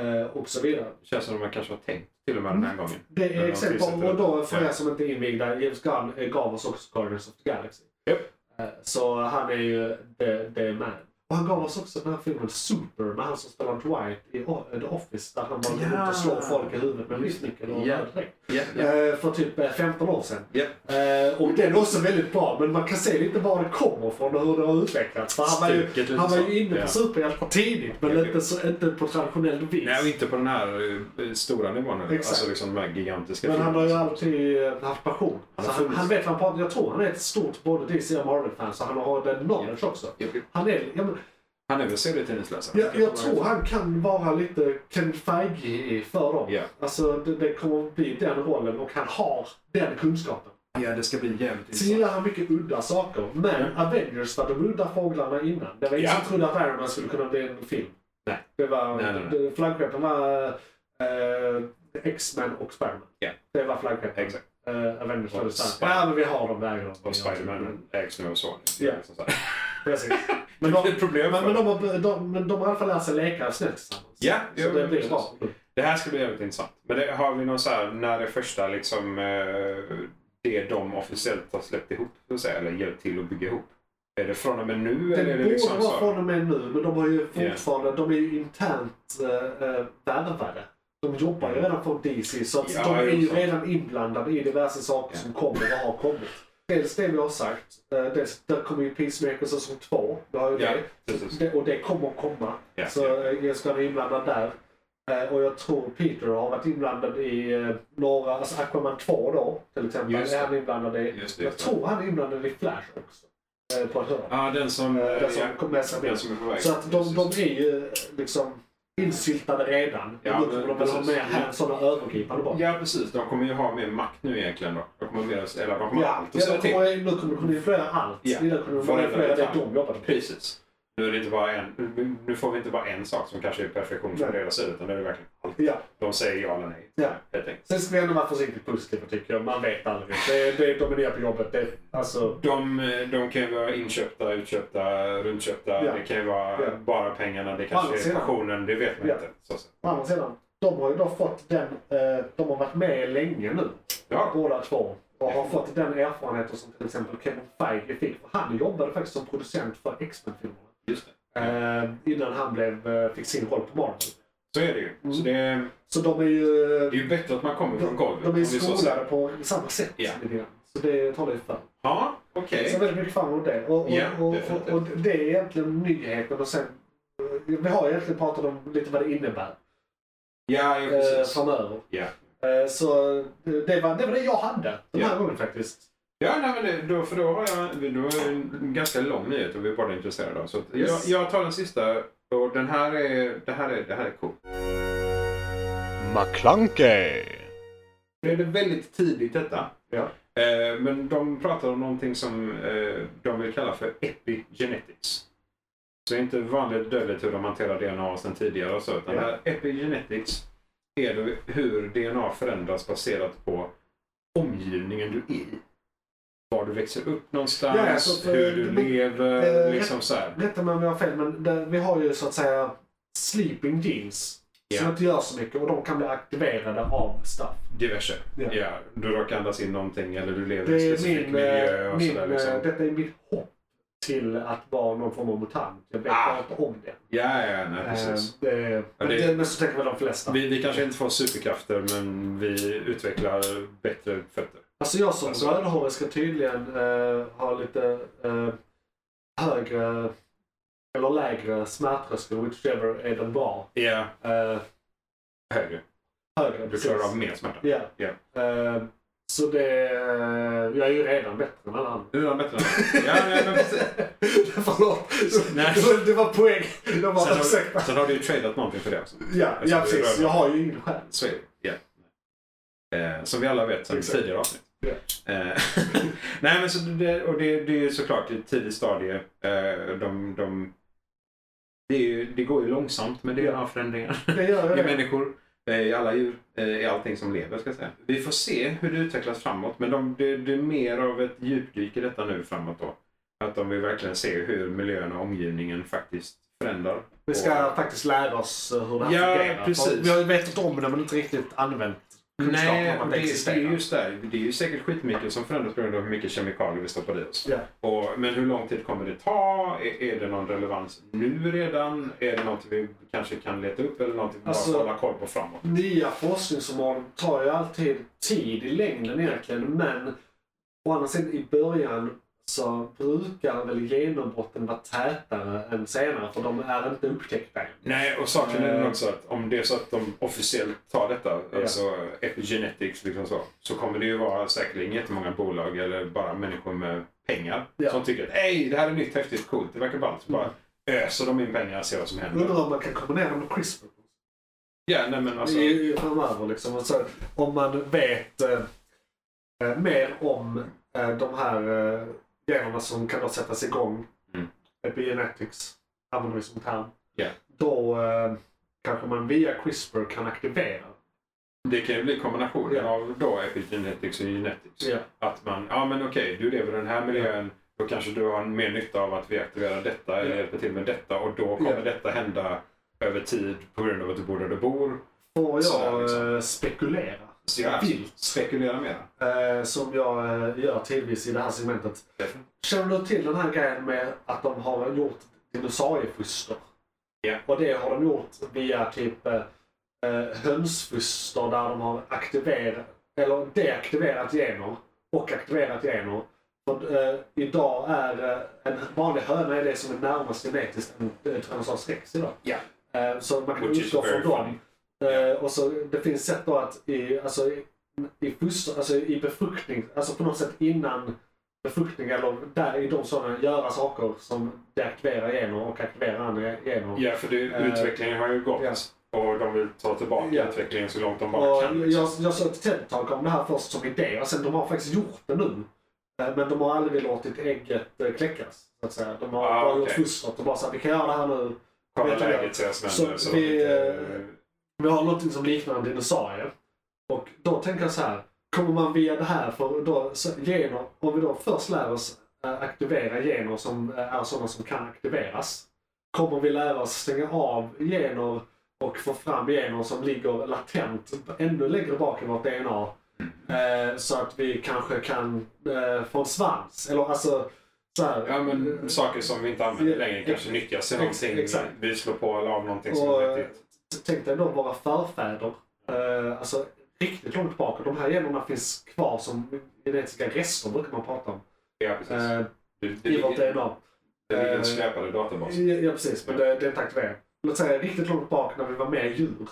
Speaker 3: eh, och så vidare.
Speaker 4: Det känns som att man kanske har tänkt till och med den här gången.
Speaker 3: Det är
Speaker 4: Men de
Speaker 3: exempel,
Speaker 4: tillsätter
Speaker 3: och då för
Speaker 4: det.
Speaker 3: er som inte är invigda, James Gunn eh, gav oss också Guardians of the Galaxy.
Speaker 4: Japp.
Speaker 3: Eh, Så han är ju the, the man. Och han gav oss också den här filmen Super med han som spelar Dwight i O- The Office där han var
Speaker 4: Ja.
Speaker 3: runt och slår folk i huvudet med en visnickel och en
Speaker 4: Ja.
Speaker 3: röd
Speaker 4: Ja, ja.
Speaker 3: Eh, För typ eh, 15 år sedan.
Speaker 4: Ja.
Speaker 3: Eh, Och den är också väldigt bra men man kan se lite var det kommer ifrån och hur det har utvecklats. För han var
Speaker 4: Stuket
Speaker 3: ju,
Speaker 4: lite
Speaker 3: han var
Speaker 4: så.
Speaker 3: ju inne
Speaker 4: Ja.
Speaker 3: på superhjältar tidigt men
Speaker 4: Ja, ja.
Speaker 3: inte, så, inte på traditionell vis.
Speaker 4: Nej, och inte på den här eh, stora nivån. eller?
Speaker 3: Exakt.
Speaker 4: Alltså liksom de här gigantiska
Speaker 3: Men han har ju
Speaker 4: filmerna.
Speaker 3: alltid eh, haft passion.
Speaker 4: Han
Speaker 3: Så
Speaker 4: har
Speaker 3: han,
Speaker 4: funnits.
Speaker 3: han vet vad han pratar Jag tror han är ett stort både DC och Marvel-fan, så han har den knowledge också.
Speaker 4: Japp, japp.
Speaker 3: Han är, jag, men,
Speaker 4: Han är väl serietidningsläsare?
Speaker 3: jag, jag tror han kan vara lite Ken Feige för dem.
Speaker 4: Ja.
Speaker 3: Alltså, det, det kommer att bli den rollen och han har den kunskapen.
Speaker 4: Ja, det ska bli jävligt
Speaker 3: Sen gillar han mycket udda saker, men Avengers var de udda fåglarna innan. Det var ingen
Speaker 4: Mm. Ja.
Speaker 3: som trodde att Iron Man skulle kunna bli en film.
Speaker 4: Nej.
Speaker 3: Det var,
Speaker 4: Nej, nej, nej.
Speaker 3: det- flaggskeppen var eh, X-Men och Spiderman.
Speaker 4: Ja.
Speaker 3: Det var flaggskeppen.
Speaker 4: Exakt.
Speaker 3: Uh, Avengers
Speaker 4: Och
Speaker 3: var det starkt.
Speaker 4: Spider-
Speaker 3: Ja, men vi har dem där.
Speaker 4: Och Spiderman ägs nu av Sony.
Speaker 3: Ja.
Speaker 4: Liksom så här.
Speaker 3: Precis. Men de,
Speaker 4: ett problem
Speaker 3: men,
Speaker 4: för
Speaker 3: men
Speaker 4: dem.
Speaker 3: de, har- de, men de har i alla fall lärt sig leka snällt tillsammans.
Speaker 4: Ja,
Speaker 3: Så
Speaker 4: jo,
Speaker 3: det blir
Speaker 4: precis.
Speaker 3: bra.
Speaker 4: Det här ska bli jävligt intressant. Men det, har vi någon så här, när det första liksom, eh, det de officiellt har släppt ihop, så att säga, eller hjälpt till att bygga ihop? Är det från och med nu?
Speaker 3: Det
Speaker 4: eller är det
Speaker 3: borde
Speaker 4: liksom
Speaker 3: vara
Speaker 4: så?
Speaker 3: från och med nu, men de har ju fortfarande, de är ju internt äh, värvade. De jobbar ju redan för DC, så att
Speaker 4: Mm. Ja,
Speaker 3: de är
Speaker 4: det är
Speaker 3: ju
Speaker 4: sant.
Speaker 3: redan inblandade i diverse saker som kommer och har kommit. Dels det vi har sagt, eh, dels, där kommer ju Peacemaker säsong två, vi har ju
Speaker 4: Ja,
Speaker 3: det.
Speaker 4: precis.
Speaker 3: det. Och det kommer komma.
Speaker 4: Ja,
Speaker 3: så
Speaker 4: ja.
Speaker 3: eh, Jens Gunn är inblandad där. Eh, Och jag tror Peter har varit inblandad i eh, några, alltså Aquaman 2 då till exempel.
Speaker 4: Just
Speaker 3: är
Speaker 4: det.
Speaker 3: han inblandad i.
Speaker 4: Just det,
Speaker 3: jag
Speaker 4: just det.
Speaker 3: tror han är inblandad i Flash också. eh, På ett hörn.
Speaker 4: Ja, den som,
Speaker 3: Eh, den som
Speaker 4: ja,
Speaker 3: kom med sig med.
Speaker 4: den som är på väg.
Speaker 3: Så att de, de
Speaker 4: Precis.
Speaker 3: är ju liksom insyltade redan.
Speaker 4: Ja,
Speaker 3: Ja, nu kommer de väl ha
Speaker 4: precis.
Speaker 3: med här sådana övergripande bara.
Speaker 4: Ja, precis. De kommer ju ha mer makt nu egentligen. Då. De kommer, mer, eller, de kommer ha
Speaker 3: Ja,
Speaker 4: allt att
Speaker 3: ja,
Speaker 4: säga
Speaker 3: de
Speaker 4: till.
Speaker 3: kommer, nu kommer de kunna influera allt.
Speaker 4: Ja.
Speaker 3: Innan kunde de bara
Speaker 4: Varenda
Speaker 3: influera det
Speaker 4: detalj.
Speaker 3: de jobbade med.
Speaker 4: Precis. Nu, är det inte bara en, nu- nu får vi inte bara en sak som kanske är perfektion från
Speaker 3: Nej.
Speaker 4: deras sida, utan nu är det verkligen allt.
Speaker 3: Ja.
Speaker 4: De säger ja eller nej.
Speaker 3: Ja.
Speaker 4: Helt enkelt.
Speaker 3: Sen ska vi ändå vara försiktigt positiva tycker jag. Man vet aldrig. Det, det, de är nya på jobbet. Det, alltså,
Speaker 4: De, de kan ju vara inköpta, utköpta, runtköpta.
Speaker 3: Ja.
Speaker 4: Det kan ju vara
Speaker 3: Ja.
Speaker 4: bara pengarna. Det
Speaker 3: Å andra
Speaker 4: kanske är
Speaker 3: sidan.
Speaker 4: passionen. Det vet man
Speaker 3: Ja.
Speaker 4: inte. Så, att säga.
Speaker 3: å andra sidan, de har ju då fått den... Eh, de har varit med länge nu.
Speaker 4: Ja.
Speaker 3: Båda två. Och har fått den erfarenheten som till exempel Kevin Feige fick. För Han jobbade faktiskt som producent för X-Men-filmerna.
Speaker 4: Just det.
Speaker 3: Eh, innan han blev, eh, fick sin roll på Marvel.
Speaker 4: Så är det ju. Så
Speaker 3: Mm.
Speaker 4: det, är-
Speaker 3: Så de är ju...
Speaker 4: det är ju bättre att man kommer från golvet.
Speaker 3: de, de är
Speaker 4: om vi så säger.
Speaker 3: skolade på samma sätt.
Speaker 4: Ja.
Speaker 3: lite grann. Så det talar ju för.
Speaker 4: Ja, okej.
Speaker 3: Så väldigt mycket fram emot det. Och, och,
Speaker 4: Ja,
Speaker 3: och, och,
Speaker 4: definitivt.
Speaker 3: och det är egentligen nyheten. Och sen, eh, vi har egentligen pratat om lite vad det innebär
Speaker 4: Ja, ja,
Speaker 3: eh,
Speaker 4: precis.
Speaker 3: framöver.
Speaker 4: Ja.
Speaker 3: Eh, så eh, det var, det var det jag hade den här
Speaker 4: Ja.
Speaker 3: gången faktiskt.
Speaker 4: Ja, nej, men det, då, för då har jag då är det en ganska lång nyhet och vi är båda intresserade av. Så att
Speaker 3: Yes.
Speaker 4: jag, jag tar den sista och den här är, det här är, det här är cool.
Speaker 2: McClunkey!
Speaker 4: Det är väldigt tidigt detta.
Speaker 3: Ja.
Speaker 4: Eh, men de pratar om någonting som eh, de vill kalla för epigenetics. Så det är inte vanligt dödligt hur de hanterar DNA sedan tidigare och så. Utan
Speaker 3: Ja.
Speaker 4: det här epigenetics är då hur DNA förändras baserat på omgivningen du är i. Var du växer upp någonstans,
Speaker 3: Ja, alltså, för-
Speaker 4: hur du
Speaker 3: men-
Speaker 4: lever,
Speaker 3: eh,
Speaker 4: liksom så här.
Speaker 3: Rätta mig om jag har fel, men det, vi har ju så att säga sleeping jeans. Som
Speaker 4: Ja.
Speaker 3: inte gör så mycket och de kan bli aktiverade av stuff.
Speaker 4: Diverse.
Speaker 3: Ja.
Speaker 4: Ja. Du råkar andas in någonting eller du lever i en
Speaker 3: Det är
Speaker 4: specifik
Speaker 3: min,
Speaker 4: miljö
Speaker 3: eh,
Speaker 4: och
Speaker 3: min,
Speaker 4: sådär. Liksom.
Speaker 3: eh, detta är mitt hopp till att vara någon form av mutant. Jag vet
Speaker 4: Ah.
Speaker 3: inte om det.
Speaker 4: Ja, ja, nej, precis.
Speaker 3: Eh, det, men,
Speaker 4: det-
Speaker 3: det, men så tänker väl de flesta.
Speaker 4: Vi, vi kanske inte får superkrafter, men vi utvecklar bättre fötter.
Speaker 3: Alltså jag som
Speaker 4: Alltså-
Speaker 3: rödhårig ska tydligen eh, ha lite eh, högre eller lägre smärttröskel, whichever är den bra.
Speaker 4: Ja,
Speaker 3: Eh,
Speaker 4: högre.
Speaker 3: högre,
Speaker 4: Du klarar av mer smärta.
Speaker 3: Ja.
Speaker 4: Ja.
Speaker 3: Eh, så det... jag är ju redan bättre än alla andra.
Speaker 4: Du är bättre än alla. Ja, nej, men precis.
Speaker 3: Förlåt.
Speaker 4: Nej.
Speaker 3: Det var- Det var poäng. Jag
Speaker 4: Sen
Speaker 3: bara, ursäkta.
Speaker 4: har, sen har du ju tradat någonting för det också.
Speaker 3: Ja, ja
Speaker 4: Alltså, det är
Speaker 3: precis. Jag
Speaker 4: röda.
Speaker 3: har ju ingen själ.
Speaker 4: Så är det. Ja. Eh, som vi alla vet sen
Speaker 3: Exakt.
Speaker 4: tidigare avsnitt. Eh, nej, men så det, och det, det är ju såklart ett tidigt stadie. Eh, de, de, det, är ju, det går ju långsamt med DNA-förändringar.
Speaker 3: Det gör jag
Speaker 4: I
Speaker 3: det.
Speaker 4: människor, eh, i alla djur, eh, i allting som lever ska jag säga. Vi får se hur det utvecklas framåt men de, det, det är mer av ett djupdyk i detta nu framåt då. Att de vill verkligen se hur miljön och omgivningen faktiskt förändrar.
Speaker 3: Vi ska alltså faktiskt lära oss hur det här
Speaker 4: Ja,
Speaker 3: fungerar.
Speaker 4: precis.
Speaker 3: Vi har ju vetat om det men inte riktigt använt kunskapen
Speaker 4: Nej,
Speaker 3: om att
Speaker 4: det,
Speaker 3: det
Speaker 4: det är
Speaker 3: existerar.
Speaker 4: just det. Det är ju säkert skitmycket som förändras på grund av hur mycket kemikalier vi stoppar i oss.
Speaker 3: Ja.
Speaker 4: Och, men hur lång tid kommer det ta? Är, är det någon relevans nu redan? Är det något vi kanske kan leta upp eller något vi bara
Speaker 3: Alltså-
Speaker 4: hålla koll på framåt?
Speaker 3: Nya forskningsområden tar ju alltid tid i längden egentligen men å andra sidan i början så brukar väl genombrotten vara tätare än senare för de är inte upptäckta än.
Speaker 4: Nej, och saken är
Speaker 3: Eh.
Speaker 4: nog också att om det är så att de officiellt tar detta,
Speaker 3: Ja.
Speaker 4: alltså epigenetics, liksom så, så kommer det ju vara säkerligen jättemånga bolag eller bara människor med pengar
Speaker 3: Ja.
Speaker 4: som tycker att "Ey, det här är nytt, häftigt, coolt, det verkar ballt. Så bara
Speaker 3: Mm.
Speaker 4: öser de in pengar och ser vad som händer.
Speaker 3: Undrar om man kan kombinera dem med CRISPR.
Speaker 4: Ja, nej men alltså.
Speaker 3: Det är ju framöver liksom. Och så, om man vet eh, eh, mer om eh, de här eh, generna som kan då sättas igång,
Speaker 4: Mm.
Speaker 3: epigenetics använder vi som term,
Speaker 4: Ja.
Speaker 3: då eh, kanske man via CRISPR kan aktivera.
Speaker 4: Det kan ju bli kombinationer
Speaker 3: Ja.
Speaker 4: av då epigenetics och genetics. Att man, ja men okej, du lever i den här miljön, Då kanske du har mer nytta av att vi aktiverar detta eller
Speaker 3: Ja.
Speaker 4: hjälper till med detta och då kommer
Speaker 3: Ja.
Speaker 4: detta hända över tid på grund av att du bor där du bor.
Speaker 3: Får
Speaker 4: Sådär,
Speaker 3: jag
Speaker 4: liksom.
Speaker 3: eh, spekulera?
Speaker 4: Så jag
Speaker 3: Vilt.
Speaker 4: spekulera mer.
Speaker 3: Eh, som jag eh, gör tidvis i det här segmentet. Känner du till den här grejen med att de har gjort dinosauriefoster?
Speaker 4: Ja.
Speaker 3: Och det har de gjort via typ eh, eh, hönsfoster där de har aktiverat, eller deaktiverat gener och aktiverat gener. För, eh, idag är eh, en vanlig höna är det som är närmast genetiskt en eh, transas rex idag.
Speaker 4: Ja.
Speaker 3: Eh, så man kan
Speaker 4: Which is
Speaker 3: utgå
Speaker 4: very
Speaker 3: från dem.
Speaker 4: funny.
Speaker 3: Eh, och så, det finns sätt då att i, alltså, i, i, foster, alltså, i befruktning, alltså på något sätt innan befruktning eller där i de sådana göra saker som deaktiverar gener och aktiverar andra gener.
Speaker 4: Ja, för det,
Speaker 3: Eh,
Speaker 4: utvecklingen har ju gått
Speaker 3: ja.
Speaker 4: och de vill ta tillbaka
Speaker 3: Ja.
Speaker 4: utvecklingen så långt de bara
Speaker 3: Och
Speaker 4: kan. liksom.
Speaker 3: jag, jag såg ett TED-talk om det här först som idé och sen de har faktiskt gjort det nu. Eh, Men de har aldrig låtit ägget eh, kläckas. Så att säga. De har
Speaker 4: Ah,
Speaker 3: bara
Speaker 4: okej.
Speaker 3: gjort fostret och bara sagt vi kan göra det här nu.
Speaker 4: Kolla
Speaker 3: vet jag
Speaker 4: läget, se vad
Speaker 3: Så
Speaker 4: som händer. Så
Speaker 3: vi,
Speaker 4: vi,
Speaker 3: eh, Vi har något som liknar en dinosaurie. Och då tänker jag så här. Kommer man via det här för då, så, gener, om vi då först lär oss eh, aktivera gener som eh, är sådana som kan aktiveras. Kommer vi lära oss stänga av gener och få fram gener som ligger latent ännu längre bak i vårt DNA. Eh, så att vi kanske kan eh, få en svans. Eller alltså så här,
Speaker 4: ja, men, saker som vi inte använder
Speaker 3: eh, Ja,
Speaker 4: längre kanske nyttjas i
Speaker 3: ex-
Speaker 4: någonting.
Speaker 3: exakt.
Speaker 4: Vi slår på eller av någonting som
Speaker 3: Och,
Speaker 4: är nyttigt.
Speaker 3: tänk dig då våra förfäder. Eh, alltså riktigt långt tillbaka. De här generna finns kvar som genetiska rester brukar man prata om.
Speaker 4: Ja, precis.
Speaker 3: Eh,
Speaker 4: det, det,
Speaker 3: I vårt
Speaker 4: ligger-
Speaker 3: DNA.
Speaker 4: det ligger
Speaker 3: eh,
Speaker 4: en skräpare databas.
Speaker 3: Ja, ja precis, men det, det är inte aktiverat. Låt säga riktigt långt bak när vi var mer djur.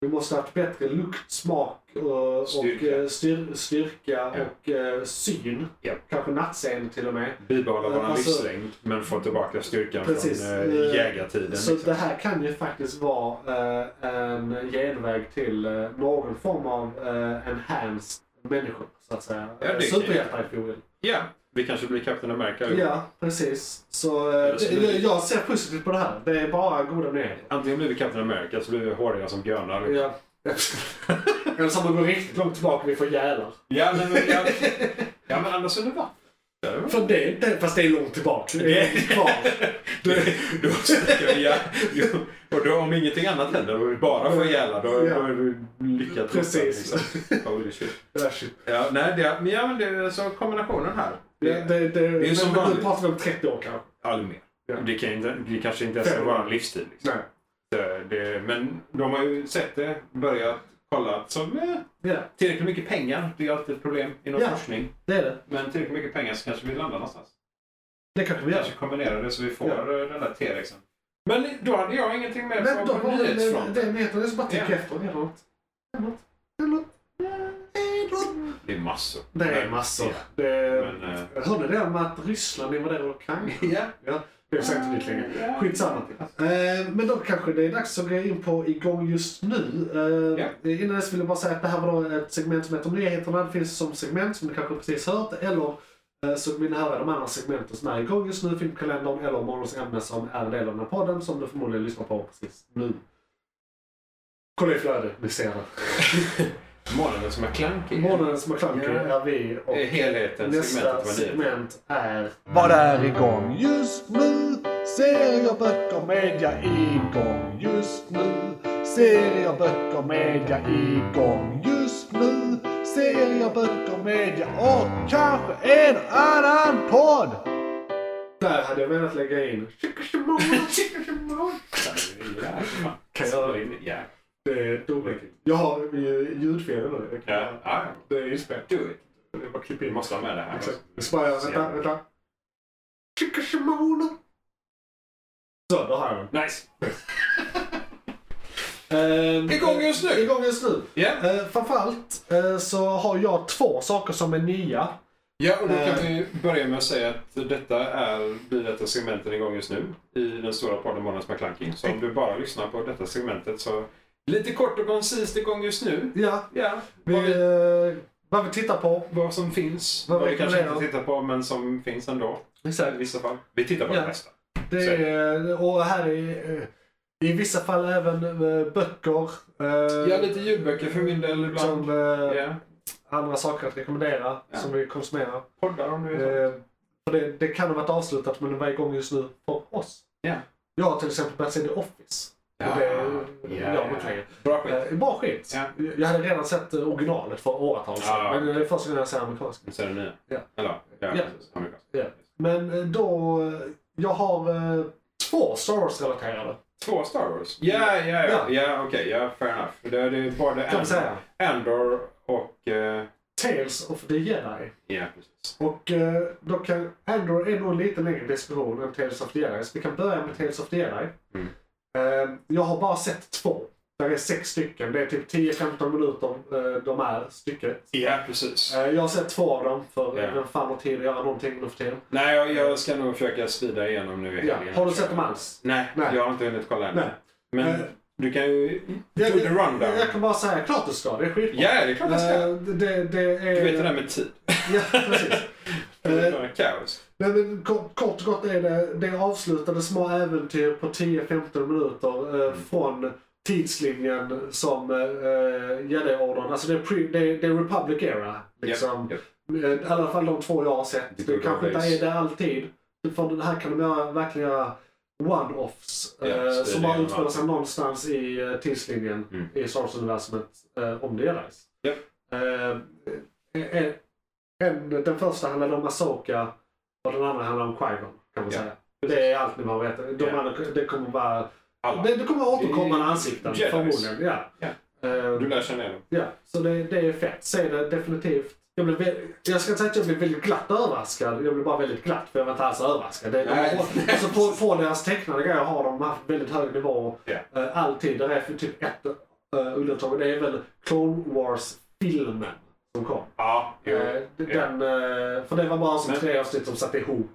Speaker 3: Vi måste ha haft bättre lukt, smak eh, och,
Speaker 4: Styrka.
Speaker 3: eh, styr, styrka
Speaker 4: Ja.
Speaker 3: och eh, syn.
Speaker 4: Ja.
Speaker 3: Kanske nattseende till och med.
Speaker 4: Bibehålla vår
Speaker 3: alltså-
Speaker 4: livslängd men få tillbaka styrkan
Speaker 3: Precis.
Speaker 4: från
Speaker 3: Eh,
Speaker 4: eh, jägartiden.
Speaker 3: Så
Speaker 4: liksom.
Speaker 3: det här kan ju faktiskt vara eh, en genväg till eh, någon form av eh, enhanced människor, så att säga.
Speaker 4: Ja, det är-
Speaker 3: Superhjältar i fjol.
Speaker 4: Ja, vi kanske blir Captain America. allihop.
Speaker 3: Ja, precis. Så eh,
Speaker 4: Eller så
Speaker 3: det,
Speaker 4: blir-
Speaker 3: jag ser positivt på det här. Det är bara goda nyheter.
Speaker 4: Antingen blir vi Captain America så blir vi håriga som björnar.
Speaker 3: Ja. Eller så om man går riktigt långt tillbaka vi får jälar.
Speaker 4: Ja, nej, men, ja, ja, men annars är det vatten. Ja, det var-
Speaker 3: För det, det, fast det är långt tillbaka. Det är kvar.
Speaker 4: Du- då snackar vi, ja, jo, och då om ingenting annat händer och vi bara får ihjäl då,
Speaker 3: Ja.
Speaker 4: då är vi lyckat
Speaker 3: Precis.
Speaker 4: Liksom. Holy shit.
Speaker 3: Det är shit.
Speaker 4: Ja, nej, det, men ja, men det, så kombinationen här.
Speaker 3: Det, det, det,
Speaker 4: ju
Speaker 3: men-
Speaker 4: som
Speaker 3: men Nu
Speaker 4: vanligt.
Speaker 3: pratar vi om 30 år kanske.
Speaker 4: All mer.
Speaker 3: Ja.
Speaker 4: Det, kan inte, det kanske inte ens är vår livstid. Liksom.
Speaker 3: Nej.
Speaker 4: Det, det, men de har ju sett det, börjat, kollat. Så, eh,
Speaker 3: Ja,
Speaker 4: tillräckligt mycket pengar, det är alltid ett problem inom
Speaker 3: Ja.
Speaker 4: forskning.
Speaker 3: det är det.
Speaker 4: Men tillräckligt mycket pengar så kanske vi landar någonstans.
Speaker 3: Det kanske vi
Speaker 4: Vi
Speaker 3: gör.
Speaker 4: kanske kombinerar det så vi får
Speaker 3: Ja.
Speaker 4: eh, den där T-rexen. Men då hade jag ingenting mer
Speaker 3: Men då
Speaker 4: på, på
Speaker 3: var det,
Speaker 4: nyhetsfronten.
Speaker 3: det heter det som bara tänker
Speaker 4: Ja.
Speaker 3: efter. Det är något. Det är något. Det är något. Det är något.
Speaker 4: Det är massor.
Speaker 3: Det är
Speaker 4: Men-
Speaker 3: massor.
Speaker 4: Ja.
Speaker 3: Det
Speaker 4: Men, eh,
Speaker 3: är... Hörde du det om att Ryssland invaderar Ukraina? Det är säkert inte längre.
Speaker 4: Ja.
Speaker 3: Skitsamma. Eh, men då kanske det är dags att gå in på igång just nu. Eh, Innan dess vill jag bara säga att det här var då ett segment som heter Nyheterna. Det finns som segment som ni kanske precis hört. Eller eh, så vill ni höra de andra segmenten som är igång just nu. Filmkalendern eller morgonens ämne som är en del av den här podden som du förmodligen lyssnar på precis nu. Kolla i flödet, ni ser det.
Speaker 4: Månaden som är klankig.
Speaker 3: Månadens McClunky är vi och
Speaker 4: Det är helheten,
Speaker 3: nästa
Speaker 4: segmentet var nyheter.
Speaker 3: segment är
Speaker 5: Vad är igång just nu? Serier, böcker, media igång just nu. Serier, böcker, media igång just nu. Serier, böcker, media och kanske en annan podd.
Speaker 3: Där hade jag velat lägga in
Speaker 4: Ja, fan.
Speaker 3: Kan jag-
Speaker 4: Ja.
Speaker 3: Det är dåligt. Jag har ju ljudfelen nu. Jag kan-
Speaker 4: Ja. Ja.
Speaker 3: Det är inspelat.
Speaker 4: Do it.
Speaker 3: Det är bara att klippa
Speaker 4: Vi
Speaker 3: in.
Speaker 4: måste ha med det här.
Speaker 3: Exakt. Så bara, vänta, vänta. Chicka Shimona. Så, då har jag den.
Speaker 4: Nice.
Speaker 3: Ehm,
Speaker 4: Igång just nu.
Speaker 3: Igång just nu.
Speaker 4: Ja.
Speaker 3: Eh, framförallt eh, så har jag två saker som är nya.
Speaker 4: ja, och då
Speaker 3: Eh.
Speaker 4: kan vi börja med att säga att detta är, blir detta segmenten igång just nu i den stora podden Månadens McKlunky. Så om du bara lyssnar på detta segmentet så lite kort och koncist igång just nu.
Speaker 3: Ja,
Speaker 4: Ja,
Speaker 3: vi,
Speaker 4: vad, vi,
Speaker 3: eh, vad vi tittar på.
Speaker 4: vad som finns.
Speaker 3: Vad
Speaker 4: Vad, vi kanske
Speaker 3: rekommenderar.
Speaker 4: inte tittar på men som finns ändå. I vissa fall. Vi tittar på
Speaker 3: Ja.
Speaker 4: det mesta.
Speaker 3: Det är, och här är eh, i vissa fall även eh, böcker. eh,
Speaker 4: Ja, lite ljudböcker för min del ibland.
Speaker 3: Som eh,
Speaker 4: Ja.
Speaker 3: andra saker att rekommendera
Speaker 4: Ja.
Speaker 3: som vi konsumerar.
Speaker 4: Poddar om du vill.
Speaker 3: Eh, För det, det kan ha varit avslutat men det var igång just nu för oss.
Speaker 4: Ja.
Speaker 3: Jag har till exempel börjat se The Office.
Speaker 4: Ja.
Speaker 3: Och det,
Speaker 4: Ja.
Speaker 3: jag har gått längre.
Speaker 4: Bra skit.
Speaker 3: Eh, Bra skit.
Speaker 4: Ja.
Speaker 3: Jag hade redan sett eh, originalet för åratal sedan.
Speaker 4: Ja.
Speaker 3: Men det är första gången jag ser amerikansk.
Speaker 4: Nu ser du nya.
Speaker 3: Ja.
Speaker 4: Eller, ja,
Speaker 3: Ja.
Speaker 4: precis. Amerikansk.
Speaker 3: Ja. Men eh, då, eh, jag har eh, två Star Wars-relaterade.
Speaker 4: Två Star Wars? Ja, ja, ja. Ja, okej. Ja, fair enough. Det, det är både
Speaker 3: Kan man
Speaker 4: Andor,
Speaker 3: säga.
Speaker 4: Andor och... eh,
Speaker 3: Tales of the Jedi.
Speaker 4: Ja, precis.
Speaker 3: Och eh, då kan Andor är nog en lite längre diskussion än Tales of the Jedi. Så vi kan börja med Tales of the Jedi.
Speaker 4: Mm.
Speaker 3: Eh, jag har bara sett två. Där är sex stycken. Det är typ 10-15 minuter eh, de är stycket.
Speaker 4: Ja, precis.
Speaker 3: Eh, jag har sett två av dem för
Speaker 4: Ja.
Speaker 3: vem fan har tid att göra någonting nu för tiden.
Speaker 4: Nej, jag, jag ska nog försöka speeda igenom nu i
Speaker 3: Ja.
Speaker 4: helgen.
Speaker 3: Har du sett dem alls?
Speaker 4: Nej,
Speaker 3: Nej.
Speaker 4: jag har inte hunnit kolla än.
Speaker 3: Nej.
Speaker 4: Men
Speaker 3: Eh,
Speaker 4: du kan ju... Do
Speaker 3: Jag,
Speaker 4: the rundown.
Speaker 3: jag, jag kan bara säga klart du ska. Det är skitbra.
Speaker 4: Ja, det är klart jag ska.
Speaker 3: Eh, det, det är...
Speaker 4: Du vet det där med tid.
Speaker 3: Ja, precis.
Speaker 4: Det är
Speaker 3: Eh,
Speaker 4: bara kaos.
Speaker 3: Nej, men kort, kort och gott är det, det är avslutade små äventyr på 10-15 minuter eh, från tidslinjen som eh, Jedi-ordern, alltså det är, pre, det, är, det är Republic Era. Liksom.
Speaker 4: Japp,
Speaker 3: Eh, I alla fall de två jag har sett.
Speaker 4: The
Speaker 3: Det
Speaker 4: good
Speaker 3: kanske
Speaker 4: old
Speaker 3: inte
Speaker 4: days.
Speaker 3: är det alltid. För det här kan de göra, verkligen göra one-offs eh,
Speaker 4: Ja, så det
Speaker 3: som
Speaker 4: är
Speaker 3: bara
Speaker 4: det.
Speaker 3: utspelar sig någonstans i eh, tidslinjen
Speaker 4: Mm.
Speaker 3: i Star Wars-universumet eh, om det Jedis.
Speaker 4: Japp.
Speaker 3: Eh, en, en, den första handlade om Asoka och den andra handlar om Qui-Gon kan man
Speaker 4: Ja,
Speaker 3: säga. Det är allt ni behöver veta. De
Speaker 4: Ja.
Speaker 3: andra, det kommer vara...
Speaker 4: Alla.
Speaker 3: Det, det kommer återkommande
Speaker 4: Det är
Speaker 3: ansikten
Speaker 4: Jedis.
Speaker 3: förmodligen. Ja.
Speaker 4: Ja.
Speaker 3: Eh,
Speaker 4: Du lär känna igen dem.
Speaker 3: Ja, så det, det är fett. Se det definitivt. Jag, blev, vä- jag ska inte säga att jag blev väldigt glatt överraskad. Jag blev bara väldigt glatt för jag var inte alls överraskad. Det, de
Speaker 4: Nej.
Speaker 3: har, alltså på, på deras tecknade grejer har de haft väldigt hög nivå
Speaker 4: Ja.
Speaker 3: eh, alltid. Det är för typ ett uh, undantag och det är väl Clone Wars-filmen som kom.
Speaker 4: Ja, jo.
Speaker 3: Eh, d-
Speaker 4: Ja.
Speaker 3: den, eh, för det var bara som
Speaker 4: Men-
Speaker 3: tre avsnitt som satt ihop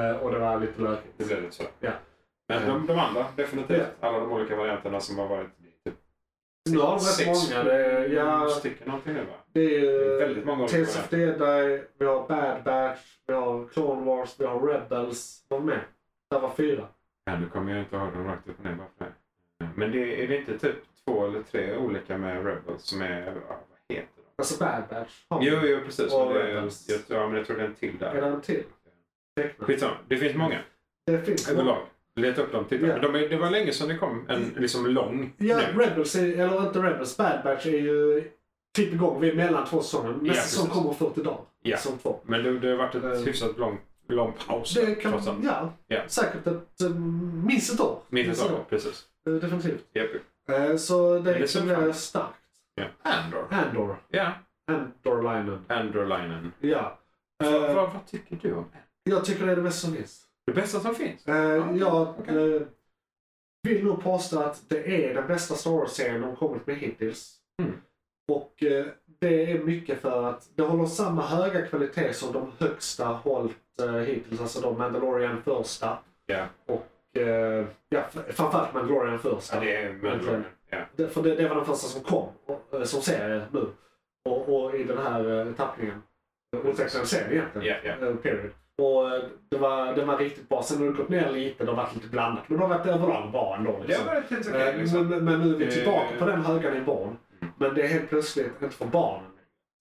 Speaker 3: eh, och det var lite lökigt.
Speaker 4: Det blev lite så.
Speaker 3: Ja.
Speaker 4: Men de, de andra, definitivt. Alla de olika varianterna som har varit. Typ
Speaker 3: Nu har de rätt
Speaker 4: sex, Mm.
Speaker 3: många. Det är, ja,
Speaker 4: sju stycken någonting nu va?
Speaker 3: det är
Speaker 4: Det
Speaker 3: ju...
Speaker 4: är väldigt många olika
Speaker 3: Tales of
Speaker 4: varianter.
Speaker 3: the Jedi, vi har Bad Batch, vi har Clone Wars, vi har Rebels. Vad var med? Det var fyra.
Speaker 4: Ja, nu kommer jag inte ihåg dem rakt upp och ner bara för det. Men det, är det inte typ två eller tre olika med Rebels som är... ja, Vad heter de?
Speaker 3: Alltså Bad Batch. har vi.
Speaker 4: Jo, jo precis.
Speaker 3: Och
Speaker 4: Men det, jag,
Speaker 3: Rebels.
Speaker 4: ja, men jag tror det är en till
Speaker 3: Är det
Speaker 4: där.
Speaker 3: en till? Tecknad.
Speaker 4: Skitsamma. Det finns många.
Speaker 3: Det finns
Speaker 4: Överlag. Leta upp dem. Titta.
Speaker 3: Ja. Mm.
Speaker 4: De är, det var länge sedan det kom en liksom lång
Speaker 3: Ja,
Speaker 4: nu.
Speaker 3: Rebels, är, eller inte Rebels, Bad Batch är ju typ igång. Vi är mellan två säsonger. Nästa
Speaker 4: Ja, precis.
Speaker 3: säsong kommer 40 dagar.
Speaker 4: Ja.
Speaker 3: Säsong två.
Speaker 4: Men det, det har varit
Speaker 3: Eh.
Speaker 4: ett hyfsat lång, lång paus.
Speaker 3: Det kan,
Speaker 4: trots allt.
Speaker 3: ja,
Speaker 4: Ja.
Speaker 3: säkert ett, eh, minst ett år.
Speaker 4: Mitt i
Speaker 3: Minst ett
Speaker 4: taget, precis.
Speaker 3: år, eh, Definitivt.
Speaker 4: Japp.
Speaker 3: Eh, Så det,
Speaker 4: det
Speaker 3: det
Speaker 4: ser
Speaker 3: kan
Speaker 4: fram-
Speaker 3: bli starkt.
Speaker 4: Ja. Andor.
Speaker 3: Andor.
Speaker 4: Ja,
Speaker 3: Andor-linen.
Speaker 4: Andor-linen.
Speaker 3: Ja.
Speaker 4: Vad-
Speaker 3: Eh,
Speaker 4: vad, vad tycker du om Andor?
Speaker 3: Jag tycker det är det bästa som finns.
Speaker 4: Det bästa som finns?
Speaker 3: Eh, jag
Speaker 4: okej.
Speaker 3: eh, vill nog påstå att det är den bästa Star Wars-serien de kommit med hittills.
Speaker 4: Mm.
Speaker 3: Och eh, det är mycket för att det håller samma höga kvalitet som de högsta hållit eh, hittills. Alltså de Mandalorian första.
Speaker 4: Ja.
Speaker 3: Och eh, ja, f- framförallt Mandalorian första.
Speaker 4: Ja, det är Mandalorian. Ja.
Speaker 3: Det, för det, det var den första som kom och, eh, som serie nu. Och, och i den här eh, tappningen. Otecknad serie egentligen.
Speaker 4: Ja, ja.
Speaker 3: Eh, Period. Och eh, det var, det var riktigt bra. Sen har det gått ner lite. Det har varit lite blandat. Men det har varit överlag bra ändå.
Speaker 4: Det har
Speaker 3: Liksom.
Speaker 4: varit helt
Speaker 3: Eh,
Speaker 4: okej. Liksom.
Speaker 3: men, men nu är vi
Speaker 4: Eh,
Speaker 3: tillbaka på den höga nivån.
Speaker 4: Mm.
Speaker 3: Men det är helt plötsligt inte för barnen.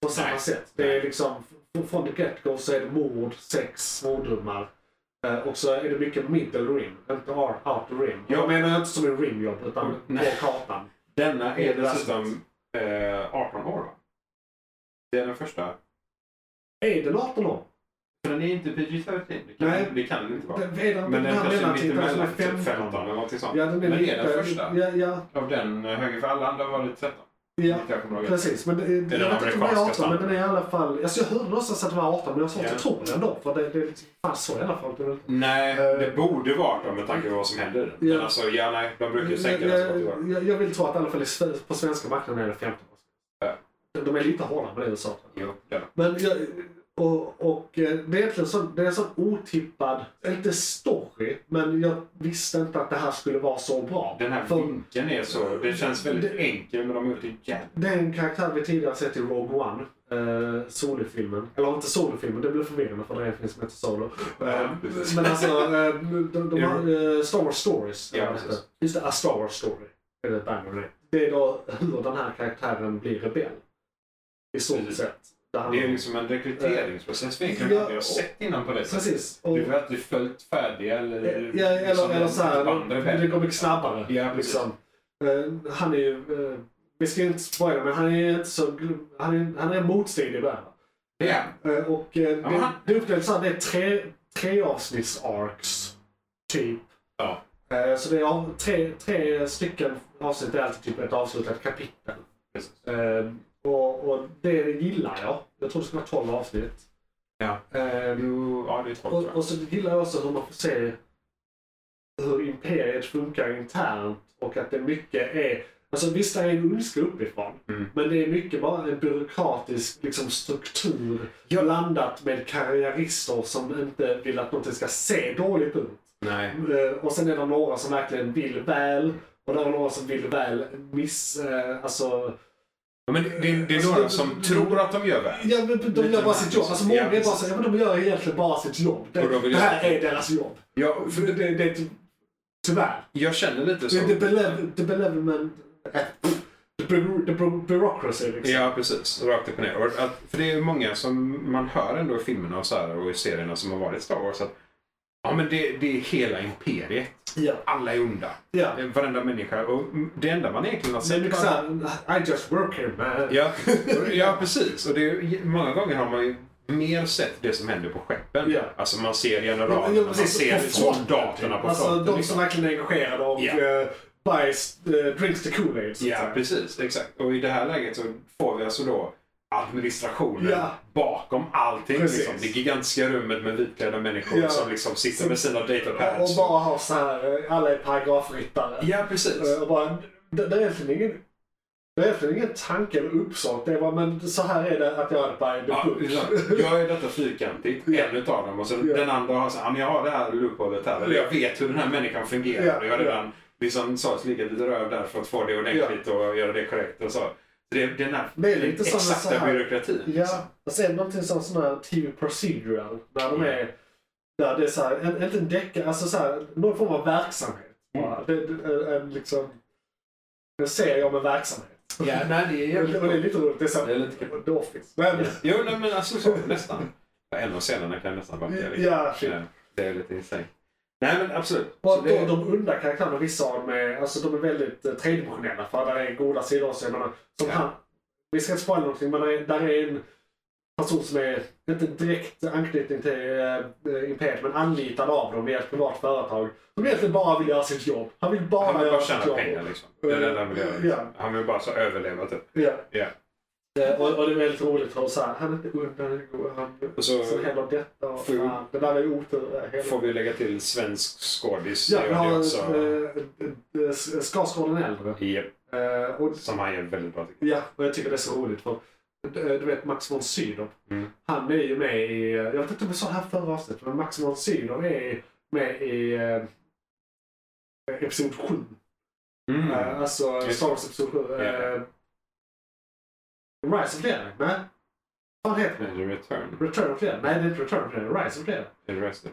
Speaker 3: På samma
Speaker 4: Nej.
Speaker 3: sätt. Det är
Speaker 4: Nej.
Speaker 3: liksom, f- från the get-go så är det mord, sex, svordomar. Eh, Och så är det mycket middle rim, inte out out the rim. Jag
Speaker 4: Ja. Mm.
Speaker 3: menar inte som en rimjobb utan på
Speaker 4: Nej.
Speaker 3: kartan.
Speaker 4: Denna
Speaker 3: det
Speaker 4: är
Speaker 3: är
Speaker 4: dessutom eh, 18 år va? Det är den första.
Speaker 3: Är den 18 år?
Speaker 4: För den är inte PG-13. Det kan,
Speaker 3: Nej.
Speaker 4: det kan den inte vara.
Speaker 3: Den- Är den,
Speaker 4: Men den
Speaker 3: den här
Speaker 4: kanske är
Speaker 3: mellantiteln som är
Speaker 4: mittemellan, typ
Speaker 3: 15?
Speaker 4: 15 eller någonting sånt.
Speaker 3: alltså, Ja, den är
Speaker 4: Men det är
Speaker 3: lite-
Speaker 4: den första.
Speaker 3: Ja, ja,
Speaker 4: Av den eh, höger, för alla andra var det 13.
Speaker 3: ja.
Speaker 4: vilket Jag kommer ihåg.
Speaker 3: Precis, men det, jag vet inte
Speaker 4: den
Speaker 3: om den är
Speaker 4: amerikanska
Speaker 3: 18, men den är i alla fall... Alltså jag hörde någonstans att den var 18, men jag har svårt
Speaker 4: Ja.
Speaker 3: att tro det ändå. För det, det är liksom, fan så i alla fall. Det är väl-
Speaker 4: Nej,
Speaker 3: Eh.
Speaker 4: det borde vara 18 med tanke på vad som hände i den.
Speaker 3: Ja.
Speaker 4: Men alltså, ja, nej, de brukar ju
Speaker 3: Jag,
Speaker 4: sänka den till 80 år.
Speaker 3: jag, jag, jag vill tro att i alla fall i Sve- på svenska marknaden är det 15 år.
Speaker 4: Ja.
Speaker 3: De- De är lite hårdare med det i USA.
Speaker 4: Jo, ja.
Speaker 3: Men jag, och, och eh, det är egentligen så, det är en sån otippad, inte story, men jag visste inte att det här skulle vara så bra.
Speaker 4: Den här
Speaker 3: För-
Speaker 4: vinkeln är så... Det känns väldigt
Speaker 3: Det-
Speaker 4: enkel, men de har gjort det jävligt...
Speaker 3: Det är en karaktär vi tidigare sett i Rogue One. Eh, Solo-filmen. Eller inte Solo-filmen, det blir förvirrande för det är en film som heter Solo. Eh,
Speaker 4: Ja, precis.
Speaker 3: men alltså, eh, de, de har eh, Star Wars Stories.
Speaker 4: Ja,
Speaker 3: eh,
Speaker 4: precis.
Speaker 3: Just det, A Star Wars Story. Är det, ett band med det. det är då hur den här karaktären blir rebell. I stort
Speaker 4: Precis.
Speaker 3: sett. Där han-
Speaker 4: Det är ju liksom en rekryteringsprocess för egentligen
Speaker 3: Ja,
Speaker 4: att vi har sett innan på det sättet.
Speaker 3: Precis. Och, eh,
Speaker 4: Du har alltid följt färdiga
Speaker 3: ja,
Speaker 4: eller... liksom,
Speaker 3: eller, eller så här,
Speaker 4: andra
Speaker 3: det- det går mycket snabbare.
Speaker 4: Ja, precis.
Speaker 3: liksom. Eh, han är ju, eh, vi ska ju inte spoila, men han är ju inte så, gl- han är, han är motstridig där.
Speaker 4: Ja.
Speaker 3: Eh, och eh,
Speaker 4: Ja,
Speaker 3: det,
Speaker 4: han-
Speaker 3: det upplevs så här, det är tre, tre avsnitts arcs typ.
Speaker 4: Ja.
Speaker 3: Eh, så det är av- tre, tre stycken avsnitt, är alltid typ ett avslutat kapitel.
Speaker 4: Precis.
Speaker 3: Eh, och, och det gillar jag. Jag tror det ska vara 12 avsnitt.
Speaker 4: Ja.
Speaker 3: Eh,
Speaker 4: Jo, ja, det är
Speaker 3: och,
Speaker 4: tolv tror
Speaker 3: och så gillar jag också hur man får se hur imperiet funkar internt och att det mycket är... Alltså visst, det är en ondska uppifrån.
Speaker 4: Mm.
Speaker 3: Men det är mycket bara en byråkratisk liksom, struktur blandat med karriärister som inte vill att någonting ska se dåligt ut.
Speaker 4: jag. Nej.
Speaker 3: Eh, Och sen är det några som verkligen vill väl och där är några som vill väl miss... eh, Alltså...
Speaker 4: Ja, Men det, det, det är
Speaker 3: Alltså,
Speaker 4: några
Speaker 3: det-
Speaker 4: som
Speaker 3: det-
Speaker 4: tror att de gör väl.
Speaker 3: Ja, men de
Speaker 4: Lite
Speaker 3: gör bara sitt jobb. Alltså,
Speaker 4: märkligt.
Speaker 3: många
Speaker 4: Ja,
Speaker 3: är bara
Speaker 4: precis.
Speaker 3: så, ja, men de gör egentligen bara sitt jobb. Det,
Speaker 4: Och de vill
Speaker 3: det här
Speaker 4: göra-
Speaker 3: är deras jobb.
Speaker 4: Ja,
Speaker 3: För det, det, det, tyvärr.
Speaker 4: jag känner lite så.
Speaker 3: Det, det, belev, det belevelment... eh, The, bu- the bu- bureaucracy liksom.
Speaker 4: Ja, precis. Rakt upp och ner. Och att, för det är ju många som man hör ändå i filmerna och, så här, och i serierna som har varit Star Wars att ja, men det, det är hela imperiet.
Speaker 3: Ja.
Speaker 4: Alla är onda.
Speaker 3: ja.
Speaker 4: Eh, Varenda människa. Och mm, det enda man egentligen har
Speaker 3: Så det är
Speaker 4: sett...
Speaker 3: mycket såhär, I just work here man.
Speaker 4: ja, ja, precis. Och det är, många gånger har man ju mer sett det som händer på skeppen.
Speaker 3: Ja.
Speaker 4: Alltså man ser
Speaker 3: Ja,
Speaker 4: generalerna,
Speaker 3: ja,
Speaker 4: man
Speaker 3: precis.
Speaker 4: ser
Speaker 3: På fronten,
Speaker 4: soldaterna på
Speaker 3: Alltså
Speaker 4: fronten.
Speaker 3: de
Speaker 4: liksom.
Speaker 3: som verkligen är engagerade och
Speaker 4: Ja.
Speaker 3: yeah. buys, eh, drinks the Kool-Aid. så att
Speaker 4: Ja,
Speaker 3: säga.
Speaker 4: precis. Exakt. Och i det här läget så får vi alltså då administrationen
Speaker 3: Ja.
Speaker 4: bakom allting.
Speaker 3: Precis.
Speaker 4: Liksom. Det gigantiska rummet med vitklädda människor
Speaker 3: Ja.
Speaker 4: som liksom sitter med sina
Speaker 3: Och
Speaker 4: datapads.
Speaker 3: bara har såhär, alla är paragrafryttare.
Speaker 4: Ja, precis.
Speaker 3: Eh, Och bara, det, det är egentligen ingen... Det är egentligen ingen tanke eller uppsåt. Det var men så här är det att göra det by the
Speaker 4: Ja,
Speaker 3: book.
Speaker 4: exakt. jag är detta fyrkantigt,
Speaker 3: Ja.
Speaker 4: en utav dem. Och så
Speaker 3: Ja.
Speaker 4: den andra har så här, "Ja, men jag har det här loopholet här. Eller jag vet hur den här människan fungerar.
Speaker 3: Ja,
Speaker 4: och jag har
Speaker 3: ja.
Speaker 4: redan liksom sa att ligga lite röv där för att få det ordentligt och göra det korrekt och så. Så Det, den här
Speaker 3: Det är lite
Speaker 4: den
Speaker 3: som en så
Speaker 4: exakta
Speaker 3: här-
Speaker 4: byråkratin. liksom.
Speaker 3: Ja, och sen någonting som sån här TV procedural. Där de
Speaker 4: Ja.
Speaker 3: är... Där det är såhär, en, inte en deckare, alltså såhär, någon form av verksamhet.
Speaker 4: Mm.
Speaker 3: bara. Det, det, en, en, liksom, en serie om en verksamhet.
Speaker 4: Ja, nej, det är
Speaker 3: Och det, och det är lite roligt. Det är
Speaker 4: Det är
Speaker 3: såhär,
Speaker 4: lite kul.
Speaker 3: The Office. Men,
Speaker 4: Jo, nej, men alltså så, nästan. En av scenerna kan nästan vara det. liksom.
Speaker 3: ja, shit.
Speaker 4: Ja, Det är lite insane. Nej, men absolut.
Speaker 3: Och
Speaker 4: Så
Speaker 3: att de,
Speaker 4: det,
Speaker 3: de onda karaktärerna, vissa av dem är, alltså, de är väldigt eh, tredimensionella. För där är goda sidor också. Jag menar, som
Speaker 4: Ja.
Speaker 3: han, vi ska inte spoila någonting, men där är, där är en person som är, inte direkt anknytning till eh, eh, Imperiet, men anlitad av dem via ett privat företag. Som egentligen bara vill göra sitt jobb. Han vill bara
Speaker 4: han vill
Speaker 3: göra
Speaker 4: bara
Speaker 3: sitt
Speaker 4: tjäna
Speaker 3: jobb.
Speaker 4: pengar liksom. Det är det enda han vill göra.
Speaker 3: Ja.
Speaker 4: Liksom. Han vill bara så överleva typ.
Speaker 3: Ja.
Speaker 4: Ja.
Speaker 3: Eh, Och, och det är väldigt roligt för de säger, han är inte ond, han är god, han...
Speaker 4: Och så
Speaker 3: Sen händer detta och
Speaker 4: Får-
Speaker 3: fan, det där är ju otur. eh, hela-
Speaker 4: får vi lägga till svensk skådis.
Speaker 3: Ja,
Speaker 4: Det
Speaker 3: vi
Speaker 4: gör det
Speaker 3: har
Speaker 4: också.
Speaker 3: äh, Skarsgården äldre.
Speaker 4: Japp,
Speaker 3: Eh, och,
Speaker 4: som han gör väldigt bra. tycker
Speaker 3: ja, och jag tycker det är så roligt för eh, du vet Max von Sydow.
Speaker 4: Mm.
Speaker 3: Han är ju med i, eh, jag vet inte om jag sa det här förra avsnittet, men Max von Sydow är med i eh, Episod 7.
Speaker 4: jag. Mm.
Speaker 3: Eh, alltså
Speaker 4: Just det.
Speaker 3: Star Wars Episod 7.
Speaker 4: Ja.
Speaker 3: Eh, Rise of the Jedi? Nej. Vad heter
Speaker 4: Är
Speaker 3: det?
Speaker 4: det Return?
Speaker 3: Return of the Jedi? Nej, det är inte Return of the Jedi. Rise of the Jedi.
Speaker 4: Är det Rest?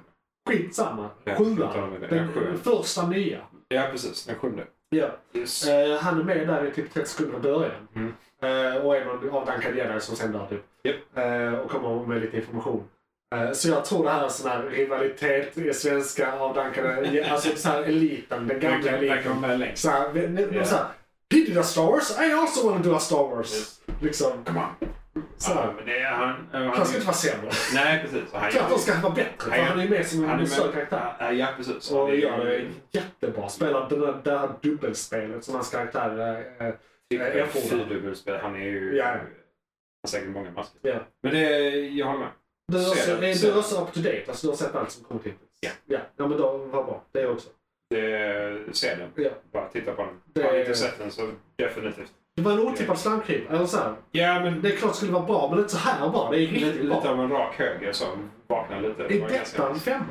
Speaker 3: Skitsamma.
Speaker 4: Ja,
Speaker 3: Sjuan.
Speaker 4: skitsamma, det är
Speaker 3: Den
Speaker 4: sjuan.
Speaker 3: första nya.
Speaker 4: Ja, precis. Den sjunde.
Speaker 3: Ja.
Speaker 4: Yes.
Speaker 3: Eh, han är med där i typ 30 sekunder i början.
Speaker 4: Mm.
Speaker 3: Eh, och är någon avdankad jedi som sen dör typ.
Speaker 4: Japp.
Speaker 3: Eh, och kommer med lite information. Eh, så jag tror det här är sån här rivalitet i svenska avdankade, alltså så här eliten, den gamla
Speaker 4: Verkar verkar vara
Speaker 3: eliten.
Speaker 4: med längst.
Speaker 3: Så här, vi- ni-
Speaker 4: Ja.
Speaker 3: så här, He did a Star Wars, I also want to do a Star Wars.
Speaker 4: Yes.
Speaker 3: Liksom.
Speaker 4: Come on.
Speaker 3: Så
Speaker 4: Ja,
Speaker 3: här.
Speaker 4: men det är han.
Speaker 3: Han ska inte vara sämre.
Speaker 4: Nej, precis. Han
Speaker 3: Tvärtom ska han vara bättre, för
Speaker 4: Ja.
Speaker 3: han är ju med som
Speaker 4: Han är
Speaker 3: en större
Speaker 4: med.
Speaker 3: karaktär.
Speaker 4: Ja, Ja, precis.
Speaker 3: Och
Speaker 4: Han
Speaker 3: det
Speaker 4: är-
Speaker 3: gör det jättebra. Spelar det där, det här dubbelspelet som hans karaktär eh, Jag får det.
Speaker 4: Fyrdubbelspel. Han är ju...
Speaker 3: Ja.
Speaker 4: Han har säkert många masker.
Speaker 3: Ja.
Speaker 4: Men det, jag håller med.
Speaker 3: Du är,
Speaker 4: Ser
Speaker 3: också,
Speaker 4: det,
Speaker 3: är
Speaker 4: ser
Speaker 3: du
Speaker 4: det.
Speaker 3: också up to date? Alltså du har sett allt som kommit hittills?
Speaker 4: Ja.
Speaker 3: ja. Ja, men då, vad bra. Det också.
Speaker 4: Det, se den.
Speaker 3: Ja.
Speaker 4: Bara titta på den.
Speaker 3: Det-
Speaker 4: Har ni inte sett den så definitivt.
Speaker 3: Det var en otippad slamkryp. Eller så här.
Speaker 4: Ja, men
Speaker 3: Det är klart det skulle vara bra, men inte så här bra. Det är
Speaker 4: lite,
Speaker 3: riktigt
Speaker 4: lite
Speaker 3: bra.
Speaker 4: av en rak höger som vaknar lite. Det
Speaker 3: Är
Speaker 4: var
Speaker 3: detta en
Speaker 4: ganska-
Speaker 3: femma?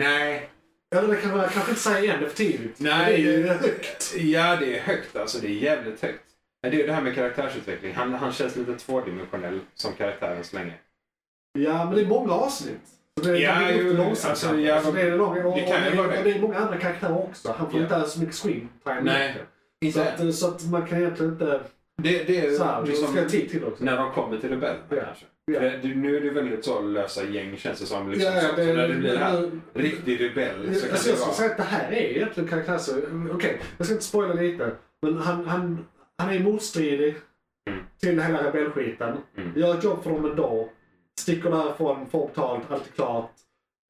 Speaker 4: Nej.
Speaker 3: Eller det kan man jag kanske inte säga igen, det är för tidigt.
Speaker 4: Nej.
Speaker 3: Det är ju högt.
Speaker 4: Ja, det är högt alltså. Det är jävligt högt. Men det är ju det här med karaktärsutveckling. Han, han känns lite tvådimensionell som karaktären så länge.
Speaker 3: Ja, men det är många avsnitt. Så det,
Speaker 4: Ja,
Speaker 3: det blir
Speaker 4: ju,
Speaker 3: lite långsamt.
Speaker 4: alltså,
Speaker 3: Alltså,
Speaker 4: ja,
Speaker 3: det, är lång, och,
Speaker 4: det kan ju
Speaker 3: och,
Speaker 4: vara
Speaker 3: det,
Speaker 4: det.
Speaker 3: och det är många andra karaktärer också. Han får
Speaker 4: Ja.
Speaker 3: inte alls så mycket screen time.
Speaker 4: Nej.
Speaker 3: egentligen. Så att, så att man kan egentligen inte...
Speaker 4: Det, det är
Speaker 3: Så här,
Speaker 4: liksom-
Speaker 3: det ska jag tid till också.
Speaker 4: När de kommer till Rebellerna
Speaker 3: Ja.
Speaker 4: kanske.
Speaker 3: Ja.
Speaker 4: Det, det, nu är det väldigt så lösa gäng känns det som. Liksom,
Speaker 3: Ja,
Speaker 4: så, så när det blir det här
Speaker 3: men-
Speaker 4: riktig rebell så
Speaker 3: Alltså,
Speaker 4: kan
Speaker 3: jag
Speaker 4: det
Speaker 3: skulle
Speaker 4: vara...
Speaker 3: säga att det här är egentligen karaktär så... Okej, jag ska inte spoila lite. Men han, han, han är motstridig
Speaker 4: Mm.
Speaker 3: till hela rebellskiten.
Speaker 4: Mm.
Speaker 3: Gör ett jobb för dem ändå. Sticker därifrån, får betalt, allt är klart.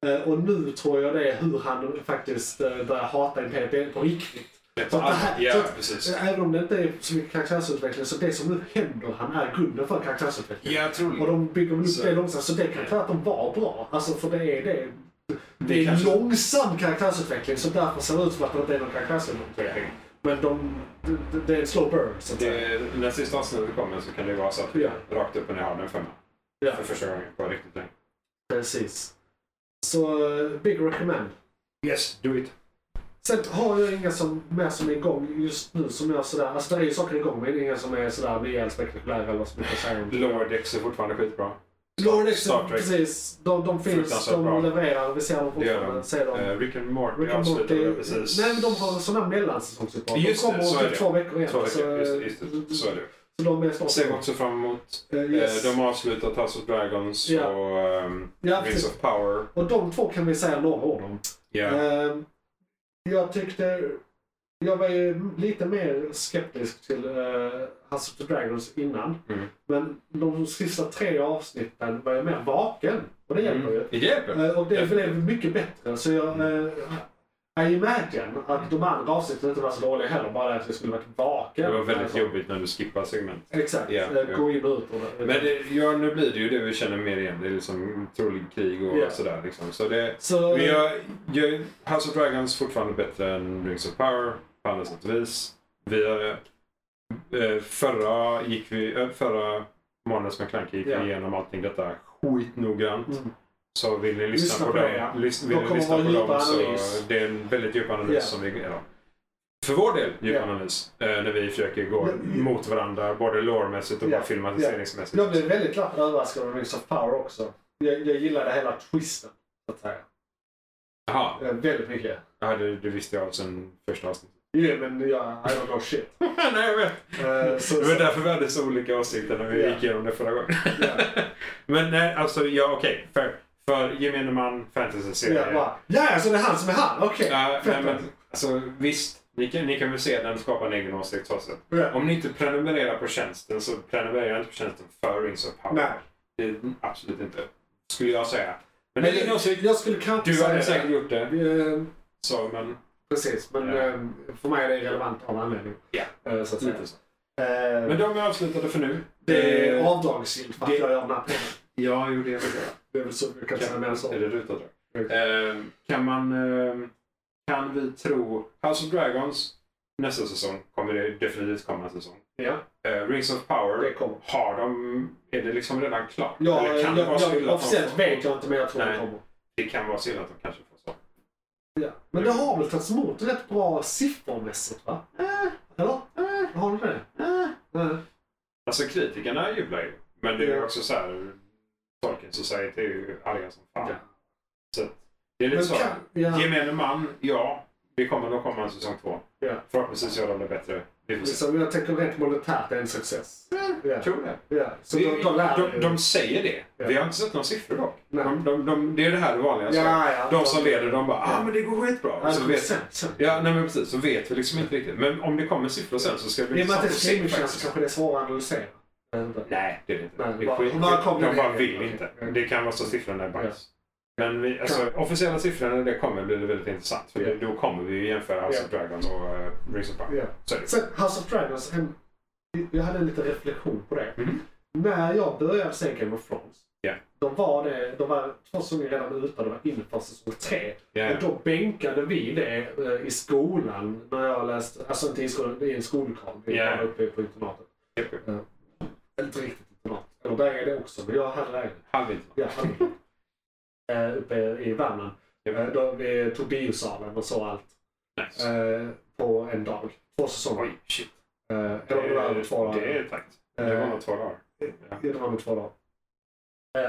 Speaker 3: Eh, Och nu tror jag det är hur han faktiskt eh, börjar hata Imperiet på riktigt.
Speaker 4: Rätt
Speaker 3: Så att det här-
Speaker 4: allt. Ja,
Speaker 3: så att-
Speaker 4: precis.
Speaker 3: Så Även om det inte är så mycket karaktärsutveckling så det som nu händer han är grunden för karaktärsutveckling.
Speaker 4: Ja,
Speaker 3: Och
Speaker 4: troligen.
Speaker 3: de bygger väl upp
Speaker 4: Så-
Speaker 3: det långsamt. Så det kan klart att de var bra. Alltså för det är det. Det är
Speaker 4: Det kanske-
Speaker 3: långsam karaktärsutveckling som därför ser ut som att det inte är någon karaktärsutveckling. Men de, det, det är en slow burn så att säga.
Speaker 4: Det, när sista avsnittet kommer så kan det vara så att
Speaker 3: Ja.
Speaker 4: rakt upp och ner har den femma.
Speaker 3: Ja.
Speaker 4: För första gången på riktigt länge.
Speaker 3: Precis. Så eh, big recommend.
Speaker 4: Yes, do it.
Speaker 3: Sen har jag inga som, mer som är igång just nu som jag sådär, alltså det är ju saker igång men inga som är sådär rejält spektakulära eller så mycket att säga om.
Speaker 4: Lower Decks är fortfarande skitbra.
Speaker 3: Lord X,
Speaker 4: Star Trek.
Speaker 3: precis. De, de finns,
Speaker 4: Fruktansvärt
Speaker 3: de
Speaker 4: bra.
Speaker 3: levererar, vi ser dem
Speaker 4: Det gör
Speaker 3: fortfarande.
Speaker 4: de.
Speaker 3: Ser dem.
Speaker 4: Eh, Rick and Morty
Speaker 3: Rick and
Speaker 4: avslutade
Speaker 3: Morty.
Speaker 4: det precis.
Speaker 3: Nej men de har en sån här mellansäsongsuppehåll. De
Speaker 4: Just det,
Speaker 3: kommer
Speaker 4: så är
Speaker 3: om typ
Speaker 4: det.
Speaker 3: två veckor igen.
Speaker 4: Så,
Speaker 3: så,
Speaker 4: just, det, just det, så är det.
Speaker 3: så de är snart
Speaker 4: Ser vi också fram emot.
Speaker 3: Eh,
Speaker 4: eh,
Speaker 3: yes.
Speaker 4: De har avslutat House of Dragons
Speaker 3: Ja.
Speaker 4: och ehm,
Speaker 3: Ja,
Speaker 4: Rings
Speaker 3: precis.
Speaker 4: of Power.
Speaker 3: Och de två kan vi säga några ord om.
Speaker 4: Ja.
Speaker 3: Ehm, jag tyckte... Jag var ju lite mer skeptisk till uh, House of the Dragons innan.
Speaker 4: Mm.
Speaker 3: Men de sista tre avsnitten var jag mer vaken. Och det hjälper ju.
Speaker 4: Mm. Det hjälper.
Speaker 3: Eh, och det blev mycket bättre. Så jag... Uh, I imagine att de andra avsnitten inte var så dåliga heller. Bara att jag skulle varit vaken.
Speaker 4: Det var väldigt
Speaker 3: Alltså,
Speaker 4: jobbigt när du skippar segment.
Speaker 3: Exakt.
Speaker 4: Ja,
Speaker 3: Eh,
Speaker 4: ja.
Speaker 3: Gå in och ut. Och det.
Speaker 4: Men det, ja, nu blir det ju det vi känner mer igen. Det är liksom trolig krig och
Speaker 3: Ja.
Speaker 4: sådär. Liksom. Så det,
Speaker 3: så, eh,
Speaker 4: men jag, jag, House of Dragons fortfarande bättre än Rings of Power på alla sätt och vis. Vi, eh, förra gick vi, eh, förra månadens McClunky gick
Speaker 3: Ja.
Speaker 4: vi igenom allting detta skitnoggrant.
Speaker 3: Mm.
Speaker 4: Så vill ni lyssna,
Speaker 3: Lyssna
Speaker 4: på,
Speaker 3: på
Speaker 4: det,
Speaker 3: dem, ja.
Speaker 4: lys,
Speaker 3: De
Speaker 4: vill ni
Speaker 3: kommer
Speaker 4: lyssna
Speaker 3: vara
Speaker 4: på
Speaker 3: djupa
Speaker 4: dem så
Speaker 3: analys.
Speaker 4: det är en väldigt djup analys
Speaker 3: Ja.
Speaker 4: som vi ja. För vår del djup
Speaker 3: Ja.
Speaker 4: analys. Eh, när vi försöker gå
Speaker 3: Men-
Speaker 4: mot varandra både lårmässigt och
Speaker 3: Ja.
Speaker 4: bara filmatiseringsmässigt.
Speaker 3: Jag blev väldigt glatt överraskad av Rings of Power också. Jag, jag gillade hela twisten. Så att säga.
Speaker 4: Jaha,
Speaker 3: Eh, Väldigt mycket.
Speaker 4: ja, det, det visste jag sen första avsnittet.
Speaker 3: Jo, men jag, I don't know shit.
Speaker 4: Nej, jag vet.
Speaker 3: Eh, så,
Speaker 4: Det var
Speaker 3: så,
Speaker 4: därför vi hade så olika åsikter när vi
Speaker 3: Ja.
Speaker 4: gick igenom det förra gången.
Speaker 3: Ja.
Speaker 4: Men nej, alltså ja okej. För, för gemene man, fantasy-serie.
Speaker 3: jag bara, ja, så det är han som är han? Okej.
Speaker 4: Ja, nej,
Speaker 3: fett.
Speaker 4: men, alltså, visst, ni kan, ni kan väl se den och skapa en egen åsikt så sett.
Speaker 3: Ja.
Speaker 4: Om ni inte prenumererar på tjänsten så prenumerera inte på tjänsten för Rings of Power.
Speaker 3: Nej.
Speaker 4: Det, absolut inte. Skulle jag säga. Men,
Speaker 3: Men
Speaker 4: det är din åsikt.
Speaker 3: jag, jag skulle kanske
Speaker 4: Du hade
Speaker 3: säga
Speaker 4: säkert gjort det.
Speaker 3: det. Eh,
Speaker 4: Så, men
Speaker 3: Precis, men
Speaker 4: Ja.
Speaker 3: eh, för mig är det relevant av anledning.
Speaker 4: Ja.
Speaker 3: Eh, Så att säga.
Speaker 4: lite så.
Speaker 3: Eh,
Speaker 4: Men de är avslutade för nu.
Speaker 3: det är
Speaker 4: Eh,
Speaker 3: avdragsgillt för att
Speaker 4: det-
Speaker 3: jag gör den här pengarna.
Speaker 4: Ja, jo det är väl det.
Speaker 3: Det är väl så jag kan säga mer
Speaker 4: Kan, är
Speaker 3: så.
Speaker 4: det rutavdrag? Eh, kan man... Eh, kan vi tro... House of Dragons nästa säsong kommer det definitivt komma en säsong.
Speaker 3: Ja,
Speaker 4: Eh, Rings of
Speaker 3: det
Speaker 4: Power,
Speaker 3: kommer.
Speaker 4: har de... Är det liksom redan klart?
Speaker 3: Ja,
Speaker 4: Eller kan det vara
Speaker 3: jag,
Speaker 4: så
Speaker 3: jag,
Speaker 4: illa att de-
Speaker 3: officiellt vet jag inte men jag tror det
Speaker 4: Nej.
Speaker 3: kommer.
Speaker 4: Det kan vara så illa att de kanske får så.
Speaker 3: Ja. Men det har väl tagits emot rätt bra siffermässigt va?
Speaker 4: Eh.
Speaker 3: Eller? Har du det? Eh. Nej.
Speaker 4: Alltså kritikerna jublar ju. Men det är ju
Speaker 3: Ja.
Speaker 4: också så här... Tolkien Society är ju arga som fan.
Speaker 3: Ja.
Speaker 4: Så att det är lite
Speaker 3: Men
Speaker 4: så.
Speaker 3: kan, ja,
Speaker 4: Gemene man, ja. Det kommer nog komma en säsong två.
Speaker 3: Ja.
Speaker 4: Förhoppningsvis gör de det bättre. Vi får se.
Speaker 3: liksom, jag tänker rent monetärt är en success. Ja.
Speaker 4: Jag tror det.
Speaker 3: Ja. Så
Speaker 4: Vi-
Speaker 3: de, de lär
Speaker 4: Eh. de,
Speaker 3: ju.
Speaker 4: de säger det.
Speaker 3: Ja.
Speaker 4: Vi har inte sett några siffror dock.
Speaker 3: Nej.
Speaker 4: De, de, de, det är det här vanliga.
Speaker 3: ja, ja,
Speaker 4: De som leder, de bara ah, men det går skitbra.
Speaker 3: Ja,
Speaker 4: så
Speaker 3: det
Speaker 4: vet,
Speaker 3: sen, sen.
Speaker 4: ja, nej, men precis. Så vet vi liksom inte riktigt. Men om det kommer siffror sen så ska det bli
Speaker 3: I och med att det är streamingtjänst så
Speaker 4: faktiskt.
Speaker 3: kanske det är svårare att analysera. Jag vet inte.
Speaker 4: Nej, det är det inte.
Speaker 3: Nej,
Speaker 4: det är
Speaker 3: bara-
Speaker 4: skit.
Speaker 3: bara kom
Speaker 4: de
Speaker 3: ner.
Speaker 4: bara vill inte.
Speaker 3: Okej.
Speaker 4: Det kan vara så siffrorna är bajs. Men vi, alltså, officiella siffrorna när det kommer blir det väldigt intressant. För
Speaker 3: Ja.
Speaker 4: då kommer vi ju jämföra House of Dragons och uh, Rings of Power.
Speaker 3: Ja.
Speaker 4: Så är det.
Speaker 3: Sen House of Dragons, en, jag hade en liten reflektion på det.
Speaker 4: Mhm.
Speaker 3: När jag började se Game of Thrones,
Speaker 4: Ja.
Speaker 3: de var det, de var två säsonger redan ute, de var inför säsong tre.
Speaker 4: Ja.
Speaker 3: Och då bänkade vi det eh, i skolan när jag läste, alltså inte i skolan, i en skolkram. Vi
Speaker 4: Ja.
Speaker 3: var uppe på internatet.
Speaker 4: Japp, japp.
Speaker 3: Eh, Inte riktigt internat. Eller där är det också, men jag hade det.
Speaker 4: Halvint.
Speaker 3: Ja, hade det. Eh, uppe i Värmland. Eh, Då vi tog biosalen och så allt
Speaker 4: Nice.
Speaker 3: eh, på en dag. Två säsonger.
Speaker 4: Oj, shit.
Speaker 3: Eh, Eller om det var över två dagar. Eh.
Speaker 4: Det är tajt. Det var nog två dagar. Ja.
Speaker 3: Ja, det var med två dagar.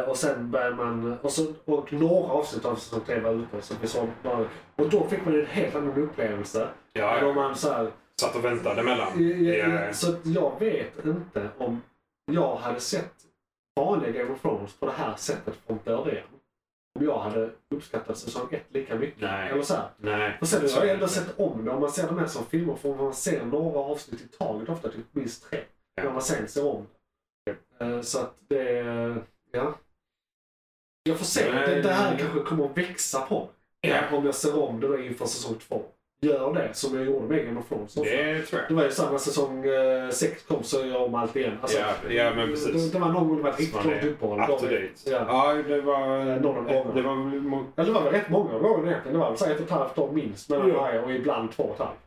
Speaker 3: Eh, Och sen började man, och, så, och några avsnitt av säsong tre var ute. Så vi såg bara, och då fick man ju en helt annan upplevelse.
Speaker 4: Ja,
Speaker 3: Då
Speaker 4: ja.
Speaker 3: man så här,
Speaker 4: satt och väntade mellan.
Speaker 3: Ja, ja,
Speaker 4: Eh,
Speaker 3: ja. Så att jag vet inte om jag hade sett vanliga Game of Thrones på det här sättet från början. Om jag hade uppskattat säsong ett lika mycket.
Speaker 4: Nej.
Speaker 3: Eller så här.
Speaker 4: Nej.
Speaker 3: Och sen
Speaker 4: Så
Speaker 3: har
Speaker 4: är
Speaker 3: jag
Speaker 4: det
Speaker 3: ändå
Speaker 4: inte.
Speaker 3: sett om det. Om man ser de här som filmer får man se några avsnitt i taget ofta, typ minst tre.
Speaker 4: Ja.
Speaker 3: När man sen ser om det. Eh, Så att det, ja. Jag får se.
Speaker 4: Nej.
Speaker 3: Det, det här kanske kommer att växa på mig.
Speaker 4: Ja.
Speaker 3: Om jag ser om det då inför säsong två. Gör det som jag gjorde med Game of Thrones.
Speaker 4: Det tror
Speaker 3: Det
Speaker 4: jag.
Speaker 3: var ju samma säsong 6 kom så jag om allt igen. Alltså,
Speaker 4: Ja, ja, men precis.
Speaker 3: Det, det var någon gång det var ett riktigt
Speaker 4: Man
Speaker 3: långt
Speaker 4: är
Speaker 3: uppehåll.
Speaker 4: Up to date.
Speaker 3: Ja. Eh,
Speaker 4: Ja, det var...
Speaker 3: Någon av gångerna.
Speaker 4: Det var väl mot...
Speaker 3: Ja, det var väl rätt många gånger egentligen. Det var väl så här ett och ett halvt år minst mellan varje och ibland två och ett halvt.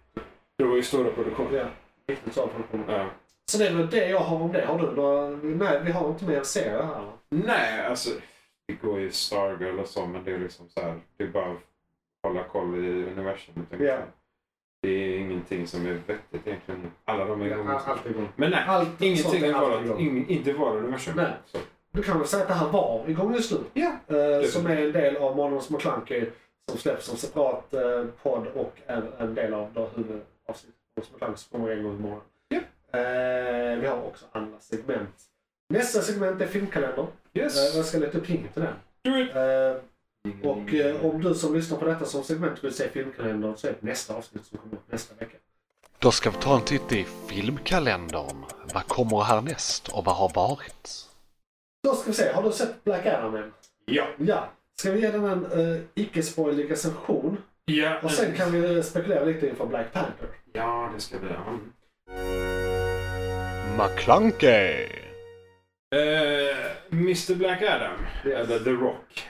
Speaker 4: Det var ju stora produktioner.
Speaker 3: Ja, riktigt så produktion.
Speaker 4: Ja.
Speaker 3: Så det är väl det jag har om det. Har du några... Nej, vi har inte mer serier här va?
Speaker 4: Nej, alltså. Det går ju Stargirl och så, men det är liksom så här. Det är bara att hålla koll i universumet. ungefär.
Speaker 3: Ja.
Speaker 4: Det är ingenting som är vettigt egentligen. Alla de är igång.
Speaker 3: Ja, Allt är igång.
Speaker 4: Men nej,
Speaker 3: Allt sånt
Speaker 4: ingenting
Speaker 3: är
Speaker 4: är
Speaker 3: alltid
Speaker 4: varat,
Speaker 3: igång.
Speaker 4: ing, inte var universum.
Speaker 3: Nej.
Speaker 4: Så.
Speaker 3: Du kan väl säga att det här var igång just nu?
Speaker 4: Ja.
Speaker 3: Eh, som är en del av Månadens McKlunky som släpps som separat eh, podd och en, en del av då huvudavsnittet. Månadens McKlunky som kommer en gång i månaden.
Speaker 4: Ja.
Speaker 3: Eh, vi har också andra segment. Nästa segment är filmkalendern. Eh,
Speaker 4: Yes.
Speaker 3: jag ska leta upp jingeln till den.
Speaker 4: Do it.
Speaker 3: Eh, och eh, om du som lyssnar på detta som segment vill se filmkalendern så är det nästa avsnitt som kommer upp nästa vecka.
Speaker 6: Då ska vi ta en titt i filmkalendern. Vad kommer härnäst och vad har varit?
Speaker 3: Då ska vi se, har du sett Black Adam än?
Speaker 4: Ja.
Speaker 3: Ja. Ska vi ge den en eh, icke-spoilig recension?
Speaker 4: Ja.
Speaker 3: Och sen kan vi eh, spekulera lite inför Black Panther.
Speaker 4: Ja, det ska vi ha.
Speaker 6: McClunkey!
Speaker 4: Eh, Mr Black Adam.
Speaker 3: Yes.
Speaker 4: Eller The Rock.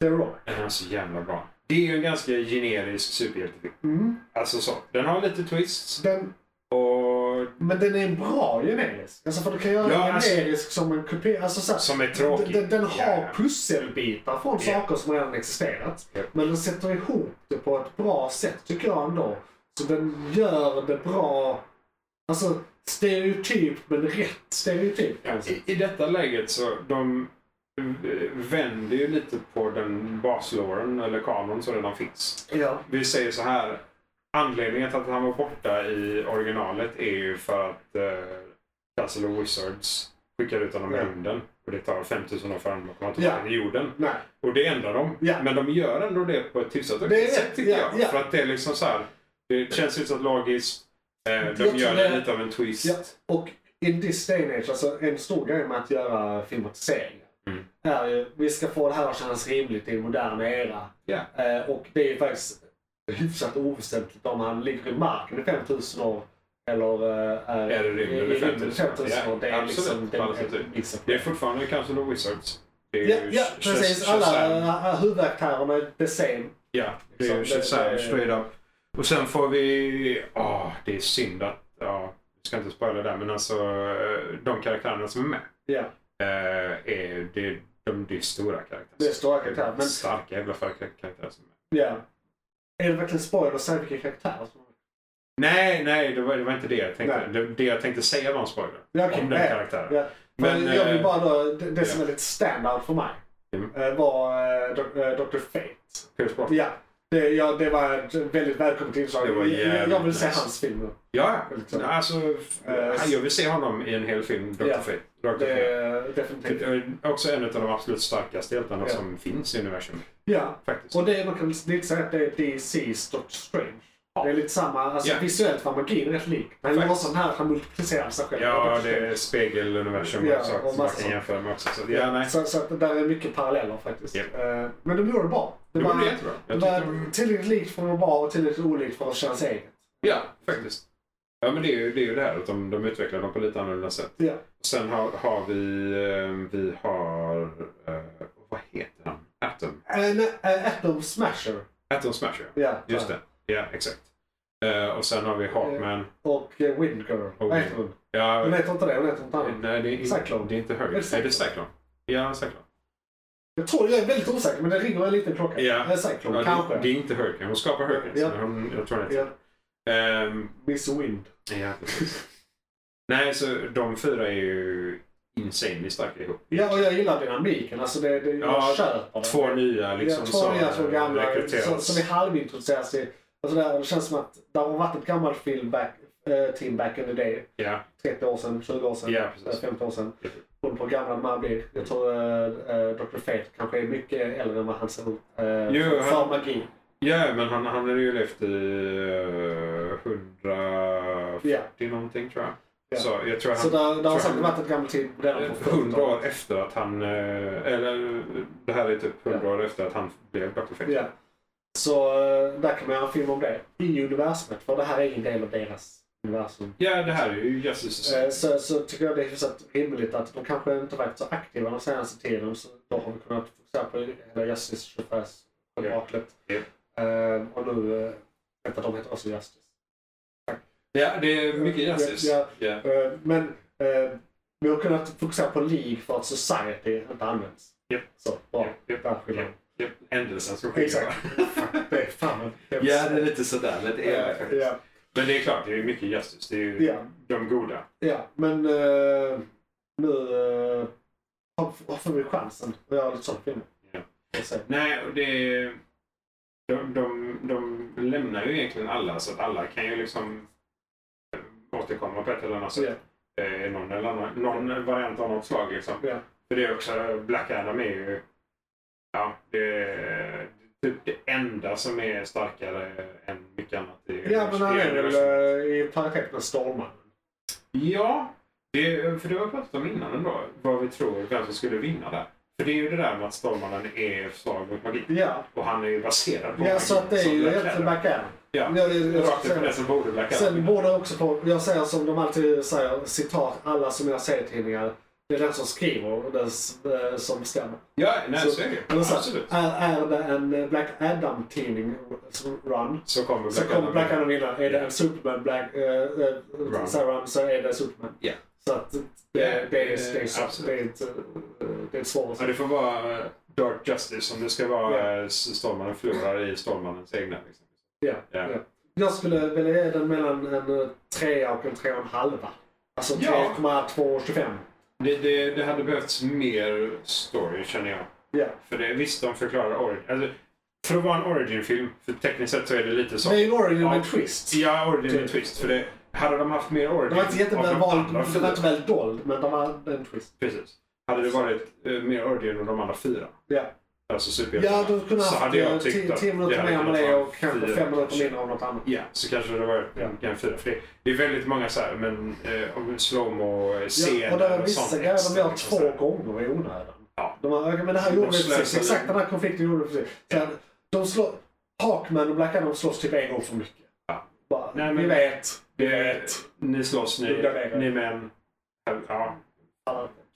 Speaker 3: The Rock.
Speaker 4: Den är så jävla bra. Det är ju en ganska generisk superhjältefilm.
Speaker 3: Mm.
Speaker 4: Alltså så. Den har lite twists.
Speaker 3: Den,
Speaker 4: Och
Speaker 3: men den är en bra generisk. Alltså för du kan göra
Speaker 4: Ja,
Speaker 3: en
Speaker 4: alltså-
Speaker 3: generisk som en kupé. Alltså så här,
Speaker 4: Som är tråkig.
Speaker 3: Den, den har
Speaker 4: Ja.
Speaker 3: pusselbitar från
Speaker 4: Ja.
Speaker 3: saker som redan existerat.
Speaker 4: Ja.
Speaker 3: Men den sätter ihop det på ett bra sätt tycker jag ändå. Så den gör det bra. Alltså stereotyp men rätt stereotyp.
Speaker 4: Ja,
Speaker 3: kanske.
Speaker 4: i, I detta läget så de eh, vänder ju lite på den baslåren eller kanon som redan finns.
Speaker 3: Ja.
Speaker 4: Vi säger så här. Anledningen till att han var borta i originalet är ju för att eh, Castle of Wizards skickar ut honom i
Speaker 3: Ja.
Speaker 4: rymden. Och det tar 5000 år för honom att komma
Speaker 3: Ja.
Speaker 4: tillbaka till jorden.
Speaker 3: Nej.
Speaker 4: Och det ändrar de.
Speaker 3: Ja.
Speaker 4: Men de gör ändå det på ett hyfsat
Speaker 3: Det är
Speaker 4: okej sätt
Speaker 3: rätt.
Speaker 4: tycker
Speaker 3: Ja,
Speaker 4: jag.
Speaker 3: ja.
Speaker 4: För att det är liksom så här. Det känns hyfsat logiskt. Eh,
Speaker 3: tror
Speaker 4: de gör det
Speaker 3: det-
Speaker 4: lite av en twist.
Speaker 3: Ja, och in this day and age, alltså en stor grej med att göra filmatiseringar
Speaker 4: Mm.
Speaker 3: är ju, vi ska få det här att kännas rimligt i en modern era.
Speaker 4: Ja.
Speaker 3: Eh, och det är ju faktiskt hyfsat oväsentligt om han ligger i marken i 5000 år eller eh, är,
Speaker 4: Är i rymden i 5000 år.
Speaker 3: 5000 år. Det
Speaker 4: Ja,
Speaker 3: är liksom
Speaker 4: absolut.
Speaker 3: den
Speaker 4: På alla sätt och vis.
Speaker 3: mixen.
Speaker 4: Det är fortfarande kanske The Wizards. Det är
Speaker 3: Ja,
Speaker 4: ju
Speaker 3: ja
Speaker 4: Sh-
Speaker 3: precis.
Speaker 4: Shaz- Shazam.
Speaker 3: Alla eh, huvudaktörerna är the same.
Speaker 4: Ja, det är ju
Speaker 3: Liksom, det-
Speaker 4: Shazam
Speaker 3: det-
Speaker 4: straight up. Och sen får vi... Ja, det är synd att... Ja, vi ska inte spoila där, men alltså eh, de karaktärerna som är med.
Speaker 3: Ja.
Speaker 4: eh, är, det, är- de, det är stora karaktärer.
Speaker 3: Det är stora karaktärer, men-
Speaker 4: Starka jävla karaktärer som är med.
Speaker 3: ja. Är det verkligen spoiler att säga vilka karaktärer som
Speaker 4: Nej, nej, det var, det var inte det jag tänkte.
Speaker 3: Nej.
Speaker 4: Det, det jag tänkte säga var en spoiler.
Speaker 3: Ja, okej.
Speaker 4: Om den
Speaker 3: Ja,
Speaker 4: karaktären.
Speaker 3: ja. Men,
Speaker 4: Men,
Speaker 3: jag vill
Speaker 4: eh,
Speaker 3: bara då, det, det
Speaker 4: ja.
Speaker 3: som är lite standout för mig
Speaker 4: Mm.
Speaker 3: eh, var eh, Dr. eh, Dr. Fate.
Speaker 4: Pierce Brosnan.
Speaker 3: Ja, det, ja, det var ett väldigt välkommet inslag.
Speaker 4: Det var
Speaker 3: Jag,
Speaker 4: jävligt
Speaker 3: jag vill se
Speaker 4: nice.
Speaker 3: hans film.
Speaker 4: Ja,
Speaker 3: Liksom.
Speaker 4: alltså. f-
Speaker 3: Eh,
Speaker 4: jag vill se honom i en hel film, Dr.
Speaker 3: ja.
Speaker 4: Fate. Dr.
Speaker 3: Det
Speaker 4: Fate.
Speaker 3: är
Speaker 4: Det
Speaker 3: definitivt.
Speaker 4: är också en av de absolut starkaste hjältarna
Speaker 3: Ja.
Speaker 4: som finns i universum.
Speaker 3: Ja.
Speaker 4: Faktiskt.
Speaker 3: Och det, man kan lite säga att det är DC's Doctor Strange. Det är lite samma, alltså
Speaker 4: Ja.
Speaker 3: visuellt var magin rätt lik. Men det var
Speaker 4: Faktiskt.
Speaker 3: sån här att han multiplicerade sig själv. Dr.
Speaker 4: ja, det
Speaker 3: Strange.
Speaker 4: är spegeluniversum
Speaker 3: Ja,
Speaker 4: och saker
Speaker 3: och
Speaker 4: som man
Speaker 3: massa
Speaker 4: kan jämföra med också. Så, ja, nej.
Speaker 3: Så, så att det där är mycket paralleller faktiskt.
Speaker 4: Ja.
Speaker 3: Eh, Men de gjorde det bra.
Speaker 4: Det
Speaker 3: var-
Speaker 4: var jättebra.
Speaker 3: Det
Speaker 4: Jag tyckte
Speaker 3: var
Speaker 4: de...
Speaker 3: tillräckligt likt för att vara bra och tillräckligt olikt för att kännas eget.
Speaker 4: Ja, faktiskt. Ja, men det är ju det, är ju det här att de, de utvecklar dem på lite annorlunda sätt.
Speaker 3: Ja.
Speaker 4: Sen har, har vi... eh, Vi har... eh, Vad heter han? Atom.
Speaker 3: En, Atom Smasher.
Speaker 4: Atom Smasher.
Speaker 3: Ja,
Speaker 4: Just det. Ja, exakt. Eh, och sen har vi Hawkman.
Speaker 3: Och eh, Wind Girl.
Speaker 4: Och
Speaker 3: Vad
Speaker 4: Wind-
Speaker 3: heter hon?
Speaker 4: Ja,
Speaker 3: Hon heter inte det, hon heter något annat.
Speaker 4: nej, det är,
Speaker 3: Cyclone.
Speaker 4: in, det är inte
Speaker 3: Är det
Speaker 4: Hurricane.
Speaker 3: Cyclone?
Speaker 4: Är det Cyclone? Ja, Cyclone.
Speaker 3: Jag tror, jag är väldigt osäker, men det ringer en liten klocka.
Speaker 4: Ja.
Speaker 3: Eh, Cyclone,
Speaker 4: Ja,
Speaker 3: kanske.
Speaker 4: Det, det är inte Hurricane. Hon skapar Hurricane.
Speaker 3: Ja.
Speaker 4: så Hon, jag tror det.
Speaker 3: Ja,
Speaker 4: Ja. Ehm,
Speaker 3: Miss Wind.
Speaker 4: ja, precis. nej, så de fyra är ju insanely starka ihop.
Speaker 3: Ja, och jag gillar dynamiken. Alltså det, det, jag
Speaker 4: Ja,
Speaker 3: köper det.
Speaker 4: Två nya liksom. eh,
Speaker 3: ja, två nya, två gamla
Speaker 4: rekryteras.
Speaker 3: som, som är halvintroducerade till Och sådär, alltså, det känns som att det har varit ett gammalt film back, eh, team back in the day.
Speaker 4: Ja,
Speaker 3: 30 år sedan, 20 år sedan,
Speaker 4: Ja, precis.
Speaker 3: eh, 50 år sedan.
Speaker 4: Ja.
Speaker 3: Beroende på hur gammal man blir. Jag tror eh, eh, Dr. Fate kanske är mycket äldre än vad han ser ut. eh,
Speaker 4: Jo,
Speaker 3: för, för
Speaker 4: han-
Speaker 3: magi.
Speaker 4: ja men han, han hade ju levt i eh, 140 någonting tror jag.
Speaker 3: Ja.
Speaker 4: Så jag tror han,
Speaker 3: Så där, där har
Speaker 4: han-
Speaker 3: säkert varit ett gammalt team redan på 40
Speaker 4: 100 Eh, år efter att han, eh, eller det här är typ 100 år efter att han blev Dr. Fate.
Speaker 3: Ja. Så eh, där kan man göra en film om det. I universumet, för det här är en del av deras universum.
Speaker 4: Ja, det här är ju Jesus.
Speaker 3: Eh, Så, så tycker jag det är hyfsat rimligt att de kanske inte varit så aktiva den senaste tiden. Så då har vi kunnat fokusera på hela Justice Chaufförs miraklet.
Speaker 4: Ja.
Speaker 3: Och nu, eh, vänta de heter också Justice.
Speaker 4: Ja, det är mycket Jesus.
Speaker 3: Ja.
Speaker 4: Ja.
Speaker 3: Eh, Men eh, vi har kunnat fokusera på League för att Society inte används.
Speaker 4: Ja.
Speaker 3: Så, bra.
Speaker 4: Ja, ja,
Speaker 3: Där skiljer
Speaker 4: ja. Ja, Ändelsen som sker.
Speaker 3: Exakt. Det är fan en hemsk-
Speaker 4: Ja, det är lite sådär, lite elakt
Speaker 3: Eh,
Speaker 4: faktiskt.
Speaker 3: ja,
Speaker 4: Men det är klart, det är ju mycket Jesus. Det är ju
Speaker 3: ja.
Speaker 4: de goda.
Speaker 3: Ja, men eh, nu eh, har, har får vi chansen att göra lite sånt film.
Speaker 4: Ja.
Speaker 3: Och se.
Speaker 4: Nej, och det är... De, de, de lämnar ju egentligen alla, så att alla kan ju liksom eh, återkomma på ett eller annat sätt. Eh, Någon, eller annan, någon variant av något slag liksom.
Speaker 3: Ja.
Speaker 4: För det är också, Black Adam är ju... Ja, det är typ det enda som är starkare än mycket annat. i-
Speaker 3: ja, men han
Speaker 4: i
Speaker 3: är väl
Speaker 4: universum.
Speaker 3: eh, i paritet med Stålmannen.
Speaker 4: Ja, det, för det har vi pratat om innan ändå. Vad vi tror, vem som skulle vinna där. För det är ju det där med att Stålmannen är svag mot magi.
Speaker 3: Ja,
Speaker 4: Och han är ju baserad på
Speaker 3: ja
Speaker 4: magi.
Speaker 3: så att det är
Speaker 4: som
Speaker 3: ju
Speaker 4: Black
Speaker 3: egentligen
Speaker 4: Adam.
Speaker 3: Black Adam.
Speaker 4: Ja,
Speaker 3: Jag- jag- jag-
Speaker 4: rakt upp på det som borde Black Adam.
Speaker 3: Sen borde jag också på, jag säger som de alltid säger, citat, alla som jag säger tidningar. Det är den som skriver och den s- eh, som bestämmer.
Speaker 4: Ja, nej, så,
Speaker 3: så
Speaker 4: är det ju.
Speaker 3: Men så här,
Speaker 4: Absolut.
Speaker 3: Är, är det en Black Adam-tidning som run
Speaker 4: Så kommer Black
Speaker 3: Så kommer
Speaker 4: Adam
Speaker 3: Black
Speaker 4: vinna.
Speaker 3: Adam vinna. Är det en Superman Black, eh, eh,
Speaker 4: Run.
Speaker 3: Sarah, så är det Superman.
Speaker 4: Ja.
Speaker 3: Så att det, det, det, är, det, är,
Speaker 4: Eh,
Speaker 3: så-
Speaker 4: absolut.
Speaker 3: det, är, ett, eh, det är ett svårt.
Speaker 4: Ja, det får vara eh, Dark Justice om det ska vara yeah. Stålmannen förlorar i Stålmannens egna. Liksom.
Speaker 3: Ja,
Speaker 4: Ja.
Speaker 3: ja. Jag skulle vilja ge den mellan en eh, trea och en trea och en halva. Alltså
Speaker 4: Ja.
Speaker 3: 3,225.
Speaker 4: Det, det, det hade behövts mer story känner jag.
Speaker 3: Ja.
Speaker 4: För det, visst, de förklarar origin. Alltså, för att vara en origin-film, för tekniskt sett så är det lite så.
Speaker 3: Det är ju Origin med
Speaker 4: Ja.
Speaker 3: twist.
Speaker 4: Ja, origin
Speaker 3: Typ.
Speaker 4: med twist. För det, hade de haft mer origin
Speaker 3: Den var inte jätteväl
Speaker 4: av de
Speaker 3: vald,
Speaker 4: andra
Speaker 3: den var
Speaker 4: fyra.
Speaker 3: inte väl dold, men den var en twist.
Speaker 4: Precis. Hade det varit eh, mer origin av de andra fyra,
Speaker 3: Ja,
Speaker 4: alltså superhjältarna,
Speaker 3: ja du kunde
Speaker 4: så
Speaker 3: ha haft
Speaker 4: hade jag
Speaker 3: eh,
Speaker 4: tyckt
Speaker 3: ti-
Speaker 4: att
Speaker 3: 10
Speaker 4: det
Speaker 3: minuter
Speaker 4: hade
Speaker 3: mer om
Speaker 4: kunnat
Speaker 3: det
Speaker 4: vara
Speaker 3: och kanske
Speaker 4: fyra,
Speaker 3: 5 minuter
Speaker 4: kanske.
Speaker 3: mindre om något annat.
Speaker 4: Ja, så kanske det var en, en fyra. För det, det är väldigt många så här, men eh, om slowmo-scener
Speaker 3: Ja, och det var vissa
Speaker 4: sånt
Speaker 3: grejer de
Speaker 4: extra,
Speaker 3: gör
Speaker 4: liksom,
Speaker 3: två
Speaker 4: så här.
Speaker 3: gånger i onödan.
Speaker 4: Ja.
Speaker 3: De bara, "Okej, men det här gjorde vi
Speaker 4: slösar
Speaker 3: precis.
Speaker 4: lite.
Speaker 3: Exakt den här konflikten gjorde vi precis. Sen, de slår, Hawkman och Black Adam slåss typ en gång för mycket.
Speaker 4: Ja.
Speaker 3: Bara,
Speaker 4: Nej,
Speaker 3: vi
Speaker 4: men-
Speaker 3: vet, vi
Speaker 4: Det är-
Speaker 3: vet.
Speaker 4: Ni slåss, ni,
Speaker 3: Dubbla vägar.
Speaker 4: ni män. Ja,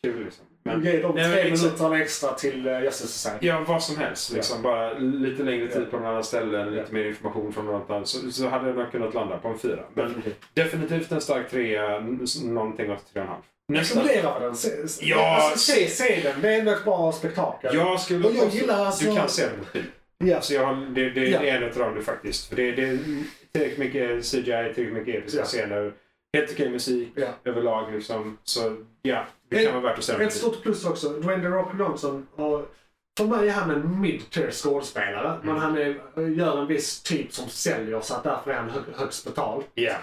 Speaker 4: kul liksom. Men,
Speaker 3: Ge dem
Speaker 4: Nej, men
Speaker 3: tre
Speaker 4: liksom-
Speaker 3: minuter extra till uh, Justice Society.
Speaker 4: ja, vad som helst. Liksom, Bara lite längre tid på några andra ställen,
Speaker 3: Ja.
Speaker 4: lite mer information från något annat. Så, så hade jag nog kunnat landa på en fyra. Men
Speaker 3: Definitivt.
Speaker 4: definitivt en stark trea, n- någonting åt tre och en halv. Nästa.
Speaker 3: Rekommendera den. Se, se-
Speaker 4: Ja,
Speaker 3: alltså, se, se den. Det är ändå ett bra spektakel.
Speaker 4: Jag skulle
Speaker 3: Och jag
Speaker 4: påstå-
Speaker 3: gillar alltså-
Speaker 4: Du kan se den på film.
Speaker 3: Ja.
Speaker 4: Alltså jag har, det, det,
Speaker 3: Ja.
Speaker 4: det är en utav dem faktiskt. För det, det är tillräckligt mycket CGI, tillräckligt mycket episka
Speaker 3: Ja.
Speaker 4: scener. Helt okej musik
Speaker 3: Ja.
Speaker 4: överlag liksom. Så ja, det
Speaker 3: Ett-
Speaker 4: kan vara värt att se. den på
Speaker 3: Ett stort plus också. Dwayne The Rock Johnson har... För mig är han en mid-tier skådespelare. Men han är, gör en viss typ som säljer så att därför är han hö- högst betald.
Speaker 4: film. Ja,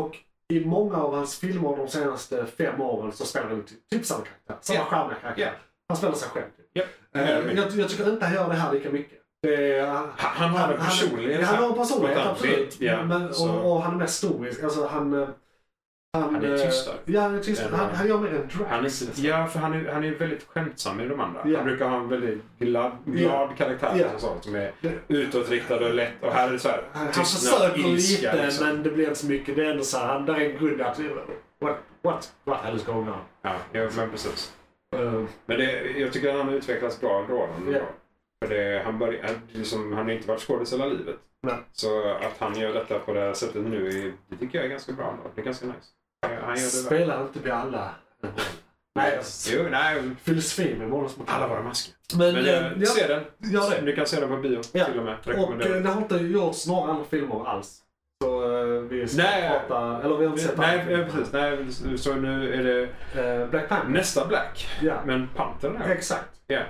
Speaker 3: Och i många av hans filmer de senaste fem åren så spelar han typ, typ samma karaktär. Samma
Speaker 4: Ja.
Speaker 3: charmiga karaktär.
Speaker 4: Ja.
Speaker 3: Han spelar sig själv. Typ.
Speaker 4: Ja.
Speaker 3: Eh, jag, jag tycker inte han gör det här lika mycket. Det är, han,
Speaker 4: Han- han har en personlighet.
Speaker 3: Han, han har en personlighet,
Speaker 4: Något annat.
Speaker 3: absolut.
Speaker 4: Ja,
Speaker 3: men,
Speaker 4: så-
Speaker 3: och, och han är mer stoisk. Alltså, han, eh, han,
Speaker 4: Han är
Speaker 3: eh,
Speaker 4: tystare.
Speaker 3: Ja, han är tystare.
Speaker 4: Än,
Speaker 3: Han,
Speaker 4: eh,
Speaker 3: han gör mer en drag.
Speaker 4: han är, ja, för han är, han är väldigt skämtsam i de andra.
Speaker 3: Ja.
Speaker 4: Han brukar ha en väldigt glad, glad karaktär
Speaker 3: Ja.
Speaker 4: och sånt, som är
Speaker 3: Det-
Speaker 4: utåtriktad och lätt. Och här är det så här,
Speaker 3: Han
Speaker 4: tystnad,
Speaker 3: försöker
Speaker 4: ilska,
Speaker 3: lite
Speaker 4: liksom.
Speaker 3: men det blir inte så mycket. Det är ändå så här, han, där är en grund att... What, what, what hell is going on?
Speaker 4: Ja, ja, men precis.
Speaker 3: Eh,
Speaker 4: Men det, jag tycker att han har utvecklats bra ändå. Han,
Speaker 3: Ja.
Speaker 4: För det, han, börj, han, liksom, han har inte varit skådis hela livet.
Speaker 3: Nej.
Speaker 4: Så att han gör detta på det här sättet nu, är- det tycker jag är ganska bra. ändå. Det är ganska nice. Han gör det väl.
Speaker 3: spelar inte vi alla en roll? Nej, alltså,
Speaker 4: Jo, nej.
Speaker 3: filosofi med Månadsmotiv.
Speaker 4: Alla våra masker.
Speaker 3: Men,
Speaker 4: Men
Speaker 3: eh,
Speaker 4: eh,
Speaker 3: ja,
Speaker 4: se den.
Speaker 3: gör det.
Speaker 4: Du kan se den på bio
Speaker 3: Ja.
Speaker 4: till och med.
Speaker 3: Och
Speaker 4: Rekommenderar.
Speaker 3: eh, det har inte gjorts några andra filmer alls. Så eh, vi ska
Speaker 4: Nej.
Speaker 3: prata... Eller vi har inte sett
Speaker 4: nej, eh,
Speaker 3: alla
Speaker 4: ja,
Speaker 3: filmer.
Speaker 4: precis. Nej, så nu är det
Speaker 3: Eh, Black Panther.
Speaker 4: nästa Black.
Speaker 3: Ja.
Speaker 4: Men Panther den här.
Speaker 3: Exakt.
Speaker 4: Ja.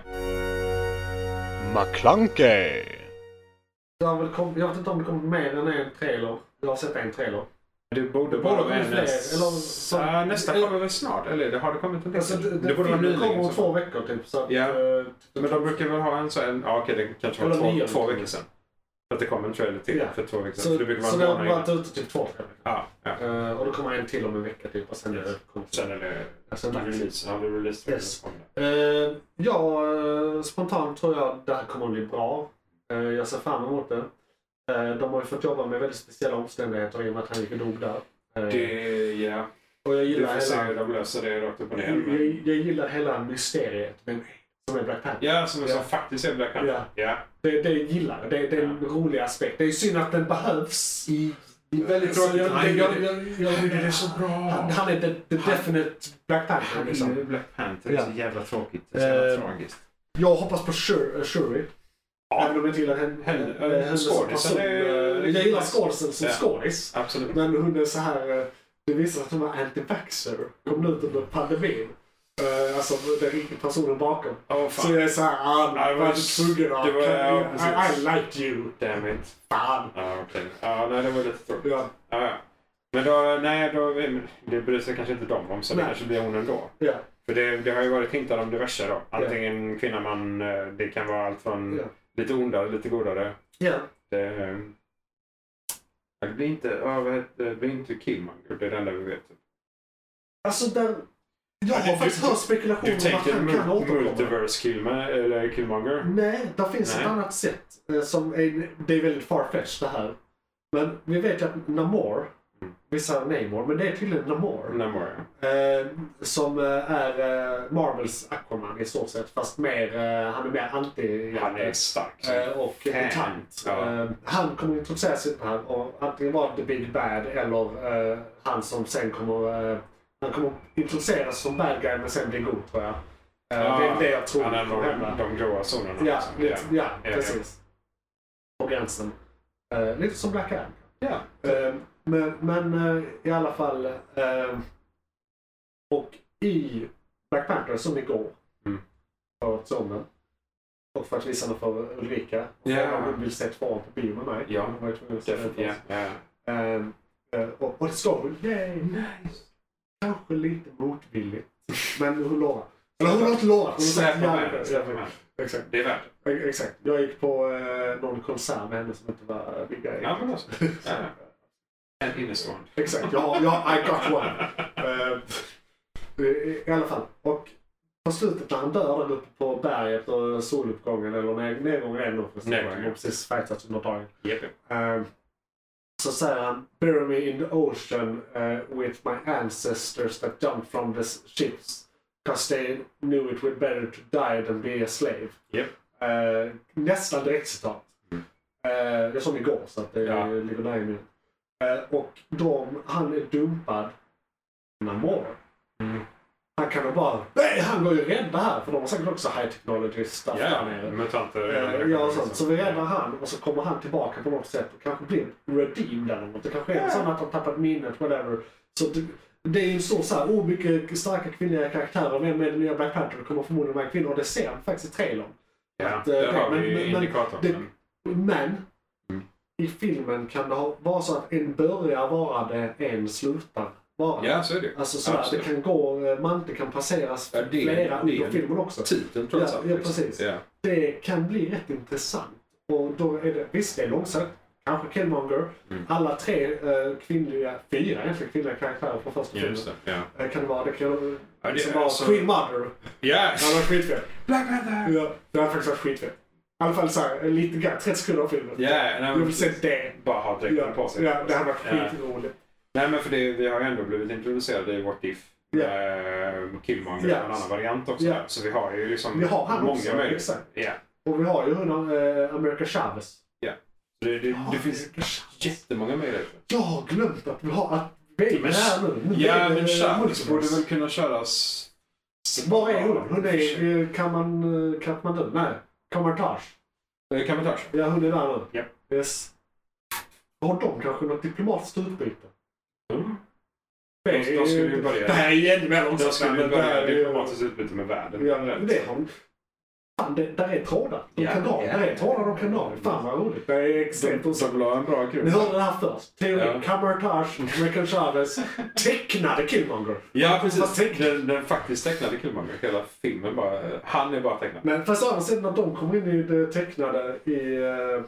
Speaker 6: McClunkey!
Speaker 3: Det har väl kom, jag vet inte om det kommit mer än en trailer. Jag har sett en trailer.
Speaker 4: Det borde
Speaker 3: Det
Speaker 4: bara
Speaker 3: borde
Speaker 4: vara
Speaker 3: bli
Speaker 4: en...
Speaker 3: fler, eller som-
Speaker 4: Ja, nästa kommer väl snart? Eller det har det kommit en del?
Speaker 3: Alltså, det, det,
Speaker 4: det borde vara nyligen.
Speaker 3: kommer om
Speaker 4: så.
Speaker 3: två veckor typ. Så att,
Speaker 4: Ja.
Speaker 3: eh,
Speaker 4: Men de brukar väl ha en så en... Ja, okej, det kanske var
Speaker 3: Eller nya.
Speaker 4: två, två veckor sedan. För att det kom en trailer till
Speaker 3: Ja.
Speaker 4: för två veckor sedan.
Speaker 3: så,
Speaker 4: det brukar
Speaker 3: så
Speaker 4: vara
Speaker 3: det
Speaker 4: en
Speaker 3: har
Speaker 4: månad
Speaker 3: varit
Speaker 4: innan.
Speaker 3: ute typ två, tre veckor.
Speaker 4: Ja, ja.
Speaker 3: Eh, och då kommer en till om en vecka typ och sen är det
Speaker 4: Sen är det...
Speaker 3: Sen dags.
Speaker 4: release. Ja, det är release.
Speaker 3: Yes. Eh, ja, eh, spontant tror jag det här kommer bli bra. Eh, jag ser fram emot det. Eh, de har ju fått jobba med väldigt speciella omständigheter i och med att han gick i dop där. Eh,
Speaker 4: Det... Ja.
Speaker 3: och jag
Speaker 4: Vi
Speaker 3: gillar,
Speaker 4: får se hur
Speaker 3: hela,
Speaker 4: de löser det rakt upp och ner.
Speaker 3: jag,
Speaker 4: Men...
Speaker 3: jag gillar hela mysteriet med som är Black Panther.
Speaker 4: Ja, som jag sa,
Speaker 3: Ja.
Speaker 4: faktiskt är Black Panther.
Speaker 3: Ja,
Speaker 4: Ja.
Speaker 3: det, det gillar jag. Det, det är en rolig aspekt. Det är synd att den behövs. I,
Speaker 4: Det är väldigt tråkigt.
Speaker 3: Jag,
Speaker 4: Han
Speaker 3: jag, jag,
Speaker 4: gjorde det.
Speaker 3: jag, jag,
Speaker 4: Han gjorde det så bra.
Speaker 3: han, han är the, the definite Black Panther. Liksom.
Speaker 4: är Black Panther.
Speaker 3: Ja.
Speaker 4: jävla tråkigt.
Speaker 3: Eh,
Speaker 4: tragiskt.
Speaker 3: Jag hoppas på Shuri. Shuri.
Speaker 4: Ja.
Speaker 3: Även om jag inte gillar henne.
Speaker 4: Henne-
Speaker 3: eh, hennes
Speaker 4: skådisen
Speaker 3: person.
Speaker 4: är-
Speaker 3: Eh, Jag gillar skådisen som
Speaker 4: Ja.
Speaker 3: skådis.
Speaker 4: Absolut.
Speaker 3: Men hon är så här... eh, Det visar sig att hon var anti-vaxxer. Kom ut under pandemin. Eh, Alltså den riktiga personen bakom.
Speaker 4: Åh
Speaker 3: Så
Speaker 4: fan.
Speaker 3: jag är så här, ah,
Speaker 4: Ja, det
Speaker 3: var
Speaker 4: var-
Speaker 3: du tvungen att...
Speaker 4: det var- ja,
Speaker 3: I, I
Speaker 4: precis.
Speaker 3: like you.
Speaker 4: Damn it.
Speaker 3: Fan.
Speaker 4: Ja, okej. Ja, nej, det var lite tråkigt.
Speaker 3: Ja,
Speaker 4: Ja, ja. Men då, nej, då, men det bryr sig kanske inte de om, så det
Speaker 3: Nej.
Speaker 4: kanske blir hon ändå.
Speaker 3: ja.
Speaker 4: För det, det har ju varit hintar om diverse då. Antingen kvinna, man, eh, det kan vara allt från
Speaker 3: Ja.
Speaker 4: lite ondare, lite godare.
Speaker 3: ja.
Speaker 4: Det, eh, ja, det blir inte, ja, vad heter, det blir inte Killmonger, det är det enda vi vet.
Speaker 3: Alltså där... Jag
Speaker 4: Ja,
Speaker 3: har
Speaker 4: du-
Speaker 3: faktiskt
Speaker 4: du-
Speaker 3: hört spekulationer
Speaker 4: Du
Speaker 3: om att
Speaker 4: tänker
Speaker 3: han kan
Speaker 4: mul-
Speaker 3: återkomma.
Speaker 4: multiverse Killma, eller Killmonger?
Speaker 3: Nej, där finns
Speaker 4: Nej.
Speaker 3: ett annat sätt. eh, Som är, det är väldigt farfetched det här. Men vi vet ju att Namor,
Speaker 4: Mm.
Speaker 3: vissa Namor, men det är tydligen Namor.
Speaker 4: Namor,
Speaker 3: Eh, som eh, är eh, Marvels Aquaman i stort sett. Fast mer, eh, han är mer anti
Speaker 4: ja. Han är stark. så-
Speaker 3: eh, och
Speaker 4: Fan.
Speaker 3: mutant.
Speaker 4: Ja.
Speaker 3: Eh, han kommer introduceras i det här och antingen vara The Big Bad eller eh, han som sen kommer... Eh, han kommer introduceras som bad guy men sen bli god tror jag. Eh, det är det jag tror
Speaker 4: Han är
Speaker 3: kommer hända.
Speaker 4: de, de gråa zonerna.
Speaker 3: Ja,
Speaker 4: liksom.
Speaker 3: lite, ja,
Speaker 4: ja.
Speaker 3: precis. På gränsen. Eh, lite som Black Adam.
Speaker 4: Ja.
Speaker 3: Eh, men men eh, i alla fall. eh, och i Black Panther som igår.
Speaker 4: Mm.
Speaker 3: För sonen. Och för att visa den för Ulrika.
Speaker 4: Ja.
Speaker 3: Om hon vill se tvåan på bio med mig.
Speaker 4: Ja,
Speaker 3: Hon var ju tvungen att se den
Speaker 4: Definitivt.
Speaker 3: först.
Speaker 4: Ja. ja.
Speaker 3: Ehm, eh, och, och det ska hon. Yay! Kanske lite motvilligt. Men hon lovar. Eller hon har inte lovat. Hon har sagt
Speaker 4: Släpa
Speaker 3: ja,
Speaker 4: med den,
Speaker 3: ja,
Speaker 4: släpa Alltså, med den.
Speaker 3: Exakt.
Speaker 4: Det är värt det.
Speaker 3: E- Exakt. Jag gick på eh, någon konsert med henne som inte var lika
Speaker 4: Ja, men alltså. Ja. En innestående.
Speaker 3: Exakt. Ja, ja, I got one. Eh, i- I alla fall. Och på slutet när han dör där uppe på berget och soluppgången eller ned- nedgången är det nog förresten.
Speaker 4: Nedgången.
Speaker 3: Han har precis fightats under dagen.
Speaker 4: Japp, japp.
Speaker 3: Eh, så säger han Bury me in the ocean eh, with my ancestors that jumped from the ships. Because they knew it would better to die than be a slave.
Speaker 4: Japp.
Speaker 3: Eh, nästan direktcitat.
Speaker 4: Mm.
Speaker 3: Eh, jag såg den igår så att det
Speaker 4: Ja.
Speaker 3: ligger där i min. Eh, och de, han är dumpad Namor.
Speaker 4: Mm.
Speaker 3: Han kan då bara, nej han går ju att rädda här för de har säkert också high technology stuff
Speaker 4: Ja,
Speaker 3: där nere.
Speaker 4: mutanter.
Speaker 3: Eh, Ja, och sånt. Så vi räddar han och så kommer han tillbaka på något sätt och kanske blir redeemed eller något. Det kanske är så att han tappat minnet, whatever. Så det, det är ju så så här, oh, mycket starka kvinnliga karaktärer. Vem är den nya Black Panther? Det kommer förmodligen vara en kvinna och det ser man faktiskt i trailern.
Speaker 4: Ja,
Speaker 3: Att, eh,
Speaker 4: där har
Speaker 3: men-
Speaker 4: vi ju
Speaker 3: men-
Speaker 4: indikatorn.
Speaker 3: det-
Speaker 4: men-
Speaker 3: Men
Speaker 4: Mm.
Speaker 3: i filmen kan det ha, vara så att en börjar vara det, en slutar vara det.
Speaker 4: Ja, så är det ju.
Speaker 3: Alltså sådär,
Speaker 4: Absolut.
Speaker 3: det kan gå, eh, Mante kan passeras
Speaker 4: Ja, det-
Speaker 3: flera
Speaker 4: det-
Speaker 3: under filmen också.
Speaker 4: Titeln trots
Speaker 3: Alltså, Ja,
Speaker 4: allt.
Speaker 3: ja,
Speaker 4: liksom.
Speaker 3: precis.
Speaker 4: Ja.
Speaker 3: Det kan bli rätt intressant. Och då är det, visst det är långsökt, kanske Killmonger.
Speaker 4: Mm.
Speaker 3: Alla tre eh, kvinnliga, fyra egentligen kvinnliga karaktärer från första
Speaker 4: Just
Speaker 3: filmen.
Speaker 4: det. Ja.
Speaker 3: Eh, Kan det vara, det kan
Speaker 4: Ja, det
Speaker 3: liksom
Speaker 4: är
Speaker 3: vara
Speaker 4: alltså-
Speaker 3: Queen Mother. Det hade
Speaker 4: Yes!
Speaker 3: varit skitfett.
Speaker 4: Black Panther!
Speaker 3: Ja, det hade faktiskt varit skitfett. I alla fall såhär, lite grann, 30 sekunder av filmen.
Speaker 4: Ja, nej,
Speaker 3: Jag
Speaker 4: men
Speaker 3: vill se det.
Speaker 4: bara ha dräkten på
Speaker 3: Ja,
Speaker 4: sig.
Speaker 3: ja, det hade varit
Speaker 4: Ja.
Speaker 3: skitroligt.
Speaker 4: Nej, men för det, vi har ju ändå blivit introducerade i What If.
Speaker 3: Ja.
Speaker 4: eh, Killmonger,
Speaker 3: Ja.
Speaker 4: en annan variant också.
Speaker 3: Ja.
Speaker 4: Så vi har ju liksom
Speaker 3: Vi har han
Speaker 4: många
Speaker 3: också,
Speaker 4: möjligheter.
Speaker 3: exakt.
Speaker 4: Ja.
Speaker 3: Och vi har ju hon, eh, America Chavez.
Speaker 4: Det, det, det
Speaker 3: Ja,
Speaker 4: finns
Speaker 3: America Chavez.
Speaker 4: jättemånga möjligheter.
Speaker 3: Jag har glömt att vi har att vi är
Speaker 4: Men-
Speaker 3: här nu. nu.
Speaker 4: Ja,
Speaker 3: är det
Speaker 4: men Charles
Speaker 3: multiverse.
Speaker 4: borde väl kunna köras...
Speaker 3: Var är hon? Hon är i Kaman, eh, Kathmandu. Nej, Kamartage.
Speaker 4: Eh, Kapitage.
Speaker 3: Ja, hon är där nu.
Speaker 4: Ja.
Speaker 3: Yes. Har de kanske något diplomatiskt utbyte?
Speaker 4: Mm.
Speaker 3: Det
Speaker 4: De- de skulle ju
Speaker 3: är-
Speaker 4: börja-
Speaker 3: Det här är ju ännu mer
Speaker 4: De skulle
Speaker 3: långsamt.
Speaker 4: ju
Speaker 3: men det här
Speaker 4: börja
Speaker 3: är ju-
Speaker 4: diplomatiskt utbyte med världen.
Speaker 3: Ja, men det har de. Fan, det, där är trådar. De
Speaker 4: Ja,
Speaker 3: kan dra.
Speaker 4: ja.
Speaker 3: Där är trådar de kan dra. Fan vad roligt.
Speaker 4: Det är extremt osannolikt. en bra
Speaker 3: Ni
Speaker 4: kul.
Speaker 3: hörde det här först. Teori,
Speaker 4: Ja.
Speaker 3: Camertage, Michael Chavez tecknade Killmonger.
Speaker 4: Ja,
Speaker 3: Fast
Speaker 4: precis.
Speaker 3: tänk-
Speaker 4: Den, den faktiskt tecknade Killmonger. Hela filmen bara... Han är bara tecknad.
Speaker 3: Men fast å andra sidan att de kommer in i det tecknade i uh,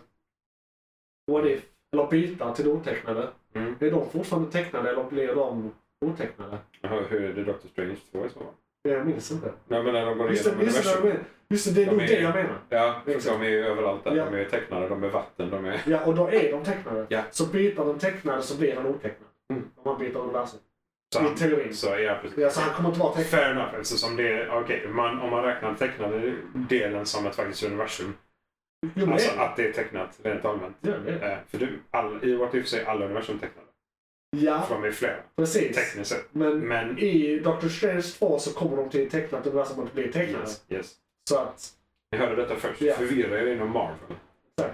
Speaker 3: What If, eller byter till det otecknade.
Speaker 4: Mm.
Speaker 3: Är de fortfarande tecknade eller blir de otecknade?
Speaker 4: Hur hur är det Doctor Strange 2 i så fall?
Speaker 3: Jag minns inte.
Speaker 4: Nej, men när de går
Speaker 3: Just det,
Speaker 4: igenom
Speaker 3: just det,
Speaker 4: universum.
Speaker 3: de är- just det, det är
Speaker 4: De
Speaker 3: nog
Speaker 4: är-
Speaker 3: det jag menar.
Speaker 4: Ja, för
Speaker 3: Exakt.
Speaker 4: de är ju överallt där.
Speaker 3: Ja.
Speaker 4: De är ju tecknade, de är vatten, de är...
Speaker 3: Ja, och då är de tecknade.
Speaker 4: Ja.
Speaker 3: Så byter den tecknade så blir den otecknad.
Speaker 4: Mm.
Speaker 3: Om man byter universum.
Speaker 4: Så,
Speaker 3: I teorin.
Speaker 4: så ja, precis.
Speaker 3: Mm. Ja, så han kommer inte vara tecknad.
Speaker 4: Fair enough, eftersom det är... Okej, man, om man räknar den tecknade delen som ett faktiskt universum.
Speaker 3: Jo, men det
Speaker 4: Alltså
Speaker 3: är han.
Speaker 4: att det är tecknat rent allmänt.
Speaker 3: Ja, det är han.
Speaker 4: Eh, För du, all, i What If så är alla universum tecknade. För
Speaker 3: Ja,
Speaker 4: de är flera,
Speaker 3: precis.
Speaker 4: tekniskt sett.
Speaker 3: Men
Speaker 4: Men...
Speaker 3: i Doctor Strange 2 så kommer de till ett tecknat universum att bli tecknade.
Speaker 4: Yes, yes.
Speaker 3: Så att...
Speaker 4: Ni hörde detta först.
Speaker 3: Ja.
Speaker 4: Förvirra er inom Marvel.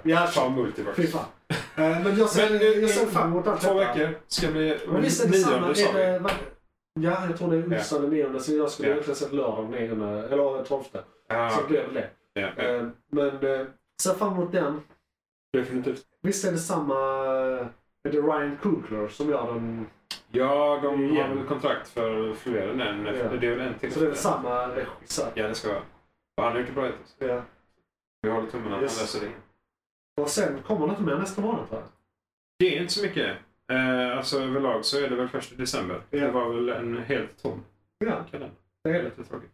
Speaker 3: Ja,
Speaker 4: Ta
Speaker 3: Fy
Speaker 4: multiverse.
Speaker 3: fan. Eh, Men jag ser,
Speaker 4: Men, eh,
Speaker 3: jag ser fram emot allt
Speaker 4: Två
Speaker 3: detta.
Speaker 4: veckor ska bli...
Speaker 3: Men visst är det samma?
Speaker 4: sa
Speaker 3: Är
Speaker 4: vi.
Speaker 3: det, va- ja, jag tror det är onsdag den 9 så jag skulle
Speaker 4: Ja.
Speaker 3: egentligen sett lördag den 9, eller 12.
Speaker 4: Ja,
Speaker 3: Så det blev det.
Speaker 4: ja, ja.
Speaker 3: Eh, Men eh, ser fram emot den.
Speaker 4: Definitivt.
Speaker 3: Visst är det samma... Är det Ryan Coogler som gör den?
Speaker 4: Ja, de
Speaker 3: Ja.
Speaker 4: har väl kontrakt för fler än en.
Speaker 3: Ja.
Speaker 4: Det är väl en till.
Speaker 3: Så det är väl samma regissör?
Speaker 4: Ja, det ska vara. Och han har gjort det bra hittills.
Speaker 3: Ja.
Speaker 4: Vi håller tummarna att
Speaker 3: Yes.
Speaker 4: han löser det.
Speaker 3: Och sen kommer det inte mer nästa månad va?
Speaker 4: Det är inte så mycket. Eh, alltså överlag så är det väl första december.
Speaker 3: Ja.
Speaker 4: Det var väl en helt tom
Speaker 3: Ja,
Speaker 4: kalender.
Speaker 3: det är det.
Speaker 4: Lite tråkigt.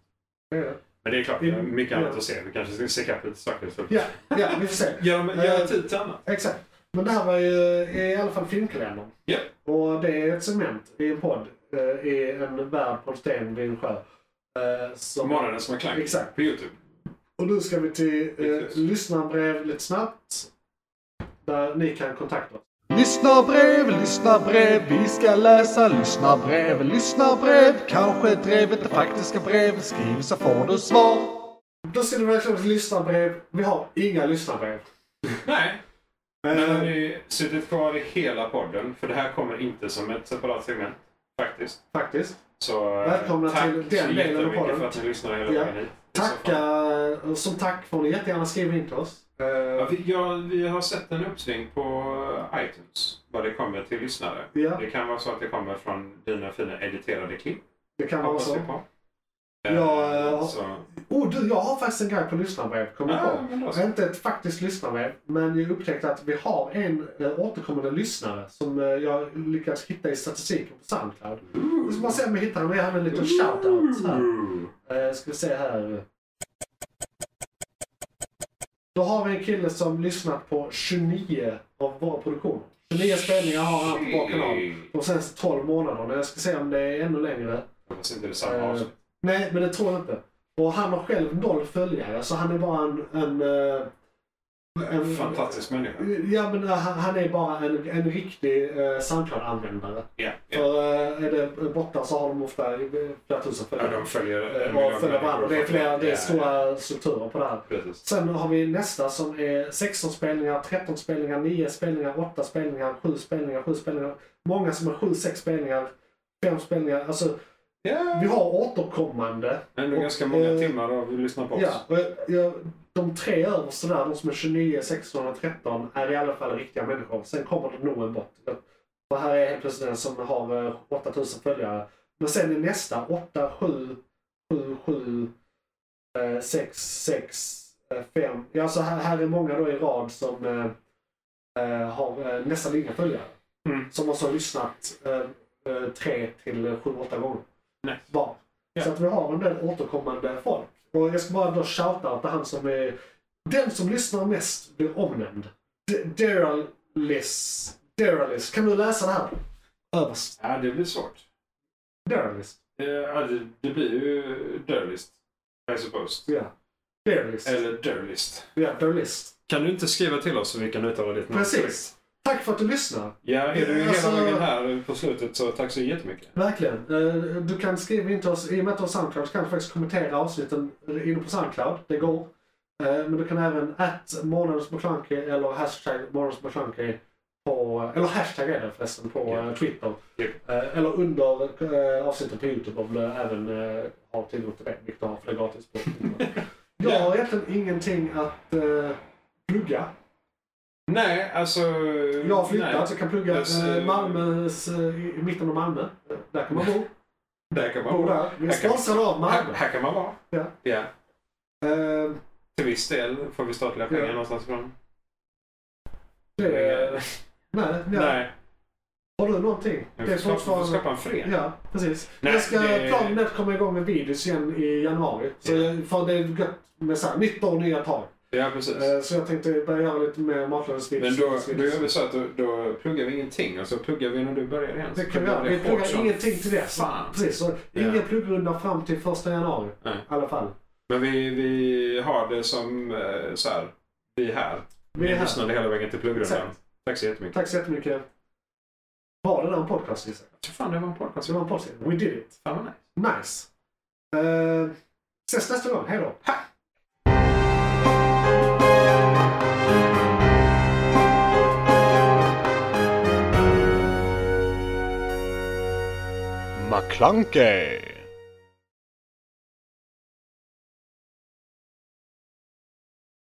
Speaker 3: det är det.
Speaker 4: Men det är klart, det är mycket
Speaker 3: Ja.
Speaker 4: annat att se. Vi kanske ska se kapp lite saker. Så.
Speaker 3: Ja, ja, vi får se.
Speaker 4: Gör, de-
Speaker 3: Eh.
Speaker 4: gör tid till annat.
Speaker 3: Exakt. Men det här var ju eh, i alla fall filmkalendern.
Speaker 4: Ja.
Speaker 3: Och det är ett segment i en podd eh, i en värld på en sten vid en sjö. Eh, som-
Speaker 4: Månaden som har klank.
Speaker 3: Exakt.
Speaker 4: På Youtube.
Speaker 3: Och nu ska vi till eh,
Speaker 4: Precis.
Speaker 3: lyssnarbrev lite snabbt. Där ni kan kontakta oss.
Speaker 5: Lyssna brev, lyssna brev, vi ska läsa lyssna brev, lyssna brev. Kanske drevet det faktiska brev, skriv så får du svar.
Speaker 3: Då ska ni verkligen till lyssnarbrev. Vi har inga lyssnarbrev.
Speaker 4: Nej.
Speaker 3: Eh,
Speaker 4: Nu har ni suttit kvar i hela podden. För det här kommer inte som ett separat segment. Faktiskt.
Speaker 3: Faktiskt.
Speaker 4: Så eh,
Speaker 3: Välkomna
Speaker 4: tack
Speaker 3: till den
Speaker 4: så
Speaker 3: delen av
Speaker 4: jättemycket
Speaker 3: podden.
Speaker 4: för att ni lyssnar hela
Speaker 3: Ja.
Speaker 4: vägen hit. I så fall.
Speaker 3: Tacka. och Som tack får ni jättegärna skriva in till oss. Eh,
Speaker 4: Ja, vi, ja, vi har sett en uppsving på iTunes vad det kommer till lyssnare.
Speaker 3: ja,
Speaker 4: Det kan vara så att det kommer från dina fina editerade klipp.
Speaker 3: det kan vara
Speaker 4: Hoppas
Speaker 3: så.
Speaker 4: vi på.
Speaker 3: Ja,
Speaker 4: Eh,
Speaker 3: ja.
Speaker 4: så.
Speaker 3: Oh, du, jag har faktiskt en grej på lyssnarbrev. Kommer jag på.
Speaker 4: Ja, men då
Speaker 3: Det är
Speaker 4: så.
Speaker 3: inte ett faktiskt lyssnarbrev, men jag upptäckte att vi har en eh, återkommande lyssnare som eh, jag lyckats hitta i statistiken på Soundcloud. Vi ska bara se om jag hittar honom. Jag hade en liten shoutout här. Eh, ska vi se här. Då har vi en kille som lyssnat på 29 av våra produktioner. 29 spelningar har han på vår kanal. De senaste 12 månaderna. Jag ska se om det är ännu längre.
Speaker 4: Hoppas inte det är samma
Speaker 3: Eh,
Speaker 4: avsnitt.
Speaker 3: Nej, men det tror jag inte. Och han har själv noll följare, så han är bara en... en, eh, en
Speaker 4: Fantastisk människa.
Speaker 3: Ja, men eh, han, han är bara en, en riktig eh, Soundcloud-användare.
Speaker 4: Ja, ja.
Speaker 3: För eh, är det borta så har de ofta eh, flera tusen
Speaker 4: Ja,
Speaker 3: följare.
Speaker 4: de följer en
Speaker 3: Eh,
Speaker 4: miljon
Speaker 3: Och följer varandra.
Speaker 4: människor.
Speaker 3: Det är, flera, det
Speaker 4: Ja,
Speaker 3: är
Speaker 4: ja.
Speaker 3: stora strukturer på det här.
Speaker 4: Precis.
Speaker 3: Sen har vi nästa som är 16 spelningar, 13 spelningar, 9 spelningar, 8 spelningar, 7 spelningar, 7 spelningar. Många som har 7-6 spelningar, 5 spelningar. Alltså, vi
Speaker 4: Ja,
Speaker 3: har återkommande
Speaker 4: ändå
Speaker 3: och,
Speaker 4: ganska många
Speaker 3: eh,
Speaker 4: timmar av att lyssna på oss.
Speaker 3: Ja, och jag, jag, de tre översta där, de som är 29, 16 och 13, är i alla fall riktiga människor. Sen kommer det nog en bort. För här är helt plötsligt en som har eh, 8000 följare. Men sen är nästa 8, 7, 7, 7, eh, 6, 6, eh, 5. Ja, så här, här är många då i rad som eh, eh, har eh, nästan inga följare.
Speaker 4: Mm.
Speaker 3: Som också har lyssnat 3 till 7, 8 gånger.
Speaker 4: Nej.
Speaker 3: Var.
Speaker 4: Ja.
Speaker 3: Så att vi har en del återkommande folk. Och jag ska bara då shoutouta han som är... Den som lyssnar mest blir omnämnd. D- Daryl Liss. Daryl Liss. Kan du läsa det här? Överst.
Speaker 4: Ja, det blir svårt.
Speaker 3: Daryl Liss.
Speaker 4: Eh, Ja, det, det blir ju Dirlist. I suppose.
Speaker 3: Ja. Daryl Liss.
Speaker 4: Eller Dirlist.
Speaker 3: Ja, Daryl Liss.
Speaker 4: Kan du inte skriva till oss så vi kan uttala ditt namn?
Speaker 3: Precis. Tack för att du lyssnar.
Speaker 4: Ja, är du
Speaker 3: Alltså-
Speaker 4: hela vägen här på slutet så tack så jättemycket.
Speaker 3: Verkligen. Eh, Du kan skriva in till oss. I och med att du har Soundcloud så kan du faktiskt kommentera avsnitten inne på Soundcloud. Det går. Eh, Men du kan även att månadens McClunky eller hashtag månadens McClunky på, eller hashtag är det förresten på
Speaker 4: Ja.
Speaker 3: eh, Twitter.
Speaker 4: Ja.
Speaker 3: Eh, Eller under eh, avsnittet på Youtube om du även eh, har tillgång till det, vilket du har för det är gratis på Youtube. Jag har egentligen ingenting att eh, plugga.
Speaker 4: Nej, alltså...
Speaker 3: Jag har flyttat
Speaker 4: nej.
Speaker 3: så jag kan plugga
Speaker 4: Yes,
Speaker 3: eh,
Speaker 4: eh,
Speaker 3: Malmös, eh, i i mitten av Malmö. Eh, Där kan man bo.
Speaker 4: Där kan man
Speaker 3: bo
Speaker 4: vara.
Speaker 3: där. Vi är
Speaker 4: Jag kan-
Speaker 3: sponsrade av
Speaker 4: Här,
Speaker 3: Malmö.
Speaker 4: här kan man vara.
Speaker 3: Ja.
Speaker 4: ja.
Speaker 3: Eh,
Speaker 4: Till viss del får vi statliga pengar
Speaker 3: Ja.
Speaker 4: någonstans ifrån.
Speaker 3: det, nej, nej.
Speaker 4: Nej,
Speaker 3: Har du någonting?
Speaker 4: vi
Speaker 3: Det är
Speaker 4: får skapa- vi får
Speaker 3: fortfarande...
Speaker 4: skapa en förening.
Speaker 3: Ja, precis.
Speaker 4: Nej,
Speaker 3: jag ska,
Speaker 4: det-
Speaker 3: Planen är att komma igång med videos igen i januari. Så,
Speaker 4: Ja.
Speaker 3: För det är gött med så här, nytt år, nya tag.
Speaker 4: Ja, precis.
Speaker 3: Eh, Så jag tänkte börja göra lite mer matlagningsvideos.
Speaker 4: Men då, då gör vi så att då, då pluggar vi ingenting och så pluggar vi när du börjar igen.
Speaker 3: Det
Speaker 4: Så
Speaker 3: kan vi
Speaker 4: blir
Speaker 3: göra. Vi
Speaker 4: hårt
Speaker 3: pluggar
Speaker 4: som
Speaker 3: ingenting till det.
Speaker 4: Fan.
Speaker 3: Precis, så
Speaker 4: Ja.
Speaker 3: ingen pluggrunda fram till första januari.
Speaker 4: Nej.
Speaker 3: I alla fall.
Speaker 4: Men vi, vi har det som eh, så här. Vi är här.
Speaker 3: Vi är
Speaker 4: Ni
Speaker 3: här.
Speaker 4: lyssnade hela vägen till pluggrundan.
Speaker 3: Exakt.
Speaker 4: Tack så jättemycket.
Speaker 3: Tack så jättemycket. Var det där en podcast Isak?
Speaker 4: Så fan, det var en podcast.
Speaker 3: Det var en podcast. We did it.
Speaker 4: Fan vad nice.
Speaker 3: Nice. Uh, ses nästa gång. Hej då.
Speaker 6: McClunkey!